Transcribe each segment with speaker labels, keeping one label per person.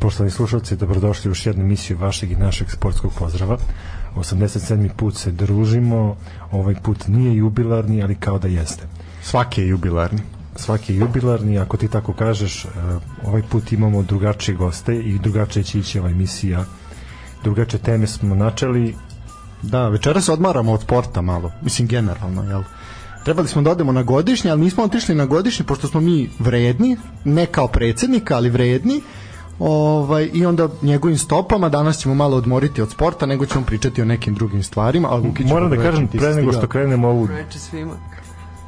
Speaker 1: poštovani slušalci, dobrodošli u još jednu emisiju vašeg i našeg sportskog pozdrava. 87. put se družimo, ovaj put nije jubilarni, ali kao da jeste.
Speaker 2: Svaki je jubilarni.
Speaker 1: Svaki je jubilarni, ako ti tako kažeš, ovaj put imamo drugačije goste i drugačije će ići ova emisija. Drugačije teme smo načeli.
Speaker 2: Da, večeras odmaramo od sporta malo, mislim generalno, jel? Trebali smo da odemo na godišnje, ali nismo otišli na godišnje, pošto smo mi vredni, ne kao predsednika, ali vredni, ovaj, i onda njegovim stopama danas ćemo malo odmoriti od sporta, nego ćemo pričati o nekim drugim stvarima. Ali Lukić
Speaker 1: Moram da kažem, pre nego što krenemo ovu...
Speaker 3: Proveče svima.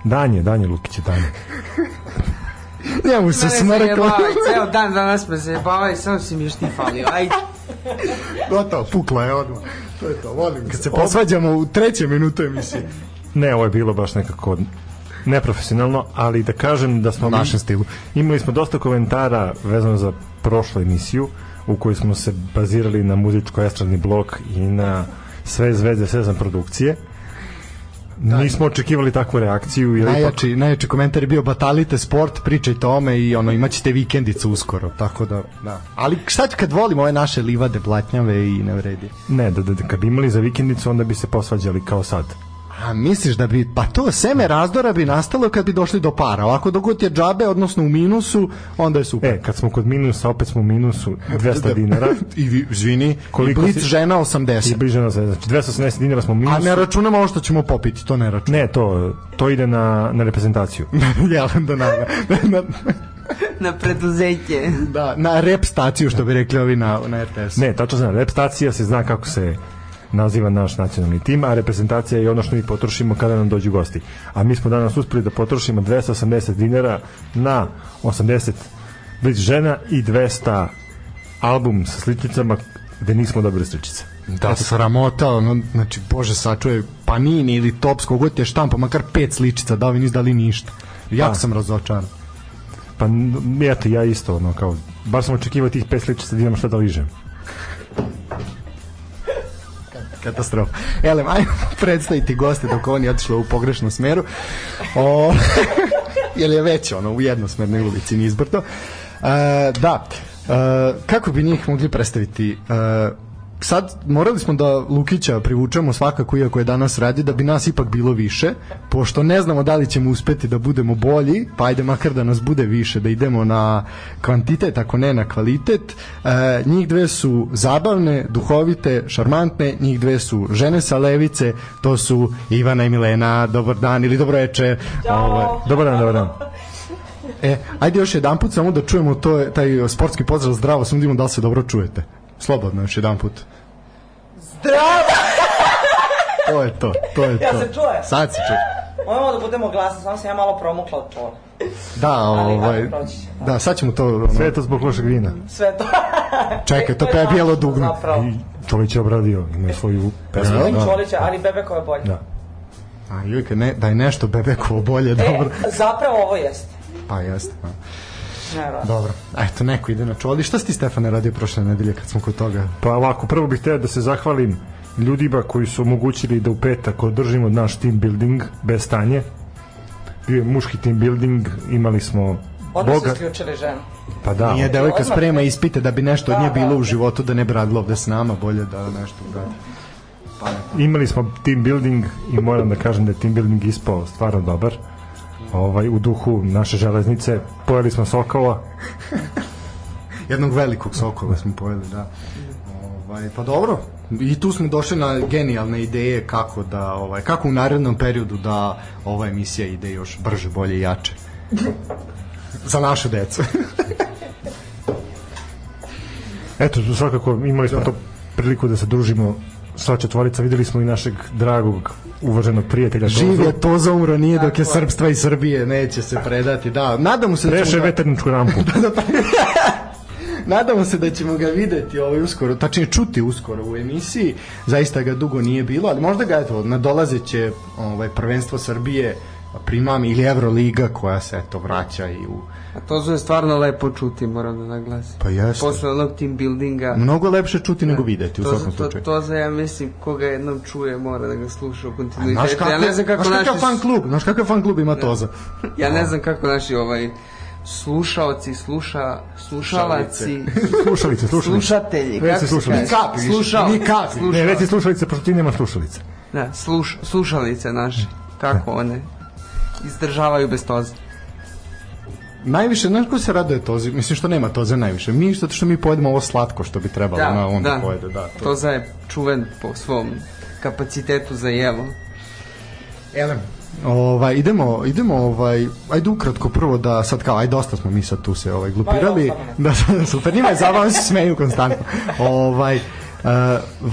Speaker 1: Danje, Danje Lukić je Danje.
Speaker 2: Njemu se
Speaker 3: Danas me
Speaker 2: smrkla.
Speaker 3: jebala, Ceo dan danas me zajebala i samo si mi još ti falio. Ajde.
Speaker 2: Gotovo, pukla je odmah. To je to, volim. Kad se posvađamo u trećem minutu emisije.
Speaker 1: Ne, ovo je bilo baš nekako neprofesionalno, ali da kažem da smo
Speaker 2: U našem stilu.
Speaker 1: Imali smo dosta komentara vezano za prošlu emisiju u kojoj smo se bazirali na muzičko-estradni blok i na sve zvezde, sve znam produkcije. Nismo očekivali takvu reakciju. Jer ipak,
Speaker 2: Da. Najjači, najjači komentar je bio batalite sport, pričaj tome i ono imaćete vikendicu uskoro, tako da, da. Ali šta ću kad volim ove naše livade blatnjave i ne vredi?
Speaker 1: ne, da, da, da, kad bi imali za vikendicu, onda bi se posvađali kao sad.
Speaker 2: A misliš da bi, pa to seme razdora bi nastalo kad bi došli do para, ovako dogod je džabe, odnosno u minusu, onda je super.
Speaker 1: E, kad smo kod minusa, opet smo u minusu 200 E, dinara.
Speaker 2: I vi, izvini,
Speaker 1: Koliko
Speaker 2: koliko blic
Speaker 1: si-
Speaker 2: žena
Speaker 1: I
Speaker 2: 80.
Speaker 1: bliže nas, znači 280 dinara smo u
Speaker 2: A
Speaker 1: minusu.
Speaker 2: ne računamo ovo što ćemo popiti, to ne računamo.
Speaker 1: Ne, to, to ide na, na reprezentaciju.
Speaker 2: Jel, da, na, na,
Speaker 3: Na preduzeće.
Speaker 2: da, na rep staciju, što bi rekli ovi na, na RTS-u.
Speaker 1: Ne, tačno znam, reprezentacija se zna kako se naziva naš nacionalni tim, a reprezentacija je ono što mi potrošimo kada nam dođu gosti. A mi smo danas uspeli da potrošimo 280 dinara na 80 blic žena i 200 album sa sličicama gde nismo dobili sličice.
Speaker 2: Da, sramota, ono, znači, bože, sačuje Panini ili Tops, kogo ti je štampa, makar pet sličica, da ovi nisu dali ništa. Jak
Speaker 1: Da.
Speaker 2: sam razočaran.
Speaker 1: Pa, n- eto, ja isto, ono, kao, bar sam očekivao tih pet sličica da imam šta da ližem.
Speaker 2: Katastrofa. Elem, ajmo predstaviti goste dok oni otišli u pogrešnom smeru. O, jer je već ono u jednosmernoj ulici nizbrdo. E, da, e, kako bi njih mogli predstaviti? E, sad morali smo da Lukića privučemo svakako iako je danas radi da bi nas ipak bilo više pošto ne znamo da li ćemo uspeti da budemo bolji pa ajde makar da nas bude više da idemo na kvantitet ako ne na kvalitet e, njih dve su zabavne, duhovite, šarmantne njih dve su žene sa levice to su Ivana i Milena dobar dan ili dobro večer Ovaj,
Speaker 1: Dobar dan, dobar dan.
Speaker 2: E, ajde još jedan put samo da čujemo to, taj sportski pozdrav zdravo, samo da vidimo da li se dobro čujete. Slobodno još jedan put.
Speaker 4: Zdravo!
Speaker 2: To je to, to je to.
Speaker 4: Ja se čuje?
Speaker 2: Sad se čuje.
Speaker 4: Moramo da budemo glasni, samo sam ja malo promukla od tona.
Speaker 2: Da,
Speaker 4: Ali, ali
Speaker 2: ovaj,
Speaker 4: proći će.
Speaker 2: da, sad ćemo to, ono,
Speaker 1: Sve je to zbog lošeg vina.
Speaker 4: Sve to.
Speaker 1: Da,
Speaker 2: čekaj, to
Speaker 4: je
Speaker 2: je bijelo
Speaker 4: zašto
Speaker 2: dugme.
Speaker 4: Zapravo.
Speaker 1: I Čolić je obradio, ima svoju pesmu.
Speaker 2: Da,
Speaker 4: Volim
Speaker 2: da.
Speaker 4: Čolića, ali Bebekova je bolja.
Speaker 1: Da.
Speaker 2: A Jujka, ne, da je nešto bebekovo bolje,
Speaker 4: E,
Speaker 2: dobro.
Speaker 4: zapravo ovo jeste.
Speaker 2: Pa jeste, da.
Speaker 4: Nevjerojatno.
Speaker 2: Dobro. A eto, neko ide na čoli. Šta si ti, Stefane, radio prošle nedelje kad smo kod toga?
Speaker 1: Pa ovako, prvo bih hteo da se zahvalim ljudima koji su omogućili da u petak održimo naš team building bez stanje. Bio je muški team building, imali smo
Speaker 4: Odmah su
Speaker 1: Da. Boga,
Speaker 4: isključili ženu.
Speaker 1: pa da,
Speaker 2: Nije devojka
Speaker 4: odmah.
Speaker 2: sprema ispite da bi nešto od nje bilo u životu, da ne bi radila ovde s nama, bolje da nešto uradi.
Speaker 1: imali smo team building i moram da kažem da je team building ispao stvarno dobar. Ovaj, u duhu naše železnice, pojeli smo sokova,
Speaker 2: jednog velikog sokola smo pojeli, da. Ovaj, pa dobro, i tu smo došli na genijalne ideje kako da ovaj kako u narednom periodu da ova emisija ide još brže, bolje i jače. Za našu decu.
Speaker 1: Eto, svakako imali smo to priliku da se družimo sva četvorica, videli smo i našeg dragog uvaženog prijatelja Tozu.
Speaker 2: Živ je to za umro nije dok je srpstva i Srbije, neće se predati. Da, nadamo se da
Speaker 1: Reše
Speaker 2: ćemo ga,
Speaker 1: veterničku rampu.
Speaker 2: nadamo se da ćemo ga videti ovaj uskoro, tačnije čuti uskoro u emisiji. Zaista ga dugo nije bilo, ali možda ga eto nadolazeće ovaj prvenstvo Srbije primam ili Evroliga koja se eto vraća i u
Speaker 3: A to su je stvarno lepo čuti, moram da naglasim.
Speaker 2: Pa jeste. Da.
Speaker 3: Posle onog team buildinga.
Speaker 2: Mnogo lepše čuti nego videti u
Speaker 3: To,
Speaker 2: svakom
Speaker 3: to,
Speaker 2: slučaju.
Speaker 3: to za ja mislim koga jednom čuje mora da ga sluša u
Speaker 2: Znaš
Speaker 3: kontinuitetu.
Speaker 2: kakav,
Speaker 3: Ja ne znam kako
Speaker 2: znaš
Speaker 3: naši
Speaker 2: Da. kakav fan klub, znaš kakav fan klub ima Toza.
Speaker 3: Ja ne znam kako naši ovaj slušaoci, sluša, slušalaci,
Speaker 1: Slušalice, slušalice.
Speaker 3: slušatelji,
Speaker 1: Već
Speaker 3: kako
Speaker 1: si
Speaker 3: se
Speaker 1: slušala.
Speaker 3: kaže?
Speaker 1: Ni
Speaker 2: kapi više,
Speaker 3: Slušao-
Speaker 2: ni kapi.
Speaker 3: slušao-
Speaker 1: Ne, već je slušalice, pošto ti nema slušalice.
Speaker 3: Da, sluš, slušalice naše, kako one izdržavaju bez toza.
Speaker 2: Najviše, znaš ko se raduje tozi? Mislim što nema toze najviše. Mi, zato što mi pojedemo ovo slatko što bi trebalo, da, na onda da. pojede, da. To.
Speaker 3: Toza je čuven po svom kapacitetu za jelo.
Speaker 2: Elem. Ovaj, idemo, idemo, ovaj, ajde ukratko prvo da sad kao, ajde dosta smo mi sad tu se ovaj, glupirali.
Speaker 4: Pa, ja,
Speaker 2: Da, da, super, njima je zabavno, oni se smeju konstantno. Ovaj, Uh,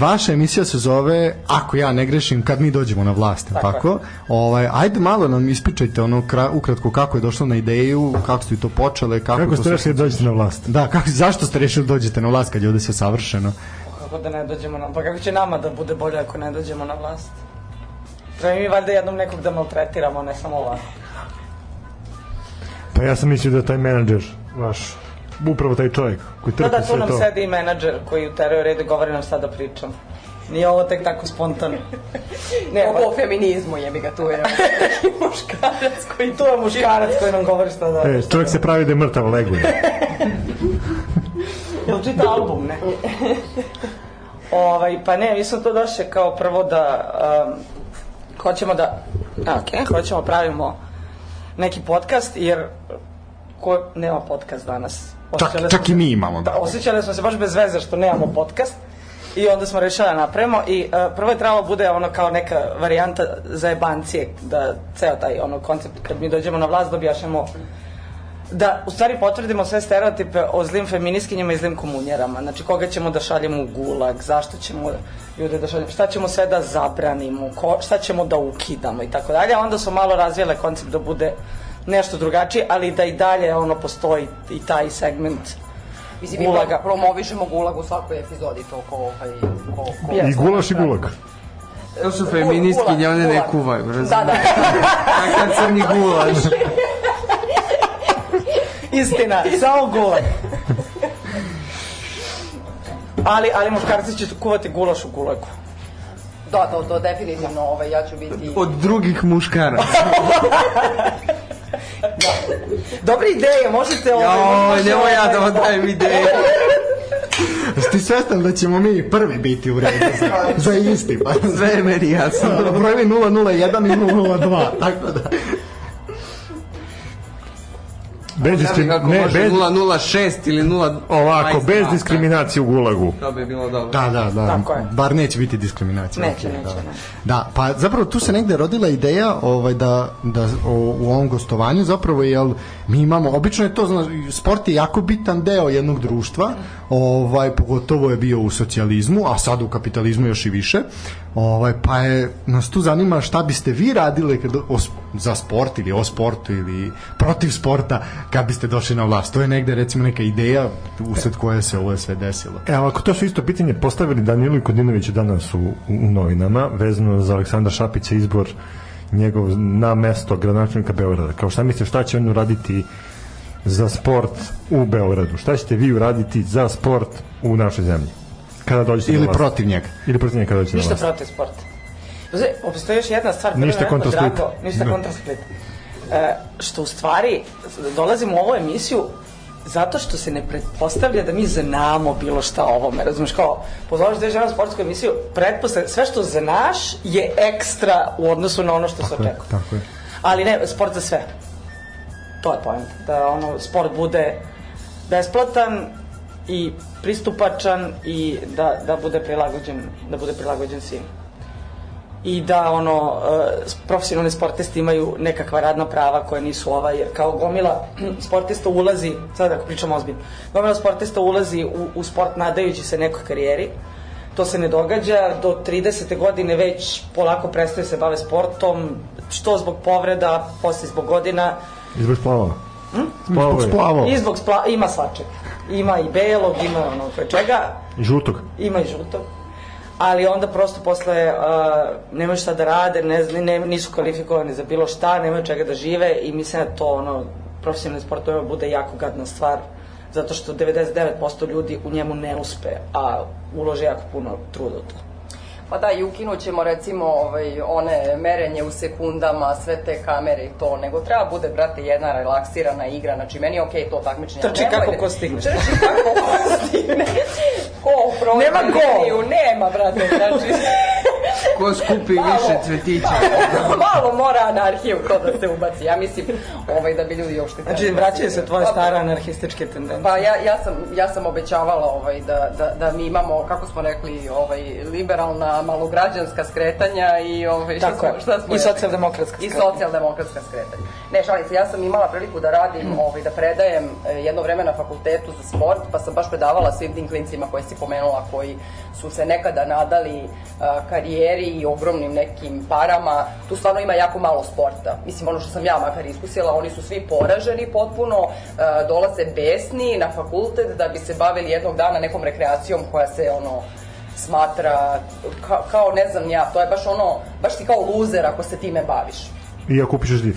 Speaker 2: vaša emisija se zove Ako ja ne grešim, kad mi dođemo na vlast tako, tako? Ovaj, ajde malo nam ispičajte ono, kra, ukratko kako je došlo na ideju kako ste to počele kako,
Speaker 1: Kako
Speaker 2: to
Speaker 1: ste
Speaker 2: sve-
Speaker 1: rešili da dođete na vlast?
Speaker 2: Da, kako, zašto ste rešili da dođete na vlast kad je ovde sve savršeno?
Speaker 4: Kako da ne dođemo na... Pa kako će nama da bude bolje ako ne dođemo na vlast? Treba mi valjda jednom nekog da maltretiramo, ne samo ovako.
Speaker 1: Pa ja sam mislio da taj menadžer vaš, upravo taj čovjek koji
Speaker 4: Da,
Speaker 1: trpi
Speaker 4: da, tu
Speaker 1: sve
Speaker 4: nam
Speaker 1: to.
Speaker 4: sedi i menadžer koji uteruje red i govori nam šta da pričam. Nije ovo tek tako spontano. Ne,
Speaker 5: Ovo o feminizmu jebi ga tu je.
Speaker 4: muškarac koji... Tu je muškarac koji nam govori šta da...
Speaker 1: E, čovjek se pravi da je mrtav, leguje.
Speaker 4: Jel čita album, ne? ovaj, pa ne, mi smo to došli kao prvo da um, hoćemo da, ok, hoćemo da pravimo neki podcast, jer ko nema podcast danas?
Speaker 2: Čak,
Speaker 4: Osjećale
Speaker 2: čak
Speaker 4: smo
Speaker 2: i
Speaker 4: se-
Speaker 2: mi imamo,
Speaker 4: Da,
Speaker 2: da.
Speaker 4: osjećali smo se baš bez veze što nemamo podcast i onda smo rešili da napravimo i uh, prvo je trebalo bude ono kao neka varijanta za jebancije, da ceo taj ono koncept kad mi dođemo na vlast dobijašemo da u stvari potvrdimo sve stereotipe o zlim feminiskinjama i zlim komunjerama. Znači koga ćemo da šaljemo u gulag, zašto ćemo ljude da šaljemo, šta ćemo sve da zabranimo, ko, šta ćemo da ukidamo i tako dalje. A Onda su malo razvijele koncept da bude nešto drugačiji, ali da i dalje ono postoji i taj segment
Speaker 5: Mislim, mi
Speaker 4: Gulaga.
Speaker 5: pro- promovišemo gulag u svakoj epizodi, to ko... Ovaj, ko, ko
Speaker 1: I gulaš i gulag.
Speaker 3: Evo su feministkinje, one ne
Speaker 5: Gulag.
Speaker 3: kuvaju, razumiješ?
Speaker 5: Da, da.
Speaker 3: Kakav crni gulaš.
Speaker 4: Istina, samo gulag. Ali, ali muškarci će kuvati gulaš u gulagu.
Speaker 5: Da, to, to definitivno, ovaj, ja ću biti...
Speaker 3: Od drugih muškara.
Speaker 4: Dobre ideje, možete... Ovaj,
Speaker 3: Joj,
Speaker 4: možete ovaj-
Speaker 3: nemoj ja da vam dajem ideje.
Speaker 2: Jesi ti svestan da ćemo mi prvi biti u redu za, za isti, pa
Speaker 3: Sve je meni jasno.
Speaker 2: brojevi 001 i 002, tako da.
Speaker 1: Bez
Speaker 3: Znači
Speaker 1: diskriminacije.
Speaker 3: kako
Speaker 1: Ne,
Speaker 3: može
Speaker 1: bez,
Speaker 3: 006 ili 0...
Speaker 1: ovako,
Speaker 3: Ajde,
Speaker 1: bez
Speaker 3: da,
Speaker 1: diskriminacije u gulagu.
Speaker 3: To bi bilo dobro.
Speaker 2: Da, da, da.
Speaker 4: Tako je.
Speaker 2: Bar neće biti diskriminacija.
Speaker 4: Neće,
Speaker 2: Ok,
Speaker 4: neće,
Speaker 2: da.
Speaker 4: ne.
Speaker 2: Da, pa zapravo tu se negde rodila ideja ovaj, da, da o, u ovom gostovanju zapravo, jel, mi imamo, obično je to, znaš, sport je jako bitan deo jednog društva, ovaj, pogotovo je bio u socijalizmu, a sad u kapitalizmu još i više, ovaj, pa je, nas tu zanima šta biste vi radile kad, o, sp- za sport ili o sportu ili protiv sporta kad biste došli na vlast. To je negde, recimo, neka ideja usled koje se ovo sve desilo.
Speaker 1: E, ali ako to su isto pitanje postavili Danilu i Kodinoviću danas u, u u novinama, vezano za Aleksandra Šapića izbor njegov na mesto gradonačelnika Beograda. Kao šta mislite, šta će on uraditi za sport u Beogradu? Šta ćete vi uraditi za sport u našoj zemlji? Kada dođete
Speaker 2: Ili
Speaker 1: na vlast?
Speaker 2: protiv njega.
Speaker 1: Ili protiv njega kada dođete na
Speaker 4: Ništa
Speaker 1: vlast?
Speaker 4: protiv sporta. Znači, postoji još jedna stvar. koja
Speaker 1: Ništa
Speaker 4: mi je jako
Speaker 1: kontra Splita.
Speaker 4: drago, Ništa
Speaker 1: Da.
Speaker 4: kontra splita. E, što u stvari, dolazimo u ovu emisiju zato što se ne pretpostavlja da mi znamo bilo šta o ovome, razumiješ, kao pozoveš da na sportsku emisiju, pretpostavlja, sve što znaš je ekstra u odnosu na ono što se
Speaker 1: Tako je,
Speaker 4: očekuje.
Speaker 1: tako je.
Speaker 4: Ali ne, sport za sve. To je point. Da ono, sport bude besplatan i pristupačan i da, da bude prilagođen, da bude prilagođen svim. I da ono, e, s- profesionalni sportisti imaju nekakva radna prava koja nisu ova, jer kao gomila sportista ulazi, sad ako pričamo ozbiljno, gomila sportista ulazi u, u sport nadajući se nekoj karijeri, to se ne događa, do 30. godine već polako prestaju se bave sportom, što zbog povreda, posle zbog godina,
Speaker 1: Izbor splavova.
Speaker 5: Hm?
Speaker 1: Splavova je.
Speaker 2: Splavo.
Speaker 4: i zbog spla, ima svačeg. Ima i belog, ima ono koje čega,
Speaker 1: I žutog.
Speaker 4: ima i žutog. Ali onda prosto posle uh, nemaju šta da rade, ne, zna- ne, nisu kvalifikovani za bilo šta, nemaju čega da žive i mislim da to ono, profesionalni sport ovima bude jako gadna stvar zato što 99% ljudi u njemu ne uspe, a ulože jako puno truda u to.
Speaker 5: Pa da, i ukinućemo recimo ovaj, one merenje u sekundama, sve te kamere i to, nego treba bude, brate, jedna relaksirana igra, znači meni je okej to takmičenje.
Speaker 4: Trči
Speaker 5: nemojte-
Speaker 4: kako ko stigne.
Speaker 5: Trči kako ko stigne. Ko prođe
Speaker 4: Nema go.
Speaker 5: liniju, nema, brate, znači...
Speaker 3: Ko skupi
Speaker 5: Malo.
Speaker 3: više cvetića?
Speaker 5: malo mora anarhiju ko da se ubaci. Ja mislim ovaj, da bi ljudi uopšte...
Speaker 4: Znači, vraćaju se tvoje stare anarhističke tendencije.
Speaker 5: Pa ja, ja, sam, ja sam obećavala ovaj, da, da, da mi imamo, kako smo rekli, ovaj, liberalna, malograđanska skretanja i ovaj, šta
Speaker 4: Tako je.
Speaker 5: smo, šta smo
Speaker 4: I
Speaker 5: rekli?
Speaker 4: socijaldemokratska
Speaker 5: I
Speaker 4: skretanja.
Speaker 5: socijaldemokratska skretanja. Ne, šalim se, ja sam imala priliku da radim, ovaj, da predajem e, jedno vreme na fakultetu za sport, pa sam baš predavala svim tim klincima koje si pomenula, koji su se nekada nadali e, karijeri i ogromnim nekim parama. Tu stvarno ima jako malo sporta. Mislim, ono što sam ja makar iskusila, oni su svi poraženi potpuno, e, dolaze besni na fakultet da bi se bavili jednog dana nekom rekreacijom koja se ono smatra ka, kao ne znam ja, to je baš ono, baš si kao luzer ako se time baviš.
Speaker 1: I ako upišeš div.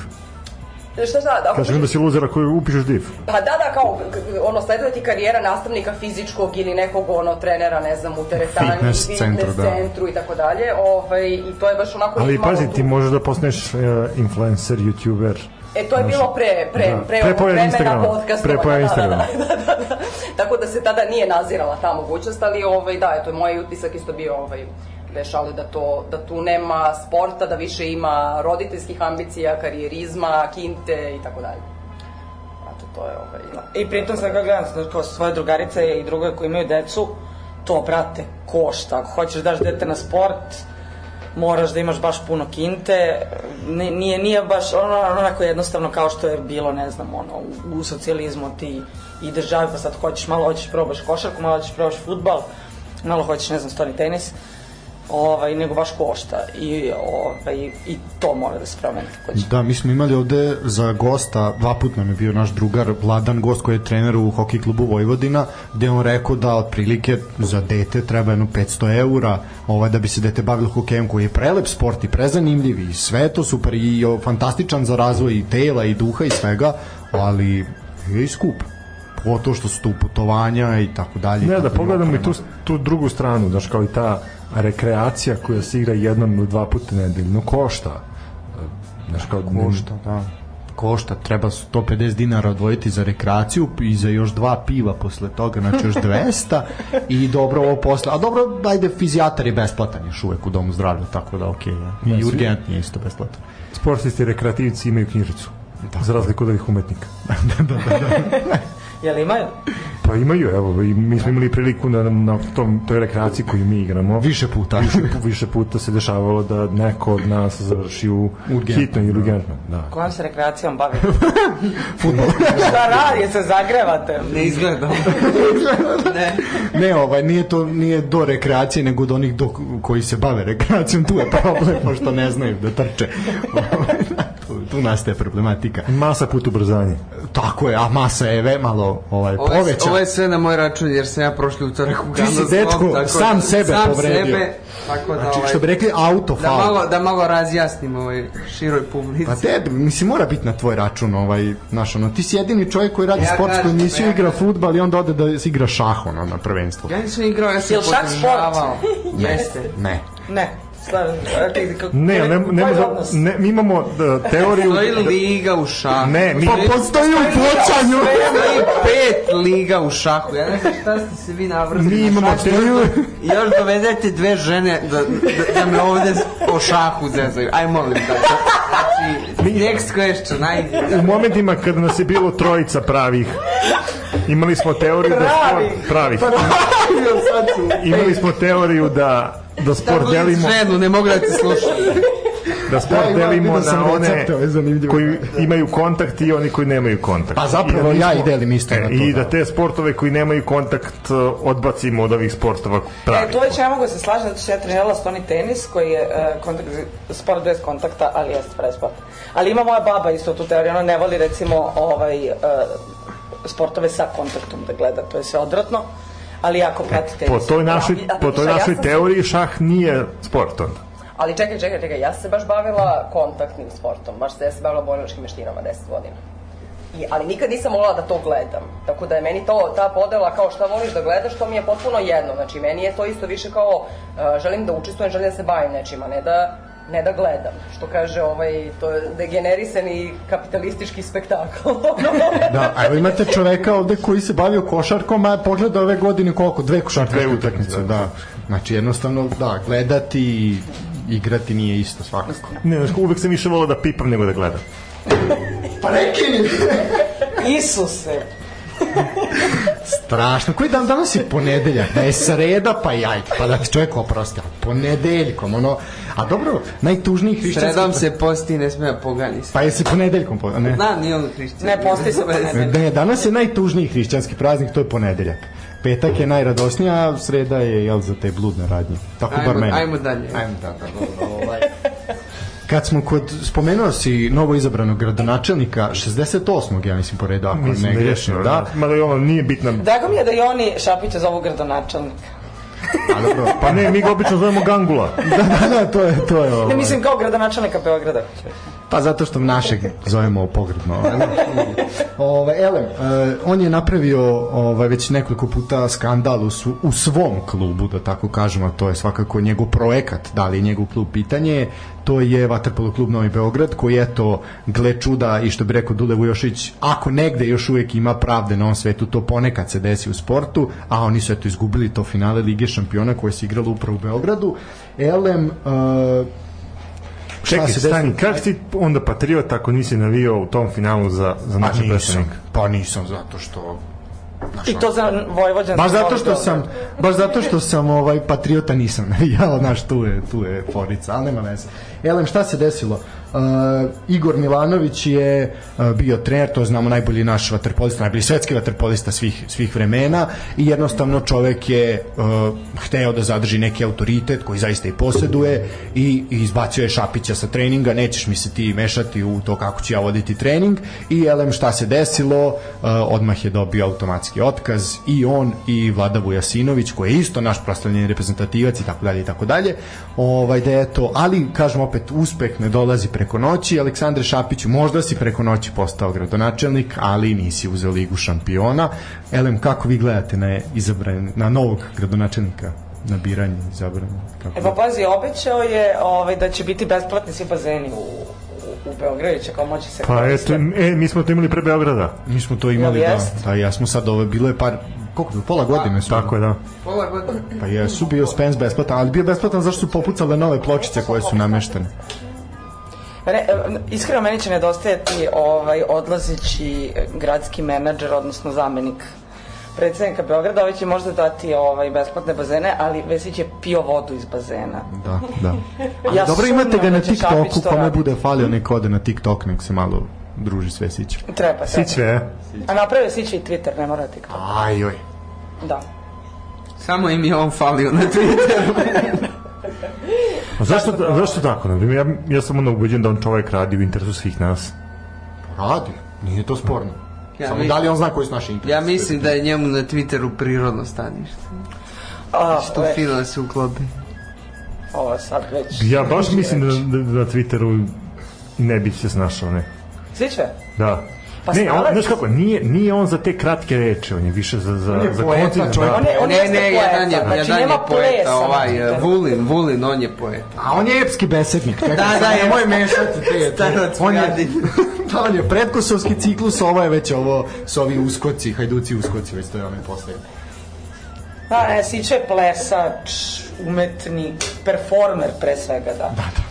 Speaker 5: Šta šta, da,
Speaker 1: Kažem da si luzer ako upišeš div.
Speaker 5: pa da, da, kao, k- k- ono, sleduje ti karijera nastavnika fizičkog ili nekog, ono, trenera, ne znam, u teretani,
Speaker 2: Fitness centru, da.
Speaker 5: centru i tako dalje, ovaj, i to je baš onako...
Speaker 1: Ali
Speaker 5: imalo
Speaker 1: pazi,
Speaker 5: tu-
Speaker 1: ti možeš da postaneš e, influencer, youtuber.
Speaker 5: E, to je bilo pre, pre,
Speaker 1: Da.
Speaker 5: pre,
Speaker 1: Pre
Speaker 5: ovog
Speaker 1: pojave
Speaker 5: vremena
Speaker 1: Instagrama.
Speaker 5: podcastovanja,
Speaker 1: Pre pojave
Speaker 5: da, da, da,
Speaker 1: Instagrama.
Speaker 5: da, da, da. Tako da se tada nije nazirala ta mogućnost, ali ovaj, da, eto, moj utisak isto bio ovaj, veš, ali da, to, da tu nema sporta, da više ima roditeljskih ambicija, karijerizma, kinte i tako dalje. Znači, to je ovaj...
Speaker 4: I pritom sam ga gledam, znači, kao svoje drugarice i druge koji imaju decu, to, brate, košta. Ako hoćeš da daš dete na sport, moraš da imaš baš puno kinte. Ni- Nije, nije baš ono, onako jednostavno kao što je bilo, ne znam, ono, u, u socijalizmu ti i državi, pa sad hoćeš, malo hoćeš probaš košarku, malo hoćeš probaš futbal, malo hoćeš, ne znam, stoni tenis. Ovaj, nego baš košta i, ovaj, i to mora da se promeni. ako hoćeš.
Speaker 2: Da, mi smo imali ovde za gosta, dva put nam je bio naš drugar, Vladan gost koji je trener u hokej klubu Vojvodina, gde je on rekao da otprilike za dete treba jedno 500 eura ovaj, da bi se dete bavilo hokejem koji je prelep sport i prezanimljiv i sve je to super i o, fantastičan za razvoj i tela i duha i svega, ali je i skup. Pogotovo što su tu putovanja i tako dalje. i
Speaker 1: Ne, da
Speaker 2: tako
Speaker 1: pogledamo i
Speaker 2: oprema.
Speaker 1: tu, tu drugu stranu, znaš, kao i ta rekreacija koja se igra jednom ili dva puta nedeljno košta. E, Znaš, kao
Speaker 2: košta, da. Košta, treba 150 dinara odvojiti za rekreaciju i za još dva piva posle toga, znači još 200 i dobro ovo posle. A dobro, ajde, fizijatar je besplatan još uvek u domu zdravlja, tako da okej. Okay, ja. I
Speaker 1: svi-
Speaker 2: urgent nije isto besplatan.
Speaker 1: Sportisti i rekreativci imaju knjižicu. Da. Za razliku od ovih umetnika.
Speaker 4: Jel imaju?
Speaker 1: Pa imaju, evo, i mi smo imali priliku na, na tom, toj rekreaciji koju mi igramo.
Speaker 2: Više puta.
Speaker 1: Više, pu- više puta se dešavalo da neko od nas završi u
Speaker 2: Urgentno,
Speaker 1: hitnoj ili urgentno. Da.
Speaker 4: Kojom se rekreacijom bavite? Šta radi, se zagrevate?
Speaker 3: Ne izgleda. ne.
Speaker 2: ne, ovaj, nije to nije do rekreacije, nego do onih do, koji se bave rekreacijom, tu je problem, pošto ne znaju da trče. tu, tu nastaje problematika.
Speaker 1: Masa put ubrzanje.
Speaker 2: Tako je, a masa je ve malo ovaj,
Speaker 3: Ovo je,
Speaker 2: poveća.
Speaker 3: ovo je sve na moj račun jer sam ja prošli utorak u
Speaker 2: Ti si,
Speaker 3: Gandalf,
Speaker 2: dečko,
Speaker 3: tako da-
Speaker 2: sam sebe
Speaker 3: sam
Speaker 2: povredio.
Speaker 3: Sebe, tako da,
Speaker 2: Znači,
Speaker 3: ovaj,
Speaker 2: što bi rekli, auto
Speaker 3: da,
Speaker 2: faul.
Speaker 3: malo, da malo razjasnim ovoj široj publici.
Speaker 2: Pa tebi, mislim, mora biti na tvoj račun, ovaj, znaš, ono, ti si jedini čovjek koji radi
Speaker 3: Ja
Speaker 2: sportsku
Speaker 3: kažem,
Speaker 2: emisiju,
Speaker 3: ja
Speaker 2: igra
Speaker 3: kažem.
Speaker 2: futbal i onda ode da se igra šah, ono, na prvenstvu.
Speaker 3: Ja nisam igrao, ja sam
Speaker 4: Jel šah sport?
Speaker 3: podržavao. Jeste.
Speaker 2: Ne.
Speaker 4: Ne, slažem.
Speaker 1: Ne, ne, ne, ne, ne mi imamo da, teoriju...
Speaker 3: Postoji liga u šahu.
Speaker 1: Ne, mi...
Speaker 2: Pa postoji u pločanju!
Speaker 3: Postoji pet liga u šahu. Ja ne znam šta ste se vi navrli.
Speaker 1: Mi imamo teoriju...
Speaker 3: I još dovedete dve žene da, da, da me ovde o šahu zezaju. Aj molim da. Znači, next question, ajde.
Speaker 1: U momentima kada nas je bilo trojica pravih, imali smo teoriju da sport... Pravih. Imali smo teoriju da da sport delimo
Speaker 3: Ženu, ne mogu da te slušam.
Speaker 1: da sport
Speaker 2: Da, ima,
Speaker 1: delimo
Speaker 2: vidio sam
Speaker 1: na one
Speaker 2: recepte, ovo je zanimljivo.
Speaker 1: koji imaju kontakt i oni koji nemaju kontakt.
Speaker 2: Pa zapravo
Speaker 1: I da
Speaker 2: ja
Speaker 1: nismo-
Speaker 2: i delim isto
Speaker 1: E,
Speaker 2: na to,
Speaker 1: I da
Speaker 2: da.
Speaker 1: te sportove koji nemaju kontakt e, odbacimo od ovih sportova pravi.
Speaker 4: E, tu već ne mogu da se slažem, zato što ja trenirala stoni tenis, koji je e, kontakt, sport bez kontakta, ali jeste pravi sport. Ali ima moja baba isto tu teoriju, ona ne voli recimo ovaj, e, sportove sa kontaktom da gleda, to je sve odvratno, ali jako prati tenis.
Speaker 1: E, Po toj našoj,
Speaker 5: pravi, a
Speaker 1: po toj
Speaker 5: šta, ja
Speaker 1: našoj
Speaker 5: sam-
Speaker 1: teoriji šah nije sport onda.
Speaker 5: Ali čekaj, čekaj, čekaj, ja sam se baš bavila kontaktnim sportom, baš se, ja sam se bavila borilačkim veštinama 10 godina. I, ali nikad nisam volila da to gledam. Tako da je meni to, ta podela kao šta voliš da gledaš, to mi je potpuno jedno. Znači, meni je to isto više kao uh, želim da učestvujem, želim da se bavim nečima, ne da ne da gledam, što kaže ovaj, to je degenerisani kapitalistički spektakl.
Speaker 2: Da, a evo imate čoveka ovde koji se bavio košarkom, a pogleda ove godine koliko? Dve košarke
Speaker 1: Dve
Speaker 2: utakmice, da. Znači jednostavno, da, gledati i igrati nije isto svakako.
Speaker 1: Ne, znaš, uvek sam više volao da pipam nego da gledam.
Speaker 4: Isuse,
Speaker 2: Strašno. Koji dan danas je ponedeljak? Da je sreda, pa jaj, pa da ti čovjek oprosti. A ponedeljkom, ono... A dobro, najtužniji hrišćanski...
Speaker 3: Sredom se posti, ne smije pogani se.
Speaker 2: Pa je se ponedeljkom... Po... Ne.
Speaker 3: Da, nije on hrišćan.
Speaker 4: Ne, posti se ponedeljak.
Speaker 2: Ne, danas je najtužniji hrišćanski praznik, to je ponedeljak. Petak je najradosnija, a sreda je, jel, za te bludne radnje. Tako bar
Speaker 3: Ajmo,
Speaker 2: meni.
Speaker 3: ajmo dalje.
Speaker 2: Ajmo da, da, dobro, ovaj. Kad smo kod, spomenuo si novo izabranog gradonačelnika, 68. ja mislim po redu, ako
Speaker 1: Mislim
Speaker 2: ne
Speaker 1: da je
Speaker 2: grešim,
Speaker 1: to,
Speaker 2: da.
Speaker 1: Mada i ono nije bitna.
Speaker 4: drago mi je da i oni Šapića zovu gradonačelnik.
Speaker 2: A dobro,
Speaker 1: Pa ne, mi ga obično zovemo Gangula.
Speaker 2: da, da, da, to je, to je ovo.
Speaker 4: Ne mislim kao gradonačelnika Beograda.
Speaker 2: Pa zato što našeg zovemo pogrebno. Ove, elem, e, on je napravio ovaj, već nekoliko puta skandal u, sv u svom klubu, da tako kažem, a to je svakako njegov projekat, da li je njegov klub pitanje, to je Vaterpolo klub Novi Beograd, koji je to, gle čuda, i što bi rekao Dule Vujošić, ako negde još uvek ima pravde na ovom svetu, to ponekad se desi u sportu, a oni su eto izgubili to finale Lige šampiona koje se igralo upravo u Beogradu. Elem, e, šta
Speaker 1: Čekaj,
Speaker 2: se desilo?
Speaker 1: stani, kak si onda patriot ako nisi navio u tom finalu za, za
Speaker 2: Pa
Speaker 1: naša
Speaker 2: nisam,
Speaker 1: predstavnika?
Speaker 2: pa nisam zato što
Speaker 4: I to za Vojvođan.
Speaker 2: Baš zato što sam, baš zato što sam ovaj patriota nisam navijao, znaš, tu je, tu je forica, ali nema veze. Elem, šta se desilo? Uh, Igor Milanović je uh, bio trener, to znamo najbolji naš vaterpolista, najbolji svetski vaterpolista svih, svih vremena i jednostavno čovek je uh, hteo da zadrži neki autoritet koji zaista i posjeduje i, i izbacio je Šapića sa treninga, nećeš mi se ti mešati u to kako ću ja voditi trening i elem šta se desilo, uh, odmah je dobio automatski otkaz i on i Vlada Vujasinović koji je isto naš proslavljeni reprezentativac i tako dalje i tako dalje. Ovaj da eto, ali kažem opet uspeh ne dolazi preko noći. Aleksandre Šapiću, možda si preko noći postao gradonačelnik, ali nisi uzeo ligu šampiona. Elem kako vi gledate na izabran na novog gradonačelnika? na biranje, izabranje. Kako?
Speaker 4: E pa pazi, obećao je ovaj, da će biti besplatni svi bazeni u, u, u Beogradu, će kao moći se...
Speaker 1: Pa eto, e, mi smo to imali pre Beograda.
Speaker 2: Mi smo to imali,
Speaker 4: Jel
Speaker 2: da,
Speaker 4: jest?
Speaker 2: da, ja smo sad, ovo je bilo je par, koliko je bilo, pola godine smo.
Speaker 1: Tako je, da.
Speaker 3: Pola godina.
Speaker 2: Pa jesu bio Spence besplatan, ali bio besplatan zašto su popucale nove pločice koje su nameštene.
Speaker 4: Re, e, iskreno, meni će nedostajati ovaj, odlazeći gradski menadžer, odnosno zamenik predsednika Beograda, ovaj će možda dati ovaj, besplatne bazene, ali Vesić je pio vodu iz bazena.
Speaker 2: Da, da.
Speaker 4: Ja
Speaker 2: Ja Dobro, imate ga
Speaker 4: sumnjam
Speaker 2: na
Speaker 4: da će Šapić
Speaker 2: TikToku,
Speaker 4: to
Speaker 2: kome
Speaker 4: raditi.
Speaker 2: bude falio, nek ode na TikTok, nek se malo druži sve siće.
Speaker 4: Treba,
Speaker 1: Sić
Speaker 4: treba.
Speaker 1: sve.
Speaker 4: A napravio Sić i Twitter, ne mora TikTok.
Speaker 2: Ajoj.
Speaker 4: Da.
Speaker 3: Samo im je on falio na Twitteru.
Speaker 1: A zašto, zašto tako? Na primjer, ja, ja sam ono ubeđen da on čovjek radi u interesu svih nas.
Speaker 2: Radi, nije to sporno.
Speaker 3: Ja
Speaker 2: Samo
Speaker 3: mi-
Speaker 2: da li on zna koji su naši interesi?
Speaker 3: Ja mislim da je njemu na Twitteru prirodno stanište.
Speaker 4: A,
Speaker 3: Što
Speaker 4: e,
Speaker 3: fino da se uklopi.
Speaker 4: Ovo sad već.
Speaker 1: Ja baš mislim da, da, da na Twitteru ne bi se snašao, ne.
Speaker 4: Sviće?
Speaker 1: Da.
Speaker 4: Pa
Speaker 1: ne, on,
Speaker 4: snalazi
Speaker 1: znaš
Speaker 4: se.
Speaker 1: kako, nije, nije on za te kratke reči, on je više za, za,
Speaker 2: je
Speaker 1: za
Speaker 2: poeta,
Speaker 1: koncizam,
Speaker 2: čovjek.
Speaker 1: da.
Speaker 4: On je, on
Speaker 3: Ne,
Speaker 4: jeste
Speaker 3: ne,
Speaker 4: poeta.
Speaker 3: jedan je,
Speaker 4: znači,
Speaker 3: jedan je
Speaker 4: nema
Speaker 3: poeta,
Speaker 4: plesa,
Speaker 3: ovaj,
Speaker 4: znači,
Speaker 3: eh, Vulin, Vulin, on je poeta.
Speaker 2: A on je epski besednik. Da,
Speaker 3: da, je.
Speaker 2: Nemoj mešati te.
Speaker 3: Starac
Speaker 2: on je,
Speaker 3: Gadi.
Speaker 2: da, on je predkosovski ciklus, ovo je već ovo s ovi uskoci, hajduci uskoci, već to je onaj poslednji.
Speaker 4: Pa, ne, Sić je plesač, umetnik, performer pre svega, da. Da, da.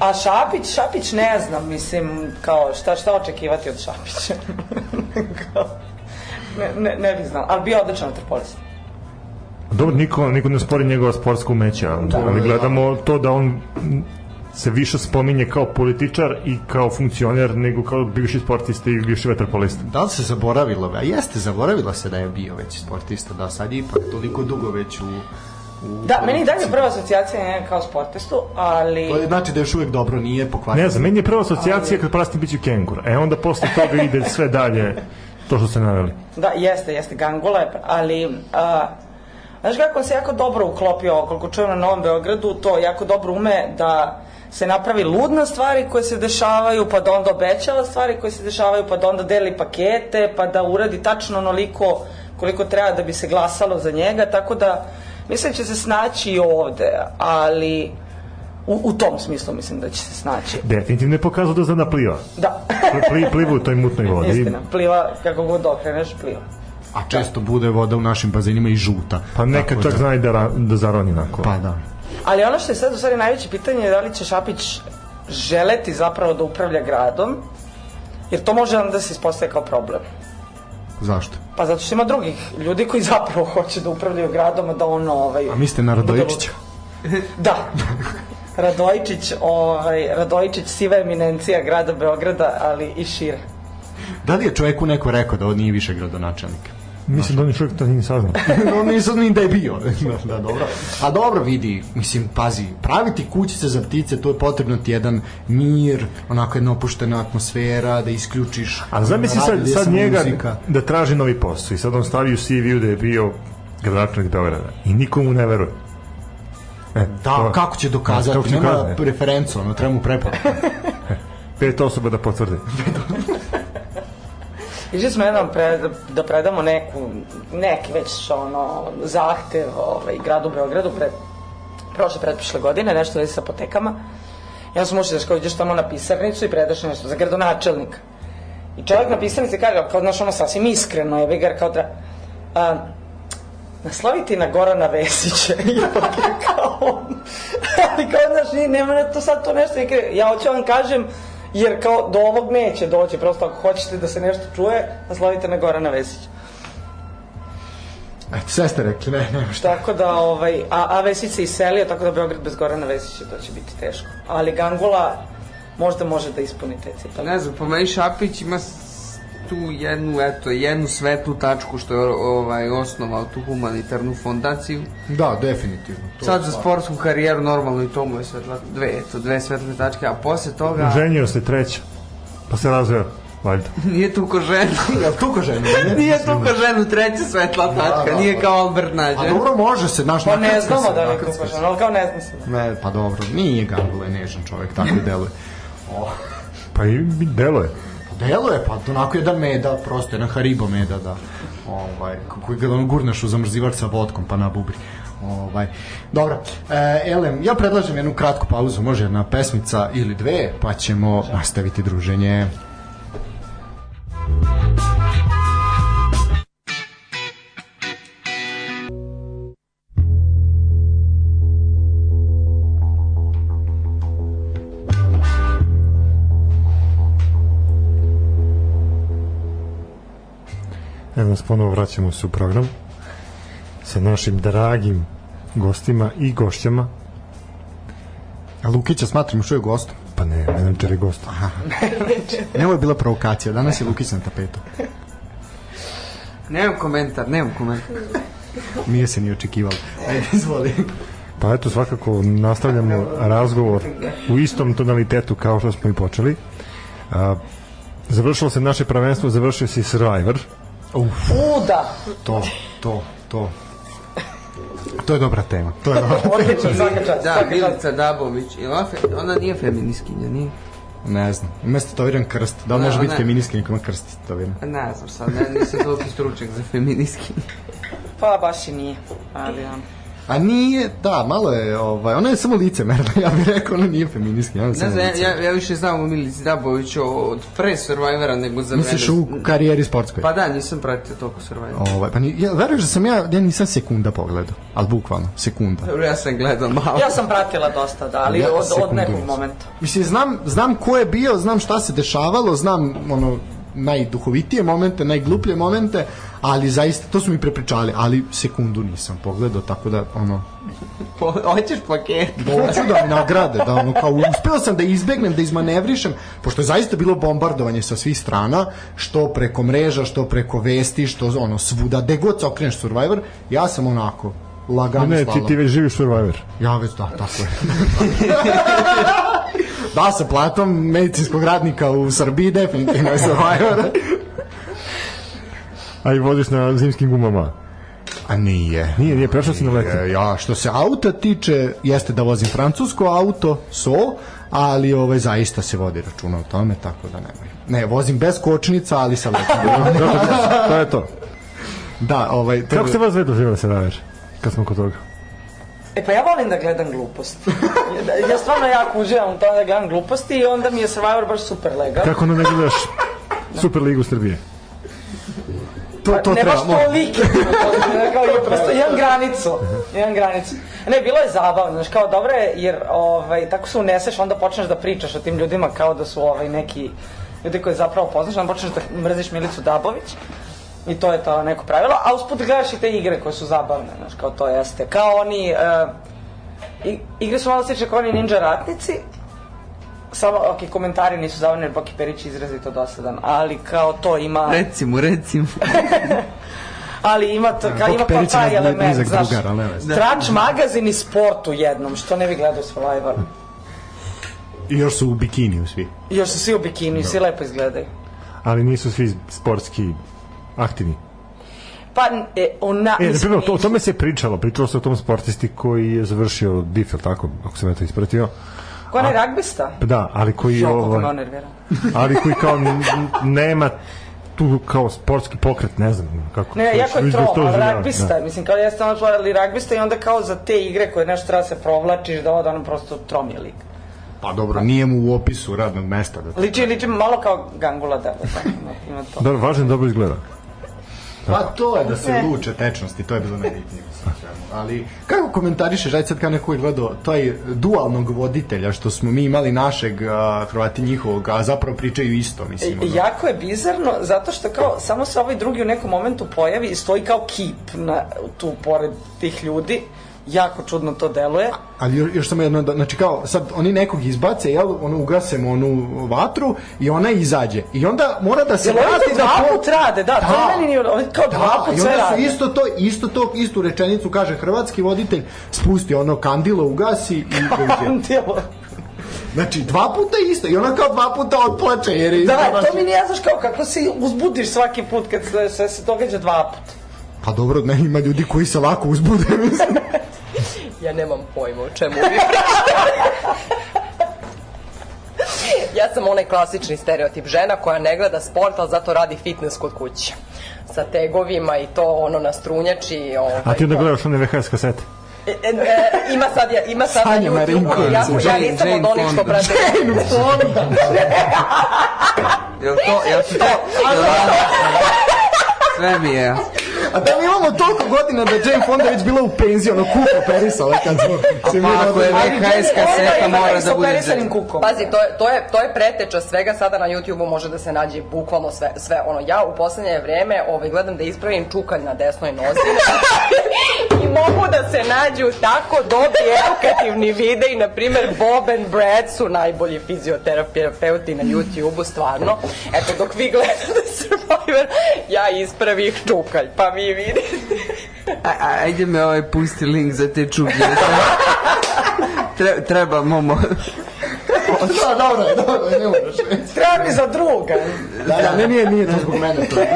Speaker 4: A Šapić, Šapić ne znam, mislim, kao, šta, šta očekivati od Šapića? Kao, ne, ne, ne bih znala, ali bio je odličan vaterpolist.
Speaker 1: Dobro, niko, niko ne spori njegova sportska umeća, ali gledamo to da on se više spominje kao političar i kao funkcioner nego kao bivši sportista i bivši veterpolista.
Speaker 2: Da li se zaboravilo? A jeste, zaboravilo se da je bio već sportista, da sad je ipak toliko dugo već u... u
Speaker 4: Da, meni i dalje prva asocijacija je kao sportistu, ali...
Speaker 2: To je znači da još uvek dobro nije pokvarjeno.
Speaker 1: Ne znam, meni je prva asocijacija kad prastim biću kengur, e onda posle toga ide sve dalje to što ste naveli.
Speaker 4: Da, jeste, jeste, Gangola je, pra- ali... A, znaš kako on se jako dobro uklopio, koliko čujem na Novom Beogradu, to jako dobro ume da se napravi lud na stvari koje se dešavaju, pa da onda obećava stvari koje se dešavaju, pa da onda deli pakete, pa da uradi tačno onoliko koliko treba da bi se glasalo za njega, tako da mislim će se snaći i ovde, ali u, u tom smislu mislim da će se snaći.
Speaker 1: Definitivno je pokazao da zna da pliva.
Speaker 4: Da,
Speaker 1: Pli- Pli, pliva u toj mutnoj vodi.
Speaker 4: istina, pliva, kako god okreneš, pliva.
Speaker 2: A često bude voda u našim bazenima i žuta.
Speaker 1: Pa neka
Speaker 2: Tako
Speaker 1: čak
Speaker 2: da-
Speaker 1: zna i da, ra- da zaroni onako.
Speaker 2: Pa da.
Speaker 4: Ali ono što je sad u stvari najveće pitanje je da li će Šapić želeti zapravo da upravlja gradom, jer to može onda da se ispostaje kao problem.
Speaker 2: Zašto?
Speaker 4: Pa zato što ima drugih ljudi koji zapravo hoće da upravljaju gradom, a da ono... Ovaj,
Speaker 2: A mislite na Radojičića?
Speaker 4: Da. Radojičić, ovaj, Radojičić siva eminencija grada Beograda, ali i šire.
Speaker 2: Da li je čoveku neko rekao da on nije više gradonačelnik?
Speaker 1: Mislim da on još uvijek to nije ni saznao.
Speaker 2: no nisam ni da je bio. da, da, dobro. A dobro vidi, mislim, pazi, praviti kućice za ptice, to je potrebno ti jedan mir, onako jedna opuštena atmosfera, da isključiš...
Speaker 1: A zamisli sad,
Speaker 2: radio
Speaker 1: sad
Speaker 2: samo
Speaker 1: njega
Speaker 2: muzika.
Speaker 1: da traži novi posao i sad on stavi u CV-u da je bio gradonačelnik Beograda i nikomu ne veruje. E,
Speaker 2: Da,
Speaker 1: to-
Speaker 2: kako će dokazati?
Speaker 1: Kako će
Speaker 2: Nema
Speaker 1: dokazati?
Speaker 2: referencu, ono, treba mu preporuku.
Speaker 1: Pet osoba da potvrde.
Speaker 4: Išli smo jednom pre, da predamo neku, neki već ono, zahtev ovaj, gradu Beogradu pre, prošle, pretprošle godine, nešto vezi sa apotekama. I onda smo ušli, znaš, kao ideš tamo na pisarnicu i predaš nešto za gradonačelnika. I čovjek na pisarnici kaže, kao, znaš, ono, sasvim iskreno je, bigar, kao, tra... A, nasloviti na Gorana Vesića ipak je kao on. ali kao znaš nije, nema ne, to sad to nešto i kre- ja hoću da vam kažem jer kao do ovog neće doći prosto ako hoćete da se nešto čuje naslovite na Gorana Vesića
Speaker 2: Eto, sve ste rekli, ne, ne, šta.
Speaker 4: tako da ovaj a, a Vesić se iselio tako da Beograd bez Gorana Vesića to će biti teško ali Gangula možda može da ispuni te
Speaker 3: Pa
Speaker 4: cipele
Speaker 3: ne znam, po meni Šapić ima s- tu jednu, eto, jednu svetlu tačku što je ovaj, osnovao tu humanitarnu fondaciju.
Speaker 2: Da, definitivno. To
Speaker 3: Sad
Speaker 2: je
Speaker 3: za
Speaker 2: stvar.
Speaker 3: sportsku karijeru normalno i to mu je svetla, dve, eto, dve svetle tačke, a posle
Speaker 2: Da.
Speaker 3: toga
Speaker 1: Ženio se treća, pa se razveo, valjda.
Speaker 3: nije tu ko ženu.
Speaker 2: Jel tu ko žena?
Speaker 3: Nije tu ko ženu treća svetla tačka,
Speaker 2: da,
Speaker 3: nije
Speaker 2: da.
Speaker 3: kao Albert
Speaker 2: A
Speaker 3: Nađe.
Speaker 2: dobro, može se, znaš,
Speaker 4: pa ne
Speaker 2: nakrcka
Speaker 4: znamo
Speaker 2: se,
Speaker 4: da li je
Speaker 2: nakrcka se.
Speaker 4: kupažan ali kao ne znam se
Speaker 2: Ne, pa dobro, nije Gangula je nežan čovjek, tako i deluje. O,
Speaker 1: Pa i delo je.
Speaker 2: deluje, pa onako jedan meda, prosto jedan haribo meda, da. Ovaj, koji ga on gurneš u zamrzivač sa vodkom, pa nabubri. Ovaj. Dobro, e, Elem, ja predlažem jednu kratku pauzu, može jedna pesmica ili dve, pa ćemo nastaviti druženje.
Speaker 1: Evo nas ponovo vraćamo se u program sa našim dragim gostima i gošćama.
Speaker 2: A Lukića smatram što je gostom.
Speaker 1: Pa ne, menadžer je gost.
Speaker 2: Ne, ovo je bila provokacija, danas je Lukić na tapetu.
Speaker 3: Nemam komentar, nemam komentar.
Speaker 2: Nije se ni očekivalo. Ajde, izvoli.
Speaker 1: Pa eto, svakako nastavljamo razgovor u istom tonalitetu kao što smo i počeli. A, završilo se naše prvenstvo, završio se i Survivor.
Speaker 4: uda
Speaker 2: To, to, to. To je dobra tema. To je dobra.
Speaker 4: odlično svaka čast
Speaker 3: Da,
Speaker 4: svaka čast.
Speaker 3: Milica Dabović, ili ona, fe, ona nije feminiskinja, nije?
Speaker 2: Ne znam. Umesto toviran krst. Da li
Speaker 3: Ne,
Speaker 2: može biti
Speaker 3: ne.
Speaker 2: feministki nekoma krst toviran?
Speaker 3: Pa Ne znam sad, ne, nisam toliki stručnjak za feminiskinje.
Speaker 4: pa baš i nije ali ono
Speaker 2: A nije, da, malo je, ovaj, ona je samo licemerna, ja bih rekao, ona nije feministkinja, ona je
Speaker 3: Ne
Speaker 2: samo
Speaker 3: znam, ja,
Speaker 2: licemerna.
Speaker 3: ja, ja više znam o Milici Dabović od pre Survivora nego za
Speaker 2: Misliš
Speaker 3: mene.
Speaker 2: u karijeri sportskoj?
Speaker 3: Pa da, nisam pratio toliko Survivora.
Speaker 2: Ovaj, pa ni, ja, veruješ da sam ja, ja nisam sekunda pogledao, ali bukvalno, sekunda.
Speaker 3: Dobro, ja sam gledao malo.
Speaker 4: Ja sam pratila dosta, da, ali
Speaker 2: Ja,
Speaker 4: od, od
Speaker 2: sekundu
Speaker 4: nekog
Speaker 2: nisam.
Speaker 4: momenta.
Speaker 2: Mislim, znam, znam ko je bio, znam šta se dešavalo, znam ono, najduhovitije momente, najgluplje momente, ali zaista, to su mi prepričali, ali sekundu nisam pogledao, tako da, ono,
Speaker 3: Po, hoćeš paket?
Speaker 2: hoću da mi nagrade, da ono, kao uspeo sam da izbegnem, da izmanevrišem, pošto je zaista bilo bombardovanje sa svih strana, što preko mreža, što preko vesti, što ono, svuda, gde god se okreneš Survivor, ja sam onako, lagano
Speaker 1: Ne,
Speaker 2: slala.
Speaker 1: ti, ti već živiš Survivor.
Speaker 2: Ja već da, tako je. da, sa platom medicinskog radnika u Srbiji definitivno je Survivor.
Speaker 1: A i vodiš na zimskim gumama.
Speaker 2: A nije.
Speaker 1: Nije, nije, prešao si na leti.
Speaker 2: E, Ja, što se auta tiče, jeste da vozim francusko auto, so, ali ovaj, zaista se vodi računa o tome, tako da nemoj. Ne, vozim bez kočnica, ali sa letom.
Speaker 1: To je to.
Speaker 2: da, ovaj...
Speaker 1: Kako ste vas dve doživjeli se naver? Kad smo kod toga.
Speaker 4: E pa ja volim da gledam gluposti. Ja, ja stvarno jako uživam u tome da gledam gluposti i onda mi je Survivor baš super legal.
Speaker 1: Kako onda ne gledaš Superligu Srbije?
Speaker 2: to, to
Speaker 4: ne
Speaker 2: treba,
Speaker 4: baš tolike, kao je prosto, imam granicu, imam granicu. Ne, bilo je zabavno, znaš, kao dobro je, jer ovaj, tako se uneseš, onda počneš da pričaš o tim ljudima kao da su ovaj, neki ljudi koje zapravo poznaš, onda počneš da mrziš Milicu Dabović, i to je to neko pravilo, a usput gledaš i te igre koje su zabavne, znaš, kao to jeste. Kao oni, e, i- igre su malo slične kao oni ninja ratnici, samo, ok, komentari nisu zabavni jer Boki Perić je izrazito dosadan, ali kao to ima...
Speaker 3: Recimo, recimo.
Speaker 4: Ali ima
Speaker 1: Da,
Speaker 4: to, kao, ima kao
Speaker 2: Perić je
Speaker 4: taj
Speaker 2: nizak-
Speaker 4: element,
Speaker 2: nizak
Speaker 4: znaš.
Speaker 2: drugar, ali ne veze.
Speaker 4: Da. Trač magazin i sport u jednom, što ne bi gledao Survivor.
Speaker 2: I još su u bikiniju svi.
Speaker 4: I Još su svi u bikini,
Speaker 1: Da.
Speaker 4: svi lepo izgledaju.
Speaker 1: Ali nisu svi sportski aktivni.
Speaker 4: Pa, n- e, ona...
Speaker 1: E, na
Speaker 4: mislim,
Speaker 1: primjer, o to- o tome se pričalo. Pričalo se o tom sportisti koji je završio DIF, jel tako, ako sam ja to ispratio.
Speaker 4: Ko je onaj ragbista?
Speaker 1: Pa Da, ali koji
Speaker 4: Jo, kako me on
Speaker 1: ovaj,
Speaker 4: nervira.
Speaker 1: ali koji kao n- n- nema tu kao sportski pokret, ne znam kako.
Speaker 4: Ne, jako je
Speaker 1: izgleda
Speaker 4: troll,
Speaker 1: to
Speaker 4: ali
Speaker 1: oživljava,
Speaker 4: ragbista,
Speaker 1: da.
Speaker 4: mislim, kao jeste ono čvar, ali ragbista i onda kao za te igre koje nešto treba se provlačiš, da ovo da ono prosto tromi lik.
Speaker 2: Pa dobro, nije mu u opisu radnog mesta. Da...
Speaker 4: Liči, liči malo kao Gangula Deva, tako, ima, ima to.
Speaker 1: Dobro, važno je dobro izgleda.
Speaker 2: Pa to je da se
Speaker 4: Ne.
Speaker 2: luče tečnosti, to je bilo najbitnije. mislim, svemu. Ali kako komentarišeš, ajde sad kao neko je gledao, taj dualnog voditelja što smo mi imali našeg, a, Hrvati njihovog, a zapravo pričaju isto, mislim. ono.
Speaker 4: E, Jako je bizarno, zato što kao samo se ovaj drugi u nekom momentu pojavi i stoji kao kip na, tu pored tih ljudi. Jako čudno to deluje.
Speaker 2: Ali još, još samo jedno, da, znači kao, sad oni nekog izbace, jel, ono, ugasemo onu vatru i ona izađe. I onda mora da se
Speaker 4: Jel oni to
Speaker 2: vrati da...
Speaker 4: dva
Speaker 2: po-
Speaker 4: put rade, da, to
Speaker 2: Da.
Speaker 4: je meni nije, oni kao dva
Speaker 2: Da,
Speaker 4: put
Speaker 2: i
Speaker 4: sve
Speaker 2: onda su
Speaker 4: rade.
Speaker 2: isto to, isto to, istu rečenicu kaže hrvatski voditelj, spusti ono kandilo, ugasi i doviđenja.
Speaker 4: Djelo.
Speaker 2: Znači, dva puta isto i ona kao dva puta otplače jer je...
Speaker 4: Da, to mi nije znaš kao kako se uzbudiš svaki put kad se, sve se događa dva put.
Speaker 2: Pa dobro, ne, ima ljudi koji se lako uzbude, mislim.
Speaker 5: Ja nemam pojma o čemu vi pričate. ja sam onaj klasični stereotip žena koja ne gleda sport, ali zato radi fitness kod kuće. Sa tegovima i to ono na strunjači. Ovaj,
Speaker 1: A ti onda
Speaker 5: to.
Speaker 1: gledaš one VHS kasete.
Speaker 5: E, e, e, ima sad, ja- ima sad
Speaker 2: Sanja Marinković.
Speaker 5: Ja, ja
Speaker 3: Jane-
Speaker 5: nisam
Speaker 3: Jane
Speaker 5: od onih što
Speaker 3: Fonda.
Speaker 5: prate.
Speaker 3: Jel to, jel to, jel to? Sve mi je.
Speaker 2: A da mi imamo toliko godina da je Jane Fonda već bila u penziji, ono kupo perisala kad smo... se mi
Speaker 3: Pa ako je
Speaker 2: rodili.
Speaker 3: VHS kaseta mora da bude
Speaker 4: Sa
Speaker 3: Jane.
Speaker 4: kukom.
Speaker 5: Pazi, to je, to, je, to je preteča svega, sada na YouTube-u može da se nađe bukvalno sve, sve ono. Ja u poslednje vreme ovaj, gledam da ispravim čukalj na desnoj nozi i mogu da se nađu tako dobri edukativni videi, na primjer Bob and Brad su najbolji fizioterapeuti na YouTube-u, stvarno. Eto, dok vi gledate Survivor, ja ispravih čukalj, pa vi vidite.
Speaker 3: A- a- Ajde me ovaj pusti link za te čuge. Treba, treba momo.
Speaker 2: Da, dobro, je, dobro, je, ne moraš.
Speaker 4: Treba mi za druga.
Speaker 2: Da, da, ne, nije, nije to zbog mene to. je.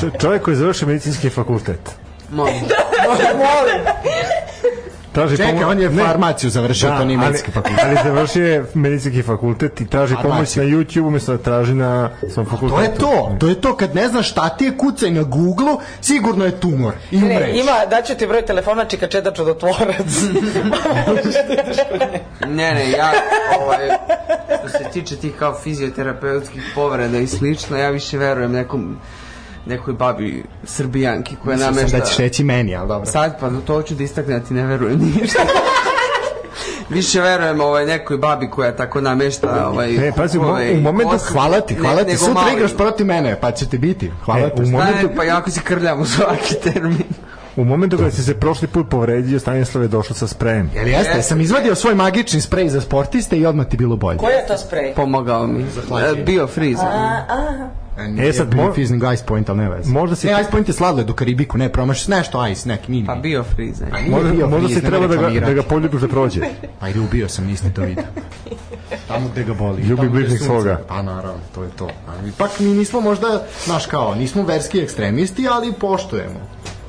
Speaker 1: Č- čovjek koji je završio medicinski fakultet.
Speaker 3: Momo.
Speaker 1: Traži
Speaker 2: Čekaj,
Speaker 1: pomo-
Speaker 2: on je
Speaker 1: Ne,
Speaker 2: farmaciju završio, to nije medicinski
Speaker 1: Da, ali,
Speaker 2: fakultet.
Speaker 1: ali završio je medicinski fakultet i traži
Speaker 2: Farmaciju.
Speaker 1: pomoć na YouTube umjesto da traži na svom fakultetu.
Speaker 2: To je to, to je to, kad ne znaš šta ti je kucaj na Google, sigurno je tumor i
Speaker 4: Ne,
Speaker 2: umreš.
Speaker 4: ima, daću ti broj telefona čika da čeda čudotvorac.
Speaker 3: Ne, ne, ja, ovaj, što se tiče tih kao fizioterapeutskih povreda i slično, ja više verujem nekom, nekoj babi srbijanki koja
Speaker 2: Mislio sam
Speaker 3: namešta...
Speaker 2: da ćeš reći meni, ali dobro.
Speaker 3: Sad, pa to hoću da istaknem, da ti ne verujem ništa. Više verujem ovaj, nekoj babi koja tako namešta ovaj,
Speaker 1: E, pazi, u mo-
Speaker 3: kukove i
Speaker 1: u momentu
Speaker 3: kosu,
Speaker 2: Hvala ti, hvala
Speaker 3: ne-
Speaker 2: ti.
Speaker 3: nego
Speaker 2: Sutra
Speaker 3: malo.
Speaker 2: igraš protiv mene, pa će ti biti. Hvala
Speaker 1: E,
Speaker 2: ti.
Speaker 1: u
Speaker 3: Da,
Speaker 1: momentu,
Speaker 3: ne, pa jako se krljam u svaki termin.
Speaker 1: u momentu kada si se prošli put povredio, Stanislav je došao sa sprejem.
Speaker 2: Jel jeste? Sam izvadio svoj magični sprej za sportiste i odmah ti bilo bolje.
Speaker 4: Koji je to sprej?
Speaker 3: Pomogao mi.
Speaker 2: Zahvaljujem.
Speaker 3: E, Bio frizer.
Speaker 1: E, sad mo-
Speaker 2: Fizning Ice Point, ali ne veze.
Speaker 1: Možda si-
Speaker 2: Ne, Ice Point je sladoled u Karibiku, ne, promašiš nešto Ice, neki mini.
Speaker 3: Pa bio frizer.
Speaker 1: Možda,
Speaker 2: bio
Speaker 1: možda
Speaker 2: friz,
Speaker 1: si
Speaker 2: nemoj
Speaker 1: treba da ga,
Speaker 2: reklamirati.
Speaker 1: da ga poljubiš da prođe.
Speaker 2: Pa ajde, ubio sam, niste to vidio. Tamo gde ga boli.
Speaker 1: Ljubi
Speaker 2: tamo gde
Speaker 1: bližnjeg
Speaker 2: sunce.
Speaker 1: svoga.
Speaker 2: Pa naravno, to je to. A Ipak mi nismo možda, znaš kao, nismo verski ekstremisti, ali poštujemo.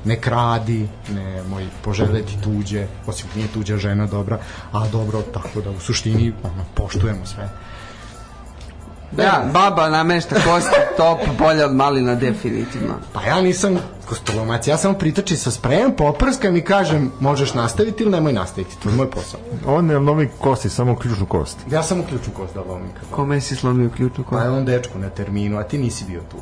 Speaker 2: Ne kradi, ne moj poželeti tuđe, osim nije tuđa žena dobra, a dobro, tako da u suštini ono, poštujemo sve.
Speaker 3: Da, baba namešta kosti, top, bolje od malina definitivno.
Speaker 2: Pa ja nisam kostolomac, ja samo pritoči sa sprejem, poprskam i kažem možeš nastaviti ili nemoj nastaviti, to je moj posao.
Speaker 1: On ne lomi kosti, samo ključnu kost.
Speaker 2: Ja sam uključu kost da lomim kad lomim.
Speaker 3: Kome si slomio ključnu
Speaker 2: Pa je
Speaker 3: kost?
Speaker 2: on dečku na terminu, a ti nisi bio tu.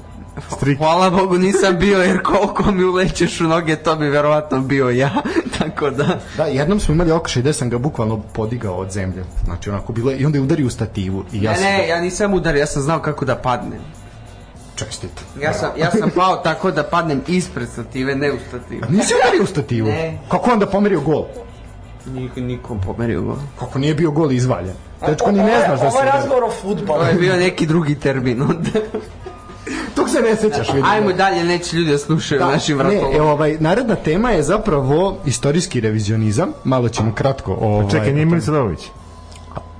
Speaker 1: Strik.
Speaker 3: Hvala Bogu nisam bio jer koliko mi ulećeš u noge to bi verovatno bio ja, tako da...
Speaker 2: Da, jednom smo imali okršaj gde sam ga bukvalno podigao od zemlje. Znači onako bilo je, i onda je udario u stativu. I ja
Speaker 3: Ja da- ne,
Speaker 2: sam
Speaker 3: ne, ja nisam udar, ja sam znao kako da padnem.
Speaker 2: čestite.
Speaker 3: Ja sam, ja sam pao tako da padnem ispred stative, ne u stativu.
Speaker 2: A nisi udario u stativu?
Speaker 3: Ne.
Speaker 2: Kako onda pomerio gol?
Speaker 3: Niko, nikom pomerio go.
Speaker 2: Kako nije bio gol izvaljen? Dečko ni ne znaš da se
Speaker 4: Ovo je
Speaker 2: udario.
Speaker 4: razgovor o futbolu.
Speaker 3: To je bio neki drugi termin onda.
Speaker 2: Tog se ne sećaš, vidim.
Speaker 3: Ajmo dalje, neće ljudi da slušaju da, našim
Speaker 2: ne,
Speaker 3: vratom.
Speaker 2: e, ovaj, naredna tema je zapravo istorijski revizionizam. Malo ćemo kratko... Ovaj,
Speaker 1: Pa Čekaj, nije Milica Dović.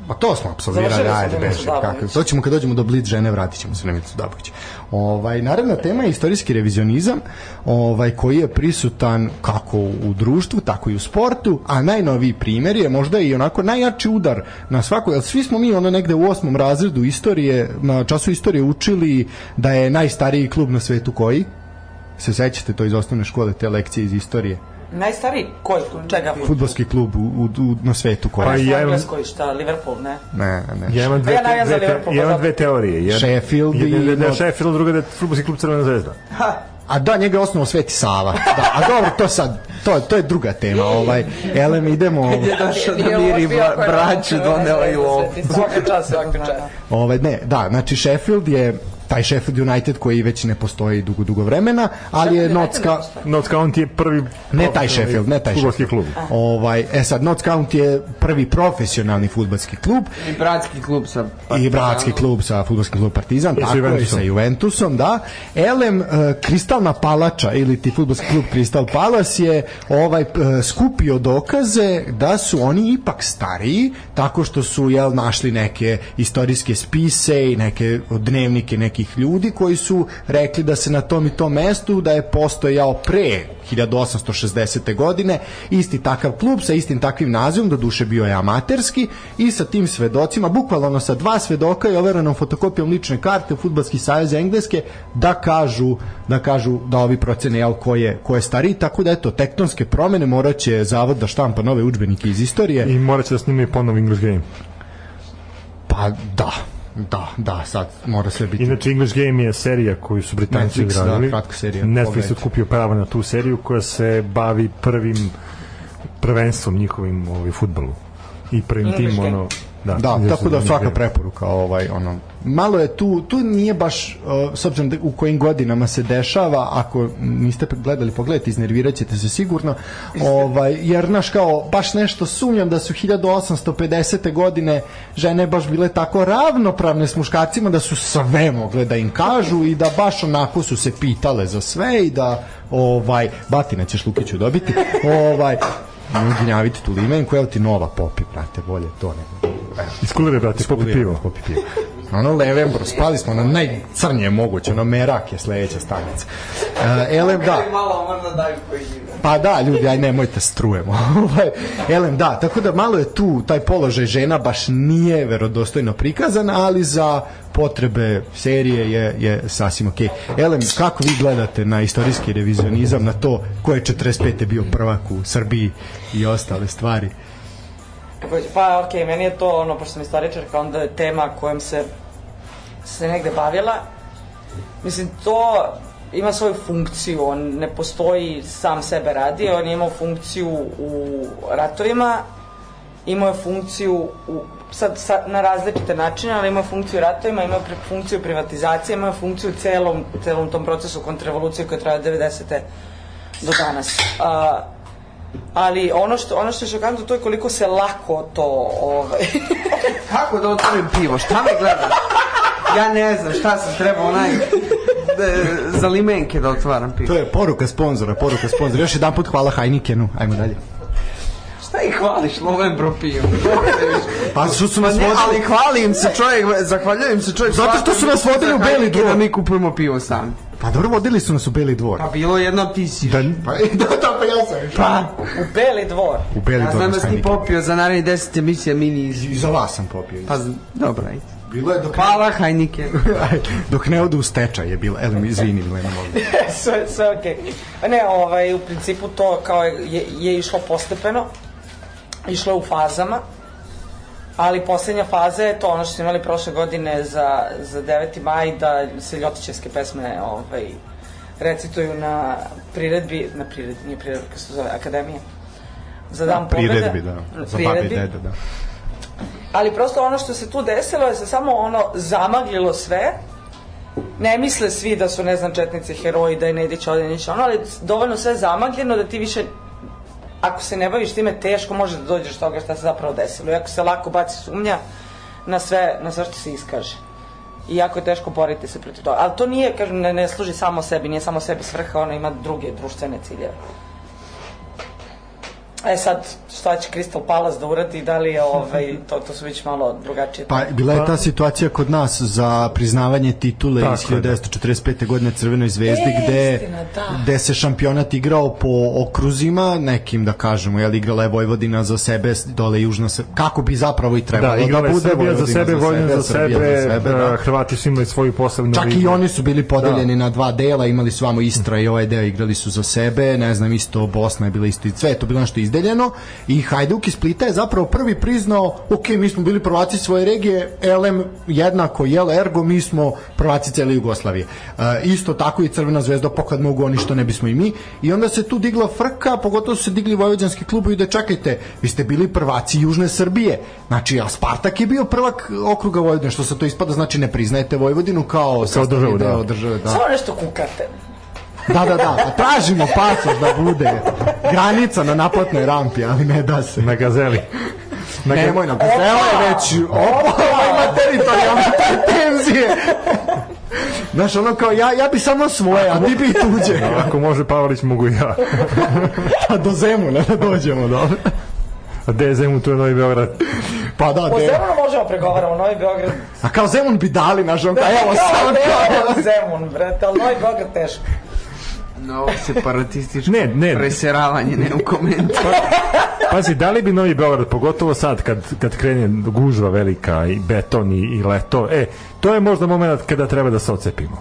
Speaker 2: Pa to smo absolvirali,
Speaker 4: Završili smo da
Speaker 2: ajde,
Speaker 4: na Milicu
Speaker 2: beže.
Speaker 4: Dabović.
Speaker 2: Kako, to ćemo kad dođemo do Blitz žene, vratit ćemo se na Milicu Dabović. Ovaj, naravna tema je istorijski revizionizam, ovaj, koji je prisutan kako u društvu, tako i u sportu, a najnoviji primer je možda i onako najjači udar na svako, jer svi smo mi ono negde u osmom razredu istorije, na času istorije učili da je najstariji klub na svetu koji? Se sećate to iz osnovne škole, te lekcije iz istorije?
Speaker 4: Najstariji koji klub? Čega?
Speaker 2: Futbalski klub u, u, u, na svetu koji?
Speaker 1: Pa i ja
Speaker 4: Ja
Speaker 1: imam-
Speaker 4: Engleskoj, šta, Liverpool, ne?
Speaker 2: Ne, ne.
Speaker 1: Ja imam dve,
Speaker 4: A ja navijam za
Speaker 1: dve, te,
Speaker 4: Liverpool,
Speaker 1: ja imam
Speaker 4: pa
Speaker 1: dve teorije. Jed,
Speaker 2: Sheffield i
Speaker 1: jedna da je
Speaker 2: Not-
Speaker 1: Sheffield, druga da je futbolski klub Crvena zvezda.
Speaker 2: A da, njega je osnovao Sveti Sava. Da, a dobro, to sad, to, to je druga tema. Ovaj. Elem, idemo...
Speaker 3: je došao da
Speaker 5: Nije
Speaker 3: miri
Speaker 5: loš bio ako je da
Speaker 3: braću,
Speaker 5: naučio,
Speaker 3: donela i
Speaker 5: ne znam,
Speaker 3: lov.
Speaker 5: sveti Svaka čast, svaka čast.
Speaker 2: Ovaj, ne, da, znači Sheffield je taj Sheffield United koji već ne postoji dugo, dugo vremena, ali je Notts County...
Speaker 1: Notts County je prvi...
Speaker 2: Ne taj Sheffield, ne taj
Speaker 1: Futbolski
Speaker 2: Sheffield.
Speaker 1: klub.
Speaker 2: Ovaj, e sad, Notts County je prvi profesionalni futbalski klub
Speaker 3: I bratski klub sa...
Speaker 2: i bratski klub sa futbolskim klub Partizan,
Speaker 1: I sa
Speaker 2: tako je, i
Speaker 1: Juventusom.
Speaker 2: sa Juventusom, da. Elem, e, Kristalna palača ili ti futbolski klub Kristal Palas je ovaj e, skupio dokaze da su oni ipak stariji, tako što su jel, našli neke istorijske spise i neke dnevnike nekih ljudi koji su rekli da se na tom i tom mestu da je postojao pre 1860. godine isti takav klub sa istim takvim nazivom, do duše bio je amaterski i sa tim svedocima, bukvalno ono sa dva svedoka i overenom fotokopijom lične karte Futbalski savez Engleske da kažu da kažu da ovi procene jel, ko, je, ko je stariji, tako da eto tektonske promene moraće zavod da štampa nove udžbenike iz istorije.
Speaker 1: I morat će da snime ponovo English Game.
Speaker 2: Pa da, da, da, sad mora sve biti.
Speaker 1: Inače, English Game je serija koju su Britanci
Speaker 2: Netflix, da,
Speaker 1: odradili.
Speaker 2: kratka serija.
Speaker 1: Netflix
Speaker 2: Pogledajte.
Speaker 1: otkupio pravo na tu seriju koja se bavi prvim prvenstvom njihovim ovaj, futbolu. I prvim tim,
Speaker 4: Game.
Speaker 1: ono... Da,
Speaker 2: Da,
Speaker 1: jesu
Speaker 2: tako da
Speaker 1: English
Speaker 2: svaka
Speaker 1: Game.
Speaker 2: preporuka ovaj ono malo je tu tu nije baš uh, s obzirom da u kojim godinama se dešava ako niste gledali pogledajte iznerviraćete se sigurno ovaj jer naš kao baš nešto sumnjam da su 1850. godine žene baš bile tako ravnopravne s muškarcima da su sve mogle da im kažu i da baš onako su se pitale za sve i da ovaj batina ćeš Lukiću dobiti ovaj ne gnjavite tu limenku, evo ti nova popi, brate, bolje to nego.
Speaker 1: Iskulire, brate, popi pivo.
Speaker 2: Popi pivo. Ono Levembro, spali smo na najcrnje moguće, ono Merak je sledeća stanica. Uh, elem, da,
Speaker 3: Malo možda daju koji
Speaker 2: pa da, ljudi, aj nemojte strujemo. Ovaj, elem, da, tako da malo je tu, taj položaj žena baš nije verodostojno prikazan, ali za potrebe serije je, je sasvim okej. Elem, kako vi gledate na istorijski revizionizam, na to ko je 45. bio prvak u Srbiji i ostale stvari?
Speaker 4: Takođe, Pa, okej, meni je to, ono, pošto sam istoričarka, onda je tema kojom se se negde bavila. Mislim, to ima svoju funkciju, on ne postoji sam sebe radi, on je imao funkciju u ratovima, imao je funkciju u, sad, sad na različite načine, ali imao je funkciju u ratovima, imao je pri- funkciju privatizacije, imao je funkciju u celom, celom tom procesu kontrarevolucije koja je trajala od 90. do danas. A, ali ono što, ono što je šokantno to je koliko se lako to ovaj,
Speaker 3: Kako da otvorim pivo? Šta me gledaš? Ja ne znam šta sam trebao onaj... Da, za limenke da otvaram pivo.
Speaker 2: To je poruka sponzora, poruka sponzora. Još jedan put hvala Heinekenu. Ajmo dalje.
Speaker 3: šta ih hvališ, lovem propijem.
Speaker 2: Pa što su nas
Speaker 3: ne, ali
Speaker 2: vodili?
Speaker 3: hvalim se čovjek, zahvaljujem se čovjek.
Speaker 2: Zato što su nas vodili u Beli
Speaker 3: dvor. Da
Speaker 2: dvor.
Speaker 3: mi kupujemo pivo sami.
Speaker 2: Pa dobro, vodili su nas u Beli dvor.
Speaker 3: Pa bilo je jedno ti si.
Speaker 2: Da, pa, da, da, pa ja sam. Pa,
Speaker 4: U Beli dvor.
Speaker 2: u Beli
Speaker 3: Ja
Speaker 2: dvor.
Speaker 3: znam da
Speaker 2: nas
Speaker 3: si ti
Speaker 2: nije
Speaker 3: popio za narednih 10 emisija mini iz...
Speaker 2: I za vas sam popio.
Speaker 3: Pa, z- dobro, ajde.
Speaker 2: bilo je dok...
Speaker 3: Hvala, Hajnike.
Speaker 2: Ajde, dok ne odu u stečaj je bilo. Elem, izvini, Milena, molim.
Speaker 4: sve, sve okej. A Ne, ovaj, u principu to kao je, je išlo postepeno, išlo je u fazama, ali posljednja faza je to ono što smo imali prošle godine za, za 9. maj, da se ljotićevske pesme ovaj, recituju na priredbi, na priredbi, nije priredbi, kako se zove, akademija. Za dan pobede.
Speaker 2: Priredbi, da. Za babi i
Speaker 4: Priredbi.
Speaker 2: deda, da.
Speaker 4: Ali prosto ono što se tu desilo je se samo ono zamaglilo sve. Ne misle svi da su, ne znam, četnici heroji, da je Nedić Odenić, ono, ali dovoljno sve zamagljeno da ti više, ako se ne baviš time, teško može da dođeš do toga šta se zapravo desilo. I ako se lako baci sumnja na sve, na sve što se iskaže. I jako je teško boriti se protiv toga. Ali to nije, kažem, ne, ne služi samo sebi, nije samo sebi svrha, ono ima druge društvene ciljeve. E sad, šta će Crystal Palace da uradi, da li je, ovaj, to, to su već malo drugačije.
Speaker 2: Pa bila je ta situacija kod nas za priznavanje titule
Speaker 1: Tako
Speaker 2: iz
Speaker 1: je, da.
Speaker 2: 1945. godine Crvenoj zvezdi
Speaker 4: E,
Speaker 2: gde,
Speaker 4: istina, da.
Speaker 2: gde se šampionat igrao po okruzima, nekim da kažemo, jel igrala je Vojvodina za sebe, dole Južna se, kako bi zapravo i trebalo
Speaker 1: Da, igrala je
Speaker 2: bude
Speaker 1: Srbija za sebe, Vojvodina za
Speaker 2: Srbija
Speaker 1: sebe,
Speaker 2: da.
Speaker 1: da, Hrvati su imali svoju posebnu
Speaker 2: Čak i oni su bili podeljeni na dva dela, imali su vamo Istra i ovaj deo igrali su za sebe, ne znam, isto Bosna je bila isto i sve, je to bilo nešto izdeljeno i Hajduk iz Splita je zapravo prvi priznao, ok, mi smo bili prvaci svoje regije, LM jednako, jel, ergo, mi smo prvaci cele Jugoslavije. E, isto tako i Crvena zvezda, pokad mogu oni što ne bismo i mi. I onda se tu digla frka, pogotovo su se digli vojvođanski klubovi da čekajte, vi ste bili prvaci Južne Srbije. Znači, a Spartak je bio prvak okruga Vojvodine, što se to ispada, znači ne priznajete Vojvodinu kao kao
Speaker 1: državu, da.
Speaker 2: države, da.
Speaker 4: Samo nešto kukate.
Speaker 2: Da, da, da, pa tražimo pasoš da bude granica na naplatnoj rampi, ali ne da se.
Speaker 1: na gazeli. Na ga-
Speaker 2: Nemoj nam, zelo je već, opa, ovo ima teritorijalne pretenzije. Znaš, ono kao, ja, ja bi samo svoje, a ti bi tuđe.
Speaker 1: Ako može Pavlić, mogu i ja.
Speaker 2: A do Zemuna da dođemo, dobro.
Speaker 1: A gde je Zemun, tu je Novi Beograd.
Speaker 2: Pa da,
Speaker 4: O
Speaker 2: de.
Speaker 4: Zemunu možemo pregovaramo, Novi Beograd.
Speaker 2: A kao Zemun bi dali, znaš,
Speaker 1: Pa
Speaker 2: ono kao, evo
Speaker 4: Kao
Speaker 2: sad.
Speaker 4: Beograd, Zemun, brate, ali Novi Beograd teško.
Speaker 3: No, separatističko
Speaker 1: Ne, ne.
Speaker 3: preseravanje, ne u komentu.
Speaker 1: Pazi, da li bi Novi Beograd, pogotovo sad kad, kad krene gužva velika i beton i, i leto, e, to je možda moment kada treba da se ocepimo.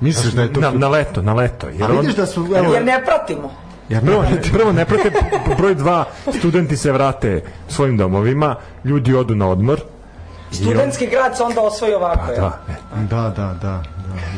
Speaker 2: Misliš
Speaker 4: E,
Speaker 2: da je
Speaker 1: Na, na leto, na leto. Jer
Speaker 2: A vidiš da su, evo,
Speaker 4: Jer ne pratimo.
Speaker 2: ja
Speaker 1: Prvo, prvo ne prate, broj dva, studenti se vrate svojim domovima, ljudi odu na odmor.
Speaker 4: Studentski grad se onda osvoji ovako. jel?
Speaker 1: Da, e,
Speaker 2: Da, da, da, da.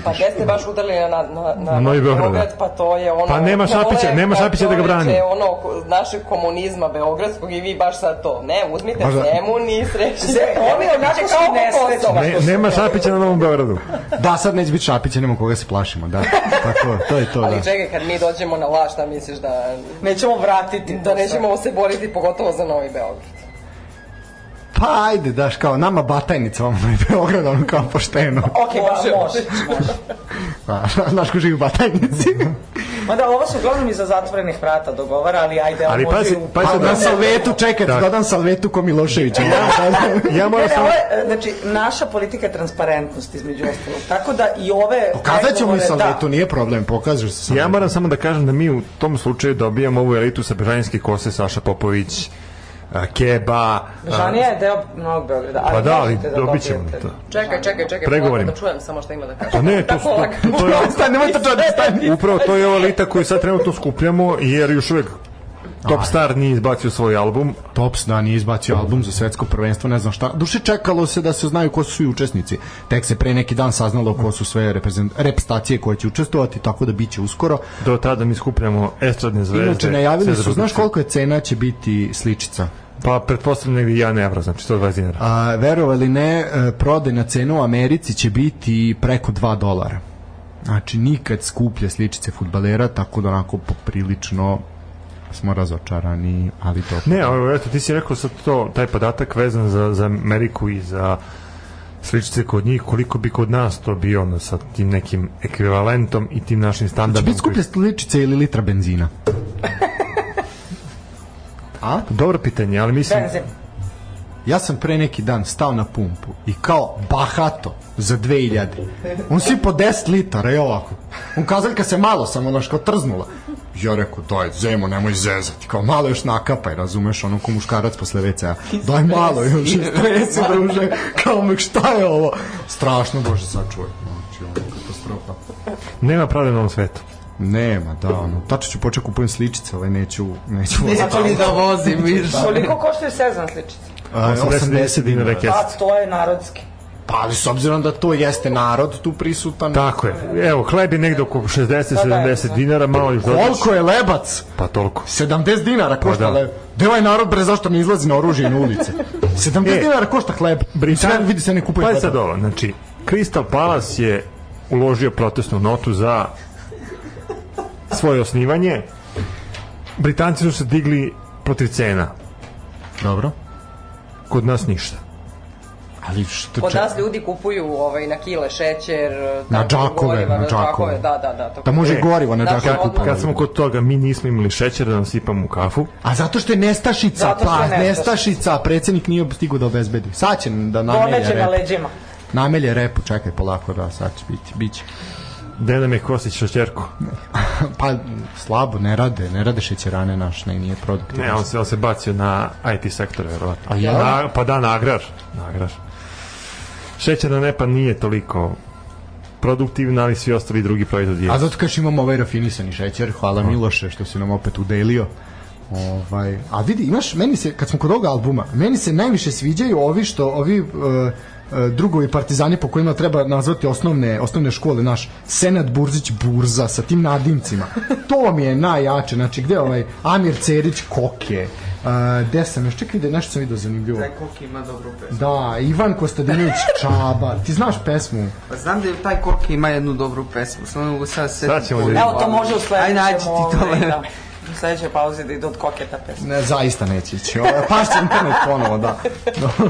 Speaker 5: Pa gde ste baš udarili na, na, na,
Speaker 1: Novi Beograd, da.
Speaker 5: pa to je ono...
Speaker 1: Pa nema Šapića,
Speaker 5: dole,
Speaker 1: nema
Speaker 5: pa
Speaker 1: Šapića da ga brani.
Speaker 5: čoveče, ono ko- našeg komunizma beogradskog i vi baš sad to. Ne, uzmite
Speaker 1: da.
Speaker 2: Možda-
Speaker 5: Zemun i srećite.
Speaker 4: Ze- oni
Speaker 5: da
Speaker 4: onako su nesrećni.
Speaker 1: ne, nema Šapića na Novom Beogradu.
Speaker 2: Da, sad neće biti Šapića, nema koga se plašimo, da. Tako, to je to, da.
Speaker 5: Ali čekaj, kad mi dođemo na vlast, šta misliš da...
Speaker 4: Nećemo vratiti.
Speaker 5: Da nećemo se boriti pogotovo za Novi Beograd.
Speaker 2: Pa ajde, daš, kao nama Batajnica, ono je Beograd, ono kao pošteno.
Speaker 4: Ok, ba, može.
Speaker 2: Pa, znaš ko živi u Batajnici?
Speaker 4: Mada ovo su uglavnom iza zatvorenih vrata dogovara, ali ajde,
Speaker 1: Ali
Speaker 4: može
Speaker 1: pazi,
Speaker 4: i u-
Speaker 1: pazi,
Speaker 2: Pa
Speaker 1: sad
Speaker 2: na
Speaker 1: da-
Speaker 2: Salvetu, čekaj,
Speaker 1: Da.
Speaker 2: dodam Salvetu ko da, Miloševića. Ja,
Speaker 1: Ja
Speaker 4: Ne,
Speaker 1: moram
Speaker 4: ne,
Speaker 1: samo...
Speaker 4: ovo je, e, znači, naša politika je transparentnost između ostalog. Tako da i ove...
Speaker 2: Pokazat ćemo i
Speaker 4: pregovore-
Speaker 1: da
Speaker 4: Da,
Speaker 2: Salvetu, nije problem, pokažeš se
Speaker 1: Ja
Speaker 2: Salvetu.
Speaker 1: moram samo da kažem da mi u tom slučaju dobijamo ovu elitu sa Bežanijske kose, Saša Popović, a, Keba...
Speaker 4: Da, Žanija je deo Novog Beograda. ali
Speaker 1: Pa da, ali
Speaker 4: možete
Speaker 1: dobit ćemo
Speaker 4: dobijete.
Speaker 1: to.
Speaker 5: Čekaj, čekaj, čekaj,
Speaker 1: Pregovorimo.
Speaker 5: polako da čujem samo što ima da
Speaker 1: Pa
Speaker 5: kažem.
Speaker 1: ne, to, su- to, to, to je...
Speaker 2: Stani, Pa, nemoj to da. čuti, stani.
Speaker 1: Upravo to je ova lita koju sad trenutno skupljamo, jer još uvek Topstar nije izbacio svoj album,
Speaker 2: Tops, da, nije izbacio album za svetsko prvenstvo, ne znam šta. Duše čekalo se da se znaju ko su svi učesnici. Tek se pre neki dan saznalo ko su sve reprezent- reprezentacije koje će učestvovati, tako da bit će uskoro.
Speaker 1: do tada mi skupljamo estradne zvezde.
Speaker 2: Inače, najavili
Speaker 1: sve
Speaker 2: su,
Speaker 1: zvezde.
Speaker 2: znaš koliko je cena će biti sličica?
Speaker 1: Pa, pretpostavljam negdje 1 evra, znači 120 dinara.
Speaker 2: A, verovali ne, e, prodajna cena u Americi će biti preko 2 dolara. Znači, nikad skuplja sličice futbalera, tako da onako poprilično smo razočarani, ali to...
Speaker 1: Ne, evo, eto, ti si rekao sad to, taj podatak vezan za, za Ameriku i za sličice kod njih, koliko bi kod nas to bio ono, sa tim nekim ekvivalentom i tim našim
Speaker 2: Će
Speaker 1: standardom.
Speaker 2: biti skuplje sličice ili litra benzina? A?
Speaker 1: Dobro pitanje, ali mislim...
Speaker 4: Benzin.
Speaker 2: Ja sam pre neki dan stao na pumpu i kao bahato za 2000. On svi po 10 litara i ovako. On kazaljka se malo samo naš kao trznula. Ja rekao, daj, zemo, nemoj zezati. Kao malo još nakapaj, razumeš, ono ko muškarac posle WC-a. Daj malo, još i stresi, druže. Kao me, šta je ovo? Strašno, bože, sačuvaj. Znači, ono, katastrofa.
Speaker 1: Nema pravde na ovom svetu.
Speaker 2: Nema, da, ono. Tačno ću početi kupujem sličice, ali neću, neću voziti.
Speaker 3: Neću ni da vozim, viš.
Speaker 4: Koliko koštaju sezon sličice?
Speaker 2: A,
Speaker 1: da 80 dinara kesa.
Speaker 4: Pa, to je narodski.
Speaker 2: Pa, ali s obzirom da to jeste narod tu prisutan,
Speaker 1: Tako je. Evo, hleb je negde oko 60-70 dinara, malo još dodaš.
Speaker 2: Koliko je lebac?
Speaker 1: Pa toliko.
Speaker 2: 70 dinara košta
Speaker 1: Pa da.
Speaker 2: hleb. Gde ovaj narod bre zašto ne izlazi na oružje i na ulice? 70
Speaker 1: E,
Speaker 2: dinara košta hleb. Sve vidi se ne kupuje
Speaker 1: Pa je
Speaker 2: hleb.
Speaker 1: sad ovo, znači, Crystal Palace je uložio protestnu notu za svoje osnivanje. Britanci su se digli protiv cena.
Speaker 2: Dobro.
Speaker 1: Kod nas ništa.
Speaker 2: Ali što
Speaker 5: Kod
Speaker 2: če...
Speaker 5: nas ljudi kupuju ovaj, na kile šećer,
Speaker 2: Na
Speaker 5: tako,
Speaker 2: džakove,
Speaker 5: goriva,
Speaker 2: na džakove.
Speaker 5: Da, da, da. To...
Speaker 2: Da može
Speaker 1: E,
Speaker 2: gorivo na
Speaker 5: naša
Speaker 4: pa
Speaker 2: džaku
Speaker 5: odluka.
Speaker 2: kupiti.
Speaker 1: Pa Kad smo kod toga, mi nismo imali šećer da nam sipamo u kafu.
Speaker 2: A zato što je nestašica,
Speaker 4: Zato što
Speaker 2: pa
Speaker 4: je
Speaker 2: nestašica.
Speaker 4: nestašica.
Speaker 2: predsednik nije stigao da obezbedi. Sad će da namelje
Speaker 4: Pomeće na
Speaker 2: rep.
Speaker 4: leđima.
Speaker 2: Namelje repu, čekaj polako, da, sad će biti, biće.
Speaker 1: Gde nam je Kosić šećerku?
Speaker 2: Pa, slabo, ne rade, ne rade šećerane naš, ne, nije produktivno.
Speaker 1: Ne, on se, on se bacio na IT sektor, verovatno.
Speaker 2: A ja?
Speaker 1: Na, pa da, na agrar. Na agrar. Šećerna nepa nije toliko produktivna, ali svi ostali drugi proizvodi.
Speaker 2: A
Speaker 1: jesu.
Speaker 2: zato kažeš imamo ovaj rafinisani šećer, hvala Miloše što si nam opet udelio. Ovaj, a vidi, imaš, meni se, kad smo kod ovoga albuma, meni se najviše sviđaju ovi što, ovi uh, drugovi partizani po kojima treba nazvati osnovne, osnovne škole, naš Senad Burzić Burza sa tim nadimcima. To mi je najjače, znači gde ovaj Amir Cerić Koke, uh, gde sam još, čekaj da nešto sam vidio zanimljivo.
Speaker 3: Taj kok ima dobru pesmu.
Speaker 2: Da, Ivan Kostadinović Čaba, ti znaš pesmu?
Speaker 3: Pa znam da je taj kok ima jednu dobru pesmu, samo ne mogu sad se...
Speaker 1: Sad ćemo da vidimo.
Speaker 4: Evo, to može u sledećem.
Speaker 3: Aj, nađi ti to.
Speaker 4: ovaj, da. U sledećoj pauzi da idu od koketa pesma.
Speaker 2: Ne, zaista neće ići. Ovo, Pašće internet ponovo, da.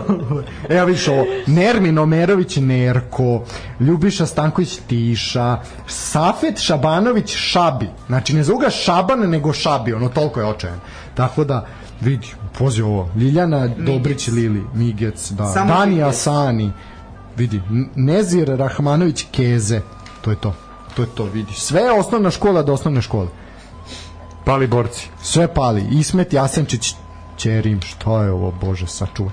Speaker 2: Evo vidiš ovo. Nermin Omerović Nerko, Ljubiša Stanković Tiša, Safet Šabanović Šabi. Znači, ne zovu ga Šaban, nego Šabi. Ono, toliko je očajan. Tako da, vidi, pozi ovo. Ljiljana Dobrić Lili, Migec, da.
Speaker 3: Samo
Speaker 2: Dani
Speaker 3: Migec.
Speaker 2: Asani, vidi. N- Nezir Rahmanović Keze. To je to. To je to, vidi. Sve je osnovna škola do osnovne škole
Speaker 1: Pali borci.
Speaker 2: sve pali. Ismet Jasenčić Čerim, šta je ovo, bože, sačuvaj.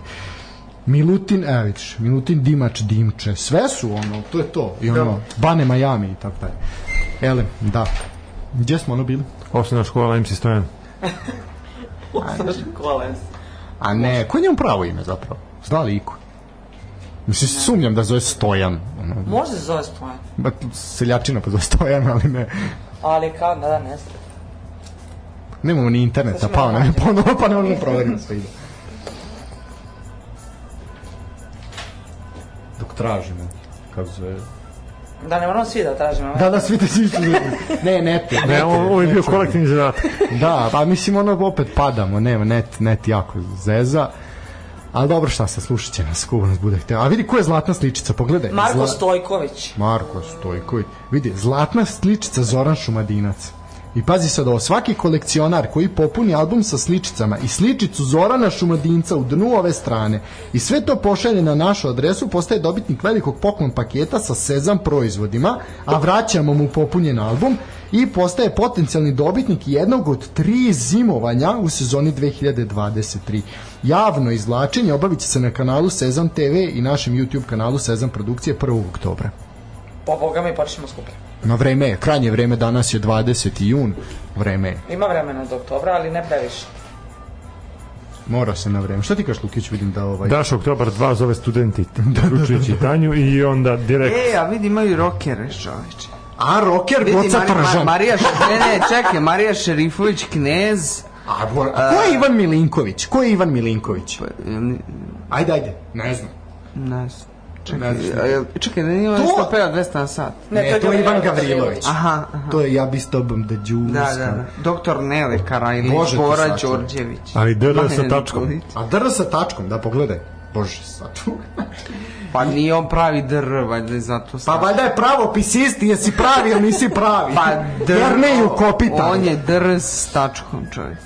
Speaker 2: Milutin, evo vidiš, Milutin Dimač Dimče, sve su ono, to je to. I ono, Bane Miami i tako dalje. Ele, da. Gde smo ono bili?
Speaker 1: Osnovna škola MC Stojan.
Speaker 4: Kolens.
Speaker 2: A ne, ko je njemu pravo ime zapravo? Zna li iko? Mislim, sumnjam da zove Stojan. Ono,
Speaker 4: Može se zove Stojan.
Speaker 2: ba- seljačina pa zove Stojan, ali ne.
Speaker 4: Ali kao, da, da, ne znam.
Speaker 2: Nemamo ni interneta,
Speaker 4: Sad ćemo
Speaker 2: pao nam je ponovo, pa ne možemo proveriti sve ide. Dok tražimo, kako zove,
Speaker 4: Da, ne moramo svi da tražimo.
Speaker 2: Da, da, svi te svi su Ne, ne, te,
Speaker 1: Ne,
Speaker 2: te,
Speaker 1: ovo ovo je bio
Speaker 2: čujem.
Speaker 1: kolektivni zadatak.
Speaker 2: Da, pa mislim, ono, opet padamo, nema, net, net jako zeza. Ali dobro, šta se, slušat će nas, kubo nas bude hteo. A vidi, ko je zlatna sličica, pogledaj.
Speaker 4: Marko
Speaker 2: Zla-
Speaker 4: Stojković.
Speaker 2: Marko Stojković. Vidi, zlatna sličica Zoran Šumadinac. I pazi sad ovo, svaki kolekcionar koji popuni album sa sličicama i sličicu Zorana Šumadinca u dnu ove strane i sve to pošalje na našu adresu postaje dobitnik velikog poklon paketa sa Sezam proizvodima, a vraćamo mu popunjen album i postaje potencijalni dobitnik jednog od tri zimovanja u sezoni 2023. Javno izvlačenje obavit će se na kanalu Sezam TV i našem YouTube kanalu Sezam Produkcije 1. oktobra.
Speaker 4: Po boga mi počnemo skuplje.
Speaker 2: Na vreme je, krajnje vreme, danas je 20. jun, vreme je,
Speaker 4: Ima vremena do oktobra, ali ne previše.
Speaker 2: mora se na vreme. Šta ti kaš Lukić, vidim da ovaj...
Speaker 1: Daš oktobar 2 zove studenti,
Speaker 3: Da,
Speaker 1: uključujući Tanju i onda direkt
Speaker 3: E, a vidi imaju rokere, čoveče.
Speaker 2: A rocker
Speaker 3: Vidi,
Speaker 2: Goca
Speaker 3: Mari- Ma-
Speaker 2: Tržan.
Speaker 3: Marija, Š- ne, ne, čekaj, Marija Šerifović, knez.
Speaker 2: A, bor- a ko je Ivan Milinković? Ko je Ivan Milinković?
Speaker 3: Pa, jel ni-
Speaker 2: Ajde, ajde. Ne znam.
Speaker 3: Ne znam.
Speaker 2: Ne znam.
Speaker 3: Čekaj, a jel- čekaj, ne ima
Speaker 2: To-
Speaker 3: 150, 200 na sat.
Speaker 2: Ne, to je Ivan Gavrilović.
Speaker 3: Aha, aha.
Speaker 2: To je ja bi s tobom da džuska.
Speaker 3: Da, da, da. Doktor Nele Karajlić,
Speaker 2: Može to
Speaker 3: Bora
Speaker 2: svačije.
Speaker 3: Đorđević.
Speaker 1: Ali DR
Speaker 3: Ma,
Speaker 1: sa
Speaker 3: ne,
Speaker 1: tačkom.
Speaker 3: Nikolić.
Speaker 2: A drva sa tačkom, da pogledaj. Bože, sad.
Speaker 3: Pa nije on pravi dr, valjda je zato
Speaker 2: Pa
Speaker 3: sad.
Speaker 2: valjda je pravo pisisti, jesi pravi ili nisi pravi.
Speaker 3: Pa dr...
Speaker 2: Jer ne ju kopita.
Speaker 3: On je dr s tačkom, čovjek.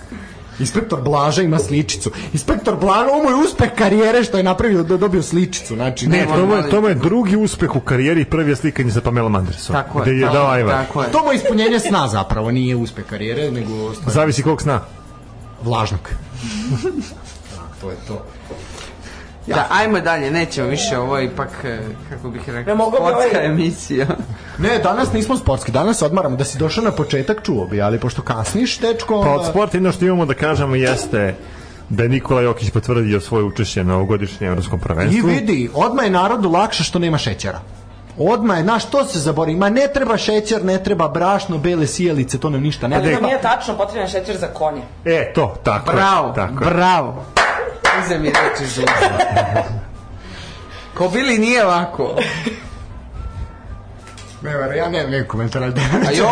Speaker 2: Inspektor Blaža ima sličicu. Inspektor Blaža, ovo je uspeh karijere što je napravio da je dobio sličicu. Znači,
Speaker 1: Ne,
Speaker 2: ne,
Speaker 1: to mu je, to mu je drugi uspeh u karijeri, prvi je slikanje sa Pamelom Anderson.
Speaker 3: Tako je.
Speaker 1: Gde je
Speaker 3: tako
Speaker 1: dao Ajvar.
Speaker 3: Tako je.
Speaker 2: to mu je ispunjenje sna zapravo, nije uspeh karijere, nego stvar
Speaker 1: Zavisi kog sna.
Speaker 2: vlažnog. Tak, to je to.
Speaker 3: Da, ajmo dalje, nećemo više, ovo je ipak, e, kako bih
Speaker 4: Ne
Speaker 3: rekao,
Speaker 4: mogu bi
Speaker 3: sportska
Speaker 4: ovaj-
Speaker 3: emisija.
Speaker 2: Ne, danas nismo sportski, danas se odmaramo. Da si došao na početak, čuo bi, ali pošto kasniš, tečko...
Speaker 1: Pa
Speaker 2: onda-
Speaker 1: od sporta jedno što imamo da kažemo jeste da je Nikola Jokić potvrdio svoje učešće na ovogodišnjem evropskom
Speaker 2: I
Speaker 1: prvenstvu.
Speaker 2: vidi, odma je narodu lakše što nema šećera. Odma je, znaš, to se zabori. Ma ne treba šećer, ne treba brašno, bele sijalice, to nam ništa ne
Speaker 4: Ali to
Speaker 2: treba.
Speaker 4: nije tačno, potreban je šećer za konje.
Speaker 1: E, to, tako
Speaker 3: Bravo,
Speaker 1: je. Tako je.
Speaker 3: bravo. Uzem je reči iz usta. Ko bili nije ovako.
Speaker 2: Ne, ver, ja nemam neki komentar, ali da.
Speaker 3: A jo,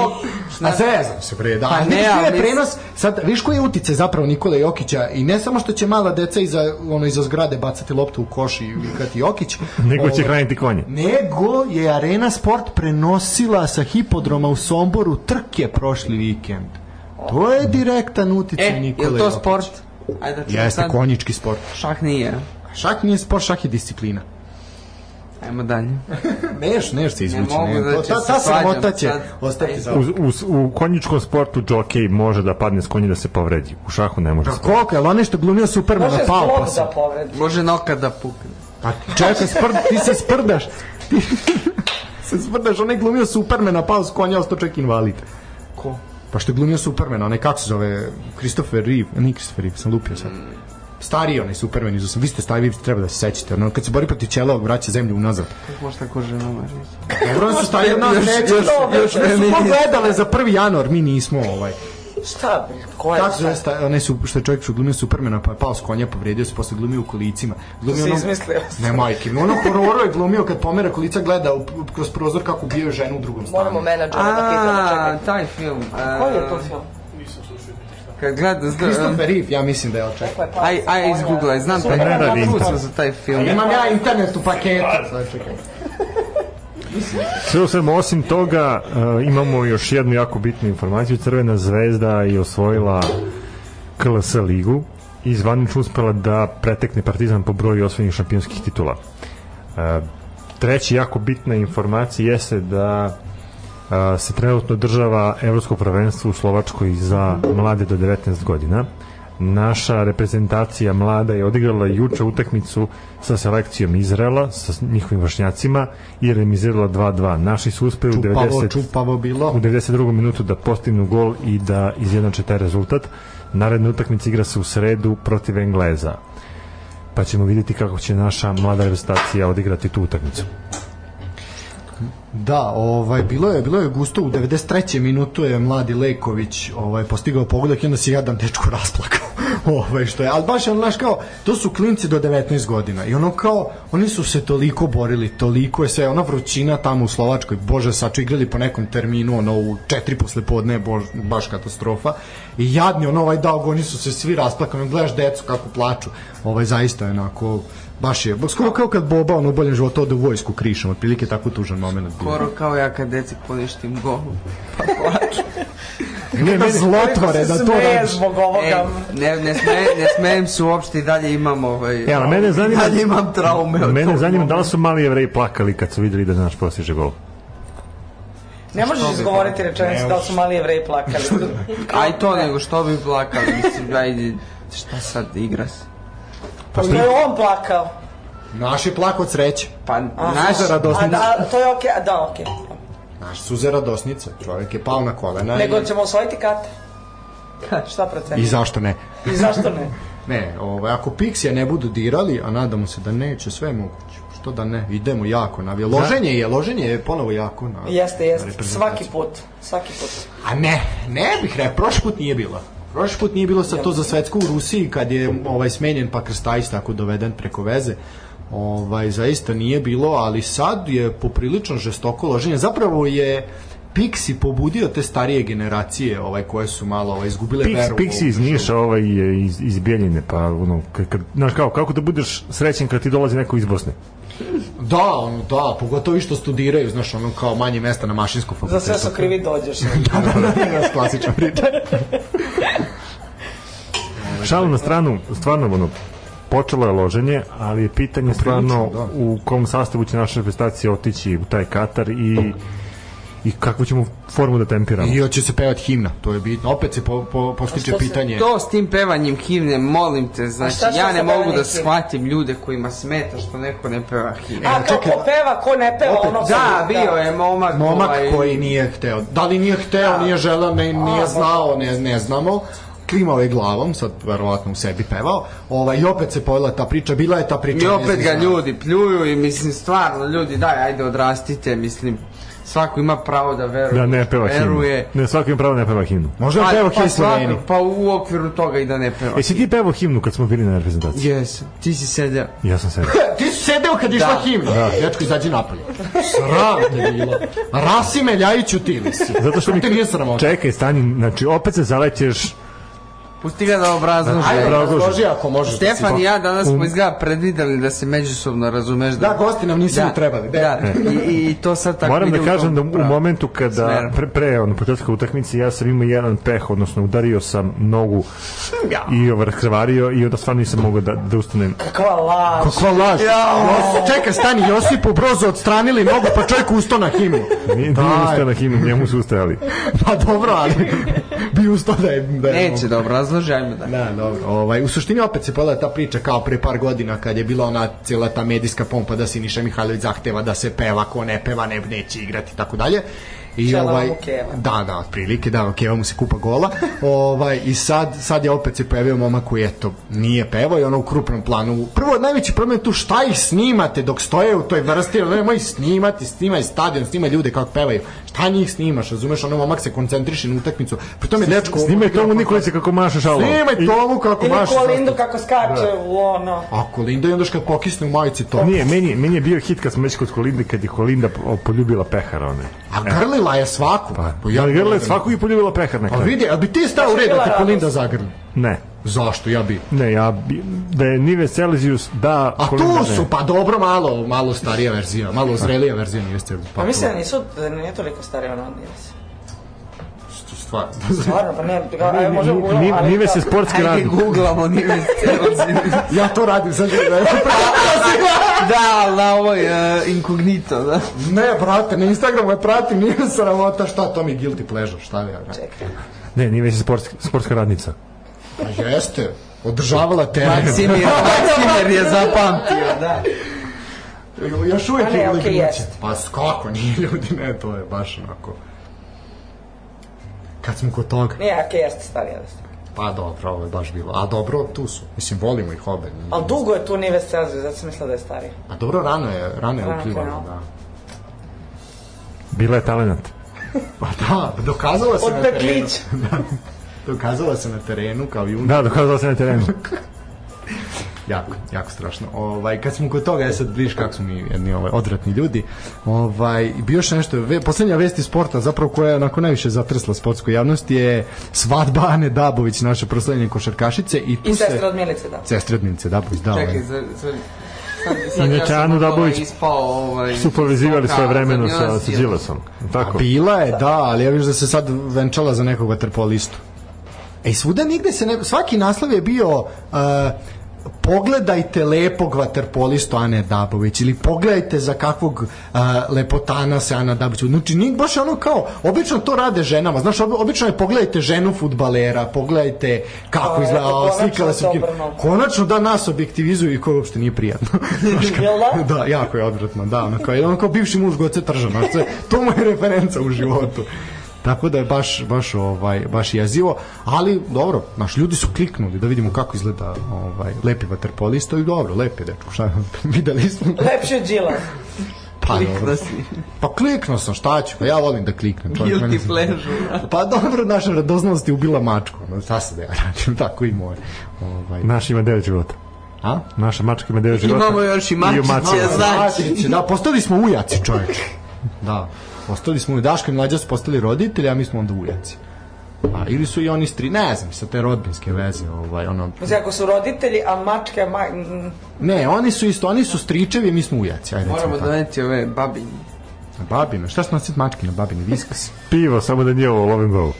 Speaker 2: A zezam se bre, da.
Speaker 3: Pa
Speaker 2: Pa
Speaker 3: ne,
Speaker 2: ne, ali...
Speaker 3: ali-
Speaker 2: prenos, sad, viš koji je utice zapravo Nikole Jokića i ne samo što će mala deca iza, ono, iza zgrade bacati loptu u koš i vikati Jokić.
Speaker 1: Nego će
Speaker 2: ovaj,
Speaker 1: hraniti konje.
Speaker 2: Nego je Arena Sport prenosila sa hipodroma u Somboru trke prošli vikend. To je direktan uticaj
Speaker 3: e,
Speaker 2: Nikole
Speaker 3: je to
Speaker 2: Jokića.
Speaker 3: sport? Ajde da čujem
Speaker 2: Jeste
Speaker 3: sad.
Speaker 2: konjički sport.
Speaker 3: Šah nije.
Speaker 2: Šah nije sport, šah je disciplina.
Speaker 3: Ajmo dalje.
Speaker 2: Neš, neš se izvući.
Speaker 3: Ne mogu,
Speaker 2: Ne to,
Speaker 3: znači,
Speaker 2: ta,
Speaker 3: se
Speaker 2: ta sramota
Speaker 3: svađam
Speaker 2: će
Speaker 3: sad.
Speaker 2: ostati za...
Speaker 1: U, u, u konjičkom sportu džokej može da padne s konja da se povredi. U šahu ne može.
Speaker 2: Pa koliko je, ali onaj što je glumio Supermana,
Speaker 4: Može
Speaker 2: pao pa
Speaker 4: zlog
Speaker 2: se.
Speaker 4: da povredi.
Speaker 3: Može noka da pukne.
Speaker 2: Pa čekaj, sprd, ti se sprdaš. Ti se sprdaš, onaj glumio Supermana, pao s konja, ostao čak invalid.
Speaker 3: Ko?
Speaker 2: Pa što je glumio Supermana, onaj kako se zove, Christopher Reeve, nije Christopher Reeve, sam lupio sad. Stariji onaj Superman iz 8, vi ste stari, vi treba da se sećate, ono kad se bori protiv ćelovog vraća zemlju unazad.
Speaker 3: Kako može tako ženama reći?
Speaker 2: Dobro, oni su stari od nas,
Speaker 3: Još-
Speaker 2: neće,
Speaker 3: još- još
Speaker 2: ne
Speaker 3: meni-
Speaker 2: smo gledale za 1. januar, mi nismo ovaj.
Speaker 4: Šta bre, ko je?
Speaker 2: Kako se zove sta- onaj su, što je čovjek što glumio Supermana, pa je pao s konja, povredio se, posle glumio u kolicima. Glumio
Speaker 4: se
Speaker 2: ono-
Speaker 4: izmislio.
Speaker 2: Ne, majke, mi ono hororo je glumio kad pomera kolica gleda u, kroz prozor kako ubijaju ženu u drugom
Speaker 5: Moramo
Speaker 2: stanu.
Speaker 5: menadžera da pitamo,
Speaker 3: A,
Speaker 5: čekaj.
Speaker 3: taj film. a,
Speaker 4: Koji je to film?
Speaker 3: Kad gledam, znam...
Speaker 2: Christopher Reeve, ja mislim da je oček.
Speaker 5: Ko je pao
Speaker 3: Aj,
Speaker 5: s
Speaker 3: aj,
Speaker 5: konja?
Speaker 3: izgooglaj, znam taj
Speaker 1: Ne radi
Speaker 3: film. Čuo
Speaker 1: internet.
Speaker 3: sam za taj film.
Speaker 2: Imam ja internet u paketu. Sad čekaj.
Speaker 1: Sve u svemu, osim toga, uh, imamo još jednu jako bitnu informaciju. Crvena zvezda je osvojila KLS ligu i zvanično uspela da pretekne Partizan po broju osvojenih šampionskih titula. Uh, treći jako bitna informacija jeste da uh, se trenutno država Evropsko prvenstvo u Slovačkoj za mlade do 19 godina. Naša reprezentacija mlada je odigrala juče utakmicu sa selekcijom Izrela, sa njihovim vršnjacima i remizirala 2-2. Naši su uspeli u
Speaker 2: Čupavo,
Speaker 1: 90
Speaker 2: čupavo bilo.
Speaker 1: u 92. minutu da postignu gol i da izjednače taj rezultat. Naredna utakmica igra se u sredu protiv Engleza. Pa ćemo vidjeti kako će naša mlada reprezentacija odigrati tu utakmicu.
Speaker 2: Da, ovaj bilo je bilo je gusto u 93. minutu je mladi Leković ovaj postigao pogodak i onda se jadan dečko rasplakao. ovaj što je, al baš on znaš kao to su klinci do 19 godina i ono kao oni su se toliko borili, toliko je sve ona vrućina tamo u Slovačkoj. Bože, saču igrali po nekom terminu ono u 4 poslepodne, bož, baš katastrofa. I jadni ono ovaj dao, oni su se svi rasplakali, ono, gledaš decu kako plaču. Ovaj zaista je onako baš je skoro kao kad Boba ono u boljem životu ode u vojsku krišom, otprilike tako tužan momenat. bio.
Speaker 3: Skoro kao ja kad deci poništim gol. Pa plaču.
Speaker 2: Ne, da zlotvore da to
Speaker 4: Smeje
Speaker 2: radiš.
Speaker 4: zbog
Speaker 3: E,
Speaker 5: Pa
Speaker 4: ovoga.
Speaker 3: ne, ne, sme, ne smejem se uopšte i dalje imam ovaj...
Speaker 1: E, ali mene zanima-
Speaker 3: Dalje imam traume. od
Speaker 1: Mene
Speaker 3: tog
Speaker 1: zanima da li
Speaker 3: momenta.
Speaker 1: su mali jevreji plakali kad su videli da naš postiže gol.
Speaker 4: Ne možeš izgovoriti rečenicu da li su mali jevreji plakali.
Speaker 3: A i to nego što bi plakali, mislim, ajde, šta sad igra se?
Speaker 4: Pa što je on plakao?
Speaker 2: Naš je plak od sreće.
Speaker 3: Pa, naš,
Speaker 2: Suze
Speaker 4: A
Speaker 2: radosnice.
Speaker 4: da, to je okej, a da, okej.
Speaker 2: Naš suze radosnice. Čovjek je pao na kolena.
Speaker 4: Nego
Speaker 2: i...
Speaker 4: ćemo osvojiti kate. Šta proceni?
Speaker 2: I zašto ne?
Speaker 4: I zašto ne?
Speaker 2: Ne, ovaj, ako Pixija ne budu dirali, a nadamo se da neće, sve je moguće. Što da ne, idemo jako navije. Loženje
Speaker 4: Da.
Speaker 2: je, loženje je ponovo jako na...
Speaker 4: Pa Jeste,
Speaker 2: na
Speaker 4: jeste. Svaki
Speaker 2: reprezentaciju.
Speaker 4: put. Svaki put.
Speaker 2: A ne, ne bih rekao, prošli put nije bilo. Prošli put nije bilo sa to za svetsko u Rusiji kad je ovaj smenjen pa Krstajić tako doveden preko veze. Ovaj zaista nije bilo, ali sad je poprilično žestoko loženje. Zapravo je Pixi pobudio te starije generacije, ovaj koje su malo ovaj izgubile
Speaker 1: Pix,
Speaker 2: veru. u
Speaker 1: Pix
Speaker 2: ovu
Speaker 1: iz Niša, ovaj je iz, iz Bijeljine, pa ono, kad, kad, znaš kao, kako da budeš srećen kad ti dolazi neko iz Bosne?
Speaker 2: Da, ono, da, pogotovo i što studiraju, znaš, ono kao manje mesta na mašinskom
Speaker 4: Za
Speaker 2: fakultetu.
Speaker 4: sve su krivi dođeš.
Speaker 2: da, da, da, da, klasična priča.
Speaker 1: Šalu na stranu, stvarno, ono, počelo je loženje, ali je pitanje stvarno
Speaker 2: da.
Speaker 1: u kom sastavu će naša reprezentacija otići u taj Katar i i kakvu ćemo formu da tempiramo.
Speaker 2: I hoće se pevati himna, to je bitno. Opet se po, po, postiče
Speaker 5: A što se-
Speaker 2: pitanje.
Speaker 3: To s tim pevanjem himne, molim te, znači,
Speaker 5: šta- šta
Speaker 3: ja
Speaker 5: sa
Speaker 3: ne mogu
Speaker 5: pevanjem
Speaker 3: da
Speaker 5: himne?
Speaker 3: shvatim ljude kojima smeta što neko ne peva himne.
Speaker 4: A, kao ko peva, ko ne peva,
Speaker 2: Opet,
Speaker 4: ono...
Speaker 3: Da, bio je momak,
Speaker 2: Momak
Speaker 3: ovaj,
Speaker 2: koji nije hteo. Da li nije hteo, nije želeo, ne, nije znao, ne, ne znamo. Klimao je glavom, sad verovatno u sebi pevao. Ovaj, I opet se pojela ta priča, bila je ta priča.
Speaker 3: I
Speaker 2: ne
Speaker 3: opet
Speaker 2: znam
Speaker 3: ga
Speaker 2: šta.
Speaker 3: ljudi pljuju i mislim stvarno ljudi daj ajde odrastite mislim svako ima pravo da veruje.
Speaker 1: Da ne peva himnu.
Speaker 3: veruje.
Speaker 1: Ne, svako ima pravo da ne peva himnu.
Speaker 2: Možda je pevao Hej
Speaker 3: svako-
Speaker 2: Sloveni.
Speaker 3: pa u okviru toga i da ne peva.
Speaker 1: E si ti pevao himnu kad smo bili na reprezentaciji?
Speaker 3: Jesam, ti si sedeo.
Speaker 1: Ja sam sedao.
Speaker 2: Ti si sedeo kad je išla himna. Da. Dečko, izađi napolje. Sram te bilo. Rasime Ljajiću ti li si.
Speaker 1: Zato što mi...
Speaker 2: te nije sramota.
Speaker 1: Čekaj, stani, znači opet se zalećeš
Speaker 3: Pusti ga da obrazloži.
Speaker 2: Ajde,
Speaker 1: Obrazloži.
Speaker 2: razloži ako možeš. da si-
Speaker 3: Stefan i ja danas smo izgleda predvideli da se međusobno razumeš.
Speaker 2: Da, gosti nam nisu ni trebali. Da.
Speaker 3: Da, i, i to sad tako
Speaker 1: Moram
Speaker 3: ide
Speaker 1: da
Speaker 3: u tom
Speaker 1: kažem da u
Speaker 3: pravu.
Speaker 1: momentu kada
Speaker 3: smeru.
Speaker 1: pre, pre ono, početka utakmice ja sam imao jedan peh, odnosno udario sam nogu i ovaj raskrvario i onda stvarno nisam mogao da, da ustanem.
Speaker 4: Kakva laž.
Speaker 2: Kakva laž. Jos- Čekaj, stani, Josipu Brozu odstranili nogu, pa čovjek ustao na himnu.
Speaker 1: Nije
Speaker 2: E, da,
Speaker 1: nije ustao na himnu, njemu su ustajali.
Speaker 2: Pa dobro, ali bi ustao da je... Da je
Speaker 3: Neće da obrazloži, ajmo da.
Speaker 2: Da, dobro. Ovaj, u suštini opet se pojela ta priča kao pre par godina kad je bila ona cijela ta medijska pompa da Siniša Mihajlović zahteva da se peva, ko ne peva ne, neće igrati i tako dalje. I
Speaker 4: Čela mu keva.
Speaker 2: Da, da, otprilike, da, keva mu se kupa gola. ovaj, I sad, sad je opet se pojavio momak koji, eto, nije pevao i ono u krupnom planu. Prvo, najveći problem je tu šta ih snimate dok stoje u toj vrsti, ono nemoj snimati, snimaj stadion, snimaj ljude kako pevaju. Šta njih snimaš, razumeš, ono momak se koncentriše na utakmicu. Pri tome, dečko...
Speaker 1: Snimaj Tomu Nikolića kako maše šalom.
Speaker 2: Snimaj tomu kako
Speaker 4: Ili
Speaker 2: maš. Da.
Speaker 4: Kolindu kako skače u ono...
Speaker 2: A Kolinda i onda što kad pokisne u majici to.
Speaker 1: Nije, meni, je- meni je bio hit kad smo već kod Kolinde, kad je Kolinda po- poljubila pehara one.
Speaker 2: A grlila je svaku.
Speaker 1: Pa, ja, grle svakog i poljubila pehar na
Speaker 2: Pa
Speaker 1: kraju.
Speaker 2: vidi, ali bi ti stao u redu da te
Speaker 4: Bila
Speaker 2: Kolinda zagrli?
Speaker 1: Ne,
Speaker 2: Zašto, ja bi.
Speaker 1: ne, ja, bi- da je Nive Celsius, da,
Speaker 2: A tu su, pa dobro, malo, malo starija verzija, malo zrelija verzija nije ste.
Speaker 4: Pa mislim da
Speaker 2: to-
Speaker 4: nisu, da nije toliko stari ono Nives.
Speaker 2: što Stvar.
Speaker 4: Stvarno, pa ne, ga, ajde, možemo
Speaker 1: Ni-
Speaker 4: uglavnom,
Speaker 1: ni-
Speaker 4: ali...
Speaker 1: Nive se
Speaker 4: da-
Speaker 1: sportski
Speaker 3: Ajde,
Speaker 1: radi.
Speaker 3: googlamo, nije mi
Speaker 2: ja to radim, sad da je
Speaker 3: Da, ali na ovoj uh, inkognito, da.
Speaker 2: Ne, brate, na Instagramu je pratim, nije sramota, šta to mi je guilty pleasure, šta ja radim?
Speaker 1: Ne, Nive se sportska, sportska radnica.
Speaker 2: Pa jeste, održavala teren.
Speaker 3: Maksimir, Maksimir je zapamtio, da.
Speaker 2: Još uvijek
Speaker 4: A ne,
Speaker 2: je
Speaker 4: okej,
Speaker 2: okay,
Speaker 4: jest.
Speaker 2: Pa s- kako nije ljudi, ne, to je baš onako. Kad smo kod toga,
Speaker 4: Nije, ok, jeste starija da ste.
Speaker 2: pa dobro, ovo je baš bilo. A dobro, tu su. Mislim, volimo ih obe. nije-
Speaker 4: Ali dugo je tu Nives Celsius, zato sam mislila da je stariji.
Speaker 2: A dobro, rano je, rano je
Speaker 4: Rano,
Speaker 2: uplivalo,
Speaker 4: rano.
Speaker 2: da.
Speaker 1: Bila je talenat.
Speaker 2: Pa da, dokazala se
Speaker 4: Od
Speaker 2: na terenu. Da.
Speaker 4: peklića.
Speaker 2: Dokazala se na terenu kao jun.
Speaker 1: Da, dokazala se na terenu.
Speaker 2: Jako, jako strašno. Ovaj, kad smo kod toga, ja sad vidiš kako smo mi jedni ovaj, odvratni ljudi. Ovaj, i bio još nešto, ve, poslednja vest iz sporta, zapravo koja je onako najviše zatresla sportsku javnost, je svadba Ane Dabović, naše proslavljene košarkašice. I, tu
Speaker 4: I
Speaker 2: se-
Speaker 4: sestra od Milice, da.
Speaker 2: Sestre od Milice Dabović, da. ovaj.
Speaker 3: Čekaj, za, za, sad,
Speaker 1: Inače,
Speaker 3: sam
Speaker 1: Anu
Speaker 3: od toga
Speaker 1: Dabović
Speaker 3: ispao, ovaj,
Speaker 1: Su povezivali
Speaker 3: stoka,
Speaker 1: svoje vremeno
Speaker 3: za
Speaker 1: sa,
Speaker 3: Milan
Speaker 1: sa
Speaker 3: Silas.
Speaker 1: Đilasom. Tako.
Speaker 2: Bila je, da, ali ja vidim da se sad venčala za nekog vaterpolistu. E, i svuda nigde se neko, svaki naslov je bio uh, pogledajte lepog vaterpolistu Ane Dabović ili pogledajte za kakvog uh, lepotana se Ana Dabović znači nije baš je ono kao, obično to rade ženama znaš, obi- obično je pogledajte ženu futbalera pogledajte kako
Speaker 4: Pa,
Speaker 2: izgleda
Speaker 4: eto,
Speaker 2: a,
Speaker 4: konačno
Speaker 2: slikala se u kinu.
Speaker 4: obrnuto.
Speaker 2: konačno da nas objektivizuju i koje uopšte nije prijatno Znaš kao-
Speaker 4: Jel da?
Speaker 2: da, jako je odvratno, da, ono kao, ono kao bivši muž Goce Tržana, to, je- to mu je referenca u životu. Tako da je baš, baš, ovaj, baš jezivo, ali dobro, naš ljudi su kliknuli da vidimo kako izgleda ovaj, lepi vaterpolista i dobro, lepi je dečko, šta videli smo.
Speaker 4: Lepši od Đilas.
Speaker 2: Pa,
Speaker 3: Kliknuo
Speaker 2: dobro.
Speaker 3: si.
Speaker 2: pa kliknuo sam, šta ću, pa ja volim da kliknem. čovjek, meni
Speaker 3: Guilty
Speaker 2: se-
Speaker 3: pleasure.
Speaker 2: Pa dobro, naša radoznalost je ubila mačku, ono, šta se da ja radim, tako i moje. Ovaj,
Speaker 1: Naš ima devet života.
Speaker 2: a?
Speaker 1: Naša mačka ima devet života.
Speaker 3: Imamo još i
Speaker 1: I
Speaker 3: mačiće,
Speaker 1: omačila.
Speaker 3: znači.
Speaker 2: Znači, da, postali smo ujaci, čoveče. Da, postali smo, Daško i Mlađa su postali roditelji, a mi smo onda ujaci. A, ili su i oni stri, ne znam, sa te rodbinske veze, ovaj, ono...
Speaker 4: Mislim, Znači, ako su roditelji, a mačke, ma... mm,
Speaker 2: Ne, oni su isto, oni su stričevi, mi smo ujaci, ajde recimo
Speaker 3: Moramo
Speaker 2: tako.
Speaker 3: doneti ove babinje.
Speaker 2: Na babine, šta su nositi mačke na babine, viskas?
Speaker 1: Pivo, samo da nije ovo lovim gol.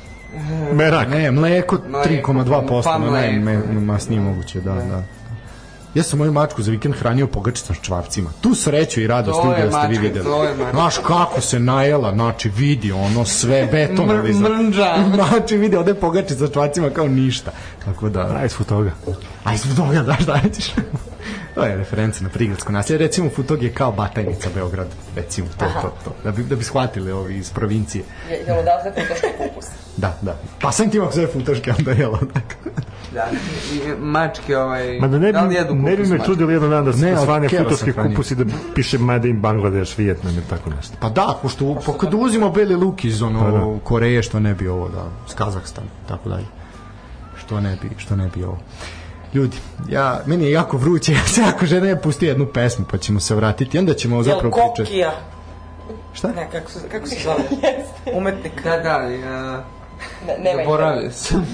Speaker 1: Merak.
Speaker 2: Ne, mleko
Speaker 3: Mleko,
Speaker 2: 3,2%,
Speaker 3: pa
Speaker 2: pa naj,
Speaker 3: mleko.
Speaker 2: me, masnije moguće, da, da. Ja sam moju mačku za vikend hranio pogačicom s čvapcima. Tu sreću i radost
Speaker 3: To je
Speaker 2: ljudi da ste vi
Speaker 3: mačka,
Speaker 2: videli.
Speaker 3: to je mačka.
Speaker 2: Znaš kako se najela, znači vidi ono sve
Speaker 3: Mr-
Speaker 2: betonalizam.
Speaker 3: mrnđa.
Speaker 2: Znači vidi, ode pogačica s čvapcima kao ništa. Tako da,
Speaker 1: Aj, svog toga.
Speaker 2: aj zbog toga, da, šta ćeš? To je referenca na prigradsko naselje. Recimo, Futog je kao Batajnica Beograd. Recimo, to, to, to. Da bi, da bi shvatili ovi iz provincije.
Speaker 5: Je, jel odatle kutoški kupus?
Speaker 2: Da, da. Pa sam ti imao zove Futoške, onda je jelo. Dakle.
Speaker 3: Da, i mačke ovaj...
Speaker 1: Ma da ne bi,
Speaker 3: li jedu
Speaker 1: ne bi
Speaker 3: kupus
Speaker 1: me
Speaker 3: mačke?
Speaker 1: čudilo jedan dan da se
Speaker 2: Ne, od
Speaker 1: svane
Speaker 2: keva
Speaker 1: futovski
Speaker 2: sam hranio.
Speaker 1: kupus i da piše Made in Bangladesh, Vijetnam ili tako nešto.
Speaker 2: Pa da, pošto pa kad uvozimo beli luk iz ono
Speaker 1: Pa da.
Speaker 2: Koreje što ne bi ovo da iz Kazahstana i tako dalje. Što ne bi, što ne bi ovo. Ljudi, ja, meni je jako vruće, ja se jako žena je pusti jednu pesmu, pa ćemo se vratiti, onda ćemo
Speaker 4: Jel
Speaker 2: zapravo pričati.
Speaker 4: Kokija?
Speaker 2: Šta?
Speaker 4: Ne, kako se, kako se zove? Umetnik.
Speaker 3: Da, da, ja...
Speaker 1: Da
Speaker 5: Ne, nemajte.
Speaker 3: Zaboravio sam.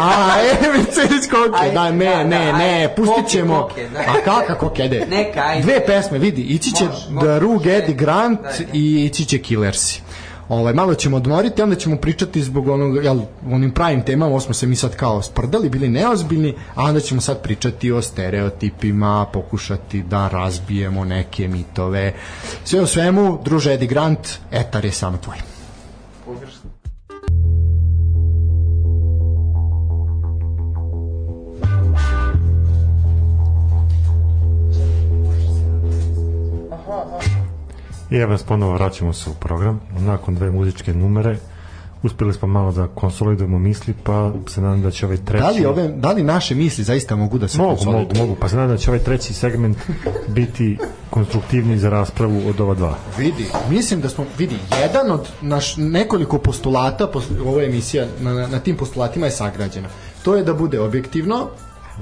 Speaker 2: A, e, Vicenić Kokija,
Speaker 3: Aj,
Speaker 2: da, ne,
Speaker 3: da, da,
Speaker 2: ne, ne,
Speaker 3: aj,
Speaker 2: pustit
Speaker 3: Kokija,
Speaker 2: ćemo.
Speaker 3: Kokija, da.
Speaker 2: A kaka Kokija, ide?
Speaker 3: Neka, ajde.
Speaker 2: Dve pesme, vidi, ići će
Speaker 3: Može, može.
Speaker 2: The Rug Eddie Grant
Speaker 3: Daj, daj.
Speaker 2: i ići će Killersi. Ovaj, malo ćemo odmoriti, onda ćemo pričati zbog onog, jel, onim pravim temama, ovo smo se mi sad kao sprdali, bili neozbiljni, a onda ćemo sad pričati o stereotipima, pokušati da razbijemo neke mitove. Sve u svemu, druže Eddie Grant, etar je samo tvoj.
Speaker 1: I evo nas ponovo vraćamo se u program. Nakon dve muzičke numere uspeli smo malo da konsolidujemo misli, pa se nadam da će ovaj treći...
Speaker 2: Da li, ove, da li naše misli zaista mogu da se
Speaker 1: Mogu,
Speaker 2: konsoliduje?
Speaker 1: mogu, mogu. Pa se nadam da će ovaj treći segment biti konstruktivniji za raspravu od ova dva.
Speaker 2: Vidi, mislim da smo, vidi, jedan od naš nekoliko postulata, post, ova emisija na, na, na tim postulatima je sagrađena. To je da bude objektivno,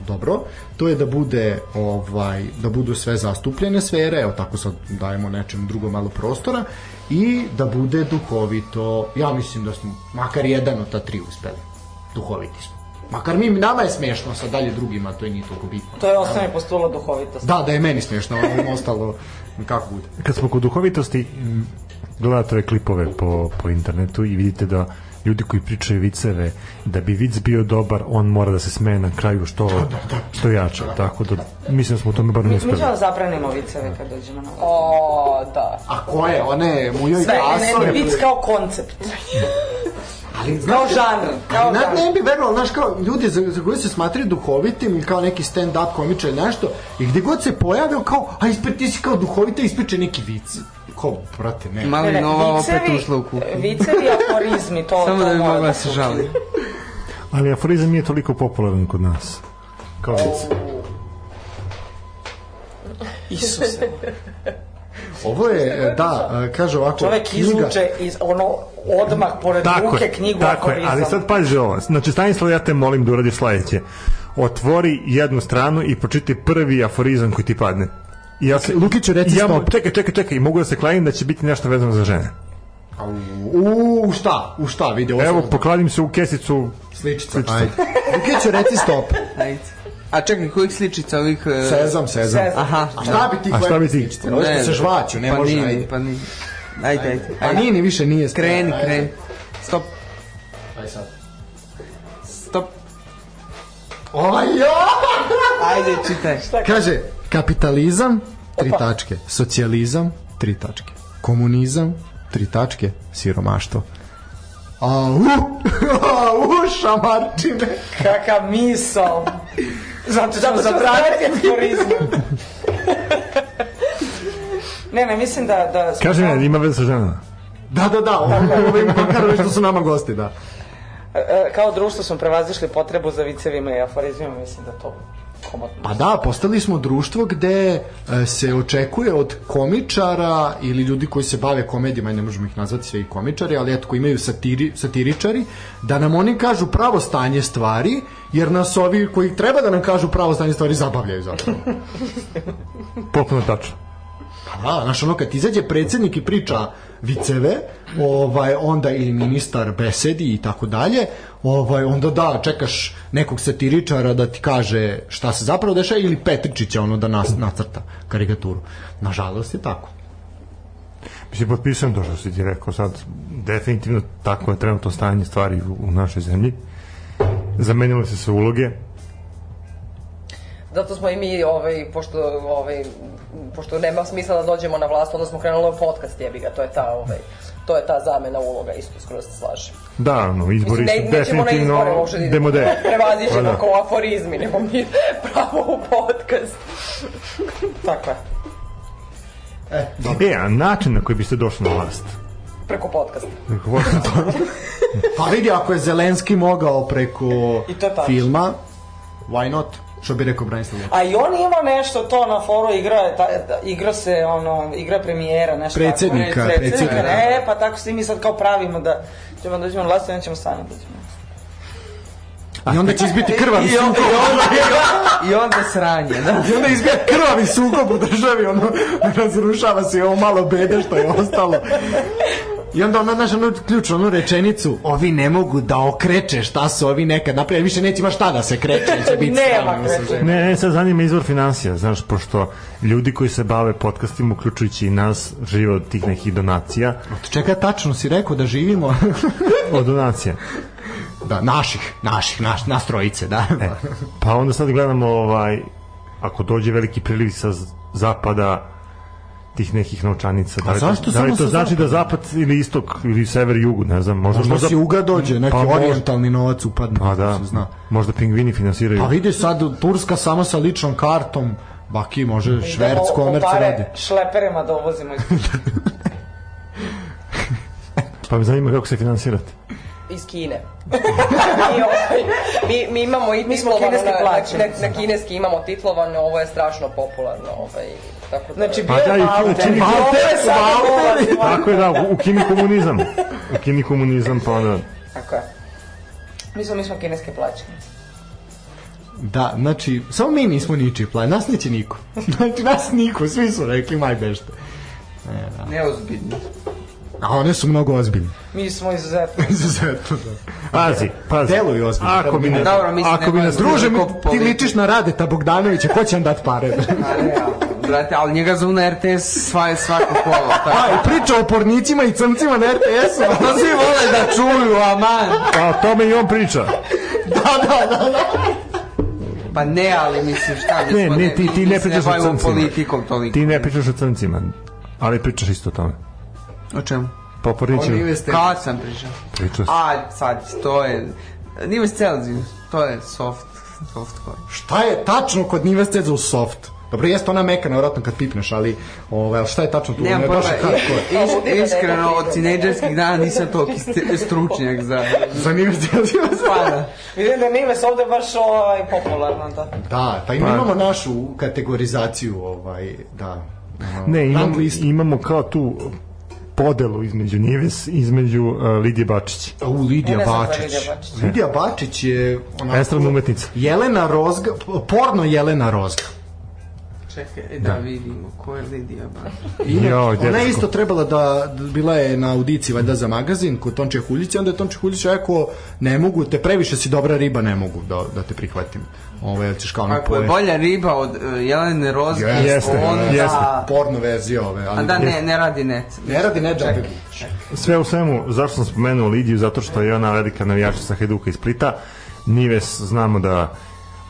Speaker 2: dobro, to je da bude ovaj da budu sve zastupljene sfere, evo tako sad dajemo nečem drugo malo prostora i da bude duhovito. Ja mislim da smo makar jedan od ta tri uspeli. Duhoviti smo. Makar mi nama je smešno, sad dalje drugima to je nije toliko bitno.
Speaker 4: To je osnovni postula duhovitosti.
Speaker 2: Da, da je meni smešno, ono ostalo kako bude.
Speaker 1: Kad smo kod duhovitosti, m, gledate ove klipove po, po internetu i vidite da ljudi koji pričaju viceve, da bi vic bio dobar, on mora da se smeje na kraju što, što jače. Tako da, mislim da smo u tome bar
Speaker 4: Mi,
Speaker 1: ne
Speaker 4: mi
Speaker 1: uspeli.
Speaker 4: ćemo da zabranimo viceve kad dođemo na ovo.
Speaker 5: O, da.
Speaker 2: A ko je? One mu joj
Speaker 4: Sve, ne, ne,
Speaker 2: gasove.
Speaker 4: vic kao koncept.
Speaker 2: Ali
Speaker 4: Kao žanr. Kao
Speaker 2: Ali ne,
Speaker 4: žanr.
Speaker 2: ne bi verovalo, znaš, kao ljudi za, za koje se smatraju duhovitim ili kao neki stand-up komičar ili nešto, i gde god se pojave, on kao, a ispred ti si kao duhovita, ispriče neki vic. Kao, brate, ne.
Speaker 4: Ne,
Speaker 3: Mali
Speaker 4: ne,
Speaker 3: Nova opet
Speaker 4: vicevi-
Speaker 3: ušla u kuhu.
Speaker 4: Vicevi i aforizmi, to
Speaker 3: Samo
Speaker 4: to
Speaker 3: da bi
Speaker 4: mora
Speaker 3: mogla se
Speaker 4: se
Speaker 3: žali.
Speaker 1: Ali aforizam nije toliko popularan kod nas. Kao vic.
Speaker 4: ukine. Isuse.
Speaker 2: Ovo je, da, kaže ovako,
Speaker 4: Čovek izvuče iz, ono, odmah pored
Speaker 1: Tako
Speaker 4: ruke
Speaker 1: je,
Speaker 4: knjigu
Speaker 1: tako je,
Speaker 4: aforizam.
Speaker 1: ali sad pazi ovo. Znači, Stanislav, ja te molim da uradiš sledeće. Otvori jednu stranu i pročiti prvi aforizam koji ti padne. I Ja se,
Speaker 2: Lukiću, reci
Speaker 1: ja, mu-
Speaker 2: stop.
Speaker 1: Čekaj, čekaj, čekaj, i mogu da se kladim da će biti nešto vezano za žene.
Speaker 2: U, u šta? U šta, vidi, ovo
Speaker 1: Evo, pokladim se u kesicu
Speaker 2: sličica.
Speaker 1: sličica.
Speaker 2: Ajde. Lukiću, reci stop.
Speaker 3: Ajde. A čekaj, kojih sličica ovih... e,
Speaker 2: Sezam, sezam.
Speaker 4: Sezam.
Speaker 3: Aha.
Speaker 2: A šta bi ti
Speaker 1: A šta
Speaker 2: koje
Speaker 1: bi ti?
Speaker 2: sličice? Ovo što se žvaću, ne
Speaker 3: pa
Speaker 2: može,
Speaker 3: nije,
Speaker 2: ajde.
Speaker 3: Pa nije, Ajde, ajde.
Speaker 2: Pa nije ni više nije.
Speaker 3: Kreni,
Speaker 2: Ajde.
Speaker 3: kreni. Stop,
Speaker 2: Ajde sad.
Speaker 3: stop.
Speaker 2: O, ja!
Speaker 3: Ajde, čitaj.
Speaker 2: Kaže, kapitalizam, tri tačke, socijalizam, tri tačke, komunizam, tri tačke, siromaštvo. Au, au, šamarčine.
Speaker 4: Kaka misao. Zato ćemo zabraniti aforizam. ne, ne, mislim da... da smo-
Speaker 1: Kaži mi, ima veze sa ženama.
Speaker 2: Da, da, da, ovo ovo im makar ovi što su nama gosti, da.
Speaker 4: E, kao društvo smo prevazišli potrebu za vicevima i aforizmima, mislim da to komotno.
Speaker 2: Pa da, postali smo društvo gde e, se očekuje od komičara ili ljudi koji se bave komedijama, i ne možemo ih nazvati sve i komičari, ali eto koji imaju satiri, satiričari, da nam oni kažu pravo stanje stvari, jer nas ovi koji treba da nam kažu pravo stanje stvari zabavljaju zapravo.
Speaker 1: Potpuno tačno.
Speaker 2: Pa da, znaš ono kad izađe predsednik i priča viceve, ovaj, onda i ministar besedi i tako dalje, ovaj, onda da, čekaš nekog satiričara da ti kaže šta se zapravo dešava ili Petričića ono da nas, nacrta karikaturu. Nažalost je tako.
Speaker 1: Mislim, potpisujem to što si ti rekao sad. Definitivno tako je trenutno stanje stvari u, u našoj zemlji. Zamenile se se uloge.
Speaker 5: Zato smo i mi, ovaj, pošto, ovaj, pošto nema smisla da dođemo na vlast, onda smo krenuli u podcast, jebi ga, to je ta, ovaj, to je ta zamena uloga, isto skoro se slažem.
Speaker 1: Da, no, izbori
Speaker 5: Mislim,
Speaker 1: su
Speaker 5: ne, nećemo na
Speaker 1: definitivno
Speaker 5: izbore uopšte da idemo.
Speaker 1: demode. Pa
Speaker 5: Prevazićemo
Speaker 1: da.
Speaker 5: da. kao aforizmi, nego mi pravo u podcast.
Speaker 4: Tako je.
Speaker 1: E, a način na koji biste došli na vlast?
Speaker 5: Preko podcasta.
Speaker 2: Pa vidi, ako je Zelenski mogao preko
Speaker 4: I to je tačno.
Speaker 2: filma, why not? Što bi rekao Branislav Lopez?
Speaker 4: A Pa i on ima nešto to na foru, igra, je ta, ta- igra se, ono, igra premijera, nešto
Speaker 2: Predsednika,
Speaker 4: tako. E,
Speaker 2: predsednika, da.
Speaker 4: E, pa tako se i mi sad kao pravimo da ćemo da uđemo na vlast i onda ćemo sami da uđemo.
Speaker 2: I onda će izbiti krvavi
Speaker 3: I onda,
Speaker 2: sukob.
Speaker 3: i onda, i onda sranje, da.
Speaker 2: I onda izbija krvavi sukob u državi, ono, razrušava se i ovo malo bede što je ostalo. I onda ona, znaš, onu ključnu, onu rečenicu, ovi ne mogu da okreče šta su ovi nekad napravili, više neće ima šta da se kreće, će biti
Speaker 4: Nema
Speaker 2: strano
Speaker 4: kreće.
Speaker 2: osveženje.
Speaker 1: Ne, ne, sad zanima izvor financija, znaš, pošto ljudi koji se bave podcastima, uključujući i nas, žive od tih nekih donacija,
Speaker 2: Čekaj, tačno si rekao da živimo
Speaker 1: od donacija.
Speaker 2: da, naših, naših, naš, nas trojice, da.
Speaker 1: E, pa onda sad gledamo, ovaj, ako dođe veliki priliv sa z- zapada, tih nekih novčanica. Da li, to-
Speaker 2: zašto
Speaker 1: da li
Speaker 2: samo
Speaker 1: to
Speaker 2: sa
Speaker 1: znači da zapad ili istok ili sever i jug, ne znam, možda,
Speaker 2: Možda si uga dođe, neki
Speaker 1: Pa možda.
Speaker 2: orijentalni novac upadne,
Speaker 1: Pa
Speaker 2: da.
Speaker 1: da,
Speaker 2: se zna.
Speaker 1: možda pingvini finansiraju.
Speaker 2: Pa vidi sad, Turska samo sa ličnom kartom, baki može šverc,
Speaker 4: Idemo
Speaker 2: komerc
Speaker 4: po pare
Speaker 2: radi.
Speaker 4: Šleperima da uvozimo iz
Speaker 1: Pa me zanima kako se finansirate.
Speaker 5: iz Kine. I ovaj, mi, mi imamo i
Speaker 4: Mi smo
Speaker 5: titlovano,
Speaker 4: kineski
Speaker 5: na, na,
Speaker 4: plaćenici.
Speaker 5: na, na kineski imamo titlovano, ovo je strašno popularno. Ovaj, tako da,
Speaker 4: Znači, bio
Speaker 1: Pa da, i
Speaker 4: je
Speaker 1: to- čini-
Speaker 4: Valter. Valter
Speaker 2: Valter
Speaker 4: je
Speaker 2: su
Speaker 4: sada
Speaker 2: Valteri.
Speaker 4: uvozimo.
Speaker 1: Tako je da, u- ukini komunizam. Ukini komunizam, pa onda...
Speaker 4: Tako je. Mi smo, mi smo kineske plaćenice.
Speaker 2: Da, znači, samo mi nismo ničiji plan, nas neće niko. Znači, nas niko, svi su rekli, maj bešte.
Speaker 3: Neozbiljno.
Speaker 2: A one su mnogo ozbiljne.
Speaker 4: Mi smo izuzetno.
Speaker 2: Izuzetno, da.
Speaker 1: Pazi, pazi.
Speaker 2: Deluju ozbiljno.
Speaker 1: Ako bi, ne,
Speaker 3: Dobro, mislim,
Speaker 1: ako bi
Speaker 3: nema-
Speaker 1: nas
Speaker 2: Druže, mi,
Speaker 3: Koliko
Speaker 2: ti
Speaker 3: povedi-
Speaker 2: ličiš na Radeta Bogdanovića, ko će vam dat pare?
Speaker 3: A ne, ali, brate, ali njega zovu na RTS sva, svako kolo. Tako.
Speaker 2: A, i priča o pornicima i crncima na RTS-u. a To svi vole da čuju, aman.
Speaker 1: Pa o tome i on priča.
Speaker 2: Da, da, da. da.
Speaker 3: Pa ne, ali mislim, šta mi
Speaker 1: Ne,
Speaker 3: smo,
Speaker 1: ne, ti-
Speaker 3: mi-
Speaker 1: ti
Speaker 3: mi
Speaker 1: ne
Speaker 3: se
Speaker 1: pričaš o
Speaker 3: bavimo
Speaker 1: crncima.
Speaker 3: politikom toliko.
Speaker 1: Ti ne pričaš o crncima, ali pričaš isto o tome.
Speaker 3: O čemu?
Speaker 1: Pa porniću,
Speaker 2: Oni uvesti-
Speaker 3: Kad sam pričao?
Speaker 1: pričao si.
Speaker 3: A, sad, to je... Nije vas Celsius, to je soft, soft core.
Speaker 2: Šta je tačno kod Nive Steza u soft? Dobro, jeste ona mekana, vjerojatno kad pipneš, ali ovaj, ali šta je tačno tu? Ono
Speaker 3: Nemam
Speaker 2: je
Speaker 3: pojma,
Speaker 2: baš hardcore.
Speaker 3: is- is- iskreno, od tinejdžerskih dana nisam toliki ste- stručnjak za...
Speaker 2: Za Nive Steza.
Speaker 3: Pa da.
Speaker 4: Vidim da Nives ovde baš ovaj, popularno, da.
Speaker 2: Da, pa i mi imamo našu kategorizaciju, ovaj, da. ono,
Speaker 1: Ne, imam,
Speaker 2: rang listu.
Speaker 1: imamo kao tu podelu između Nives i između uh, Lidije Bačić.
Speaker 2: U, Lidija
Speaker 4: Ne znam za
Speaker 2: Bačić.
Speaker 4: Lidija Bačić.
Speaker 2: Lidija Bačić je... Onako,
Speaker 1: Estradna umetnica.
Speaker 2: Jelena Rozga, porno Jelena Rozga.
Speaker 3: Čekaj, da vidimo, ko je Lidija Bačić?
Speaker 1: Joj,
Speaker 2: Ona je
Speaker 1: dečko.
Speaker 2: isto trebala da, bila je na audiciji valjda za magazin kod Tonče Huljića, onda je Tonče Huljić rekao ne mogu te, previše si dobra riba, ne mogu da, da te prihvatim. Ovo je ćeš kao ono
Speaker 3: Pa, Ako je
Speaker 2: poje.
Speaker 3: bolja riba od uh, Jelene Rozge,
Speaker 2: Jeste,
Speaker 3: onda...
Speaker 1: jeste.
Speaker 2: Porno verzija ove,
Speaker 3: A
Speaker 2: ali
Speaker 3: da, ne, ne radi net.
Speaker 2: ne radi ne džabe.
Speaker 1: Sve u svemu, zašto sam spomenuo Lidiju? Zato što je ona velika navijačica Hajduka iz Splita. Nives znamo da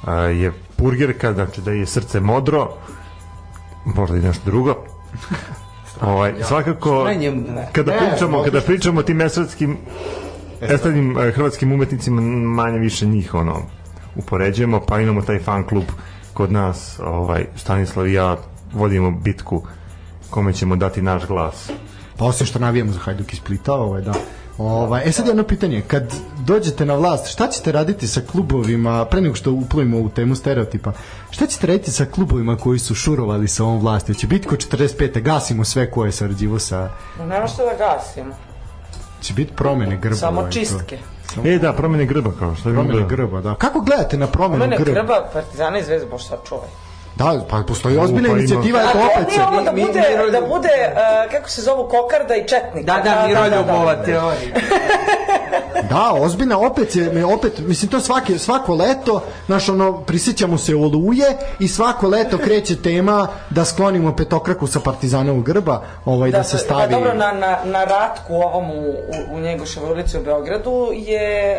Speaker 1: a, je purgerka, znači da je srce modro, možda i nešto drugo. Ovaj, svakako,
Speaker 3: Šta je njemu da ne? E,
Speaker 1: kada
Speaker 2: Ne,
Speaker 1: pričamo,
Speaker 2: možda
Speaker 1: kada pričamo o tim estradnim, estradnim e, hrvatskim umetnicima, manje više njih ono, upoređujemo, pa imamo taj fan klub kod nas, ovaj, Stanislav i ja vodimo bitku kome ćemo dati naš glas.
Speaker 2: Pa osim što navijamo za Hajduk iz Splita, ovaj, da. Ovaj, e sad jedno pitanje, kad dođete na vlast, šta ćete raditi sa klubovima, pre nego što uplujemo u temu stereotipa, šta ćete raditi sa klubovima koji su šurovali sa ovom vlasti? Će biti ko 45. gasimo sve koje je sarađivo sa...
Speaker 4: Nema što da gasimo.
Speaker 2: Će biti promene grba.
Speaker 4: Samo
Speaker 2: ovaj, to.
Speaker 4: čistke.
Speaker 1: E da, promene grba kao što je
Speaker 2: Promene grba, da. Kako gledate na promenu
Speaker 4: Mene
Speaker 2: grba?
Speaker 4: grba Partizana i Zvezda, bož sačuvaj.
Speaker 2: Da, pa postoji
Speaker 1: U,
Speaker 2: ozbiljna
Speaker 1: pa ima.
Speaker 2: inicijativa,
Speaker 4: A
Speaker 2: eto
Speaker 4: to
Speaker 2: opet
Speaker 4: bi
Speaker 2: se.
Speaker 4: ovo da
Speaker 3: Mi- mi-
Speaker 4: bude,
Speaker 3: mi-
Speaker 4: da bude e, kako se zovu, kokarda i četnik.
Speaker 3: Da, da, Miroljubova teorija.
Speaker 2: Da, ozbiljna, opet je, opet, mislim, to svake, svako leto, znaš, ono, prisjećamo se oluje i svako leto kreće tema da sklonimo petokraku sa partizanovog grba, ovaj, da, se stavi...
Speaker 4: Pa dobro, na, na, na ratku ovom u, u, u Njegoševoj ulici u Beogradu je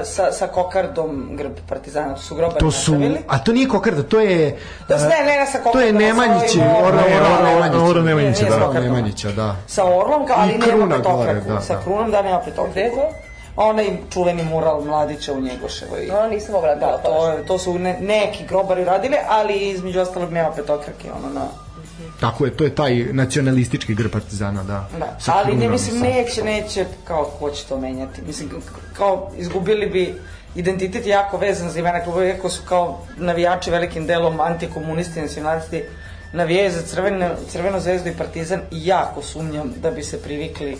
Speaker 4: uh, sa, sa kokardom grb partizana, to su grobari
Speaker 2: To su,
Speaker 4: napravili.
Speaker 2: a to nije kokarda, to je...
Speaker 4: To su- ne, da ne, ne, sa
Speaker 2: To je
Speaker 4: kokardom, sa
Speaker 2: Nemanjići,
Speaker 4: ovim,
Speaker 2: Orla
Speaker 4: Ne,
Speaker 2: Orla
Speaker 1: Orla
Speaker 2: Nemanjića.
Speaker 4: Orla-
Speaker 1: Nemanjića,
Speaker 4: da.
Speaker 2: Orla Nemanjića, da.
Speaker 4: Sa orlom, ali
Speaker 2: I
Speaker 4: nema
Speaker 2: kruna
Speaker 4: petokraku.
Speaker 2: gore, da,
Speaker 4: sa
Speaker 2: da.
Speaker 4: krunom, da, nema petokraku. Gde je to? Onaj čuveni mural Mladića u Njegoševoj.
Speaker 5: No, nisam obradila
Speaker 4: Da, to, je- to su ne, neki grobari radili, ali između ostalog nema petokrake, ono na...
Speaker 2: Tako je, to je taj nacionalistički grb partizana, da.
Speaker 4: Da,
Speaker 2: Sa
Speaker 4: ali ne
Speaker 2: krunom,
Speaker 4: mislim
Speaker 2: sa-
Speaker 4: neće, neće kao ko će to menjati. Mislim k- kao izgubili bi identitet je jako vezan za imena klubova, iako su kao navijači velikim delom antikomunisti, nacionalisti, navijaju za crveno, crveno zvezdu i partizan i jako sumnjam da bi se privikli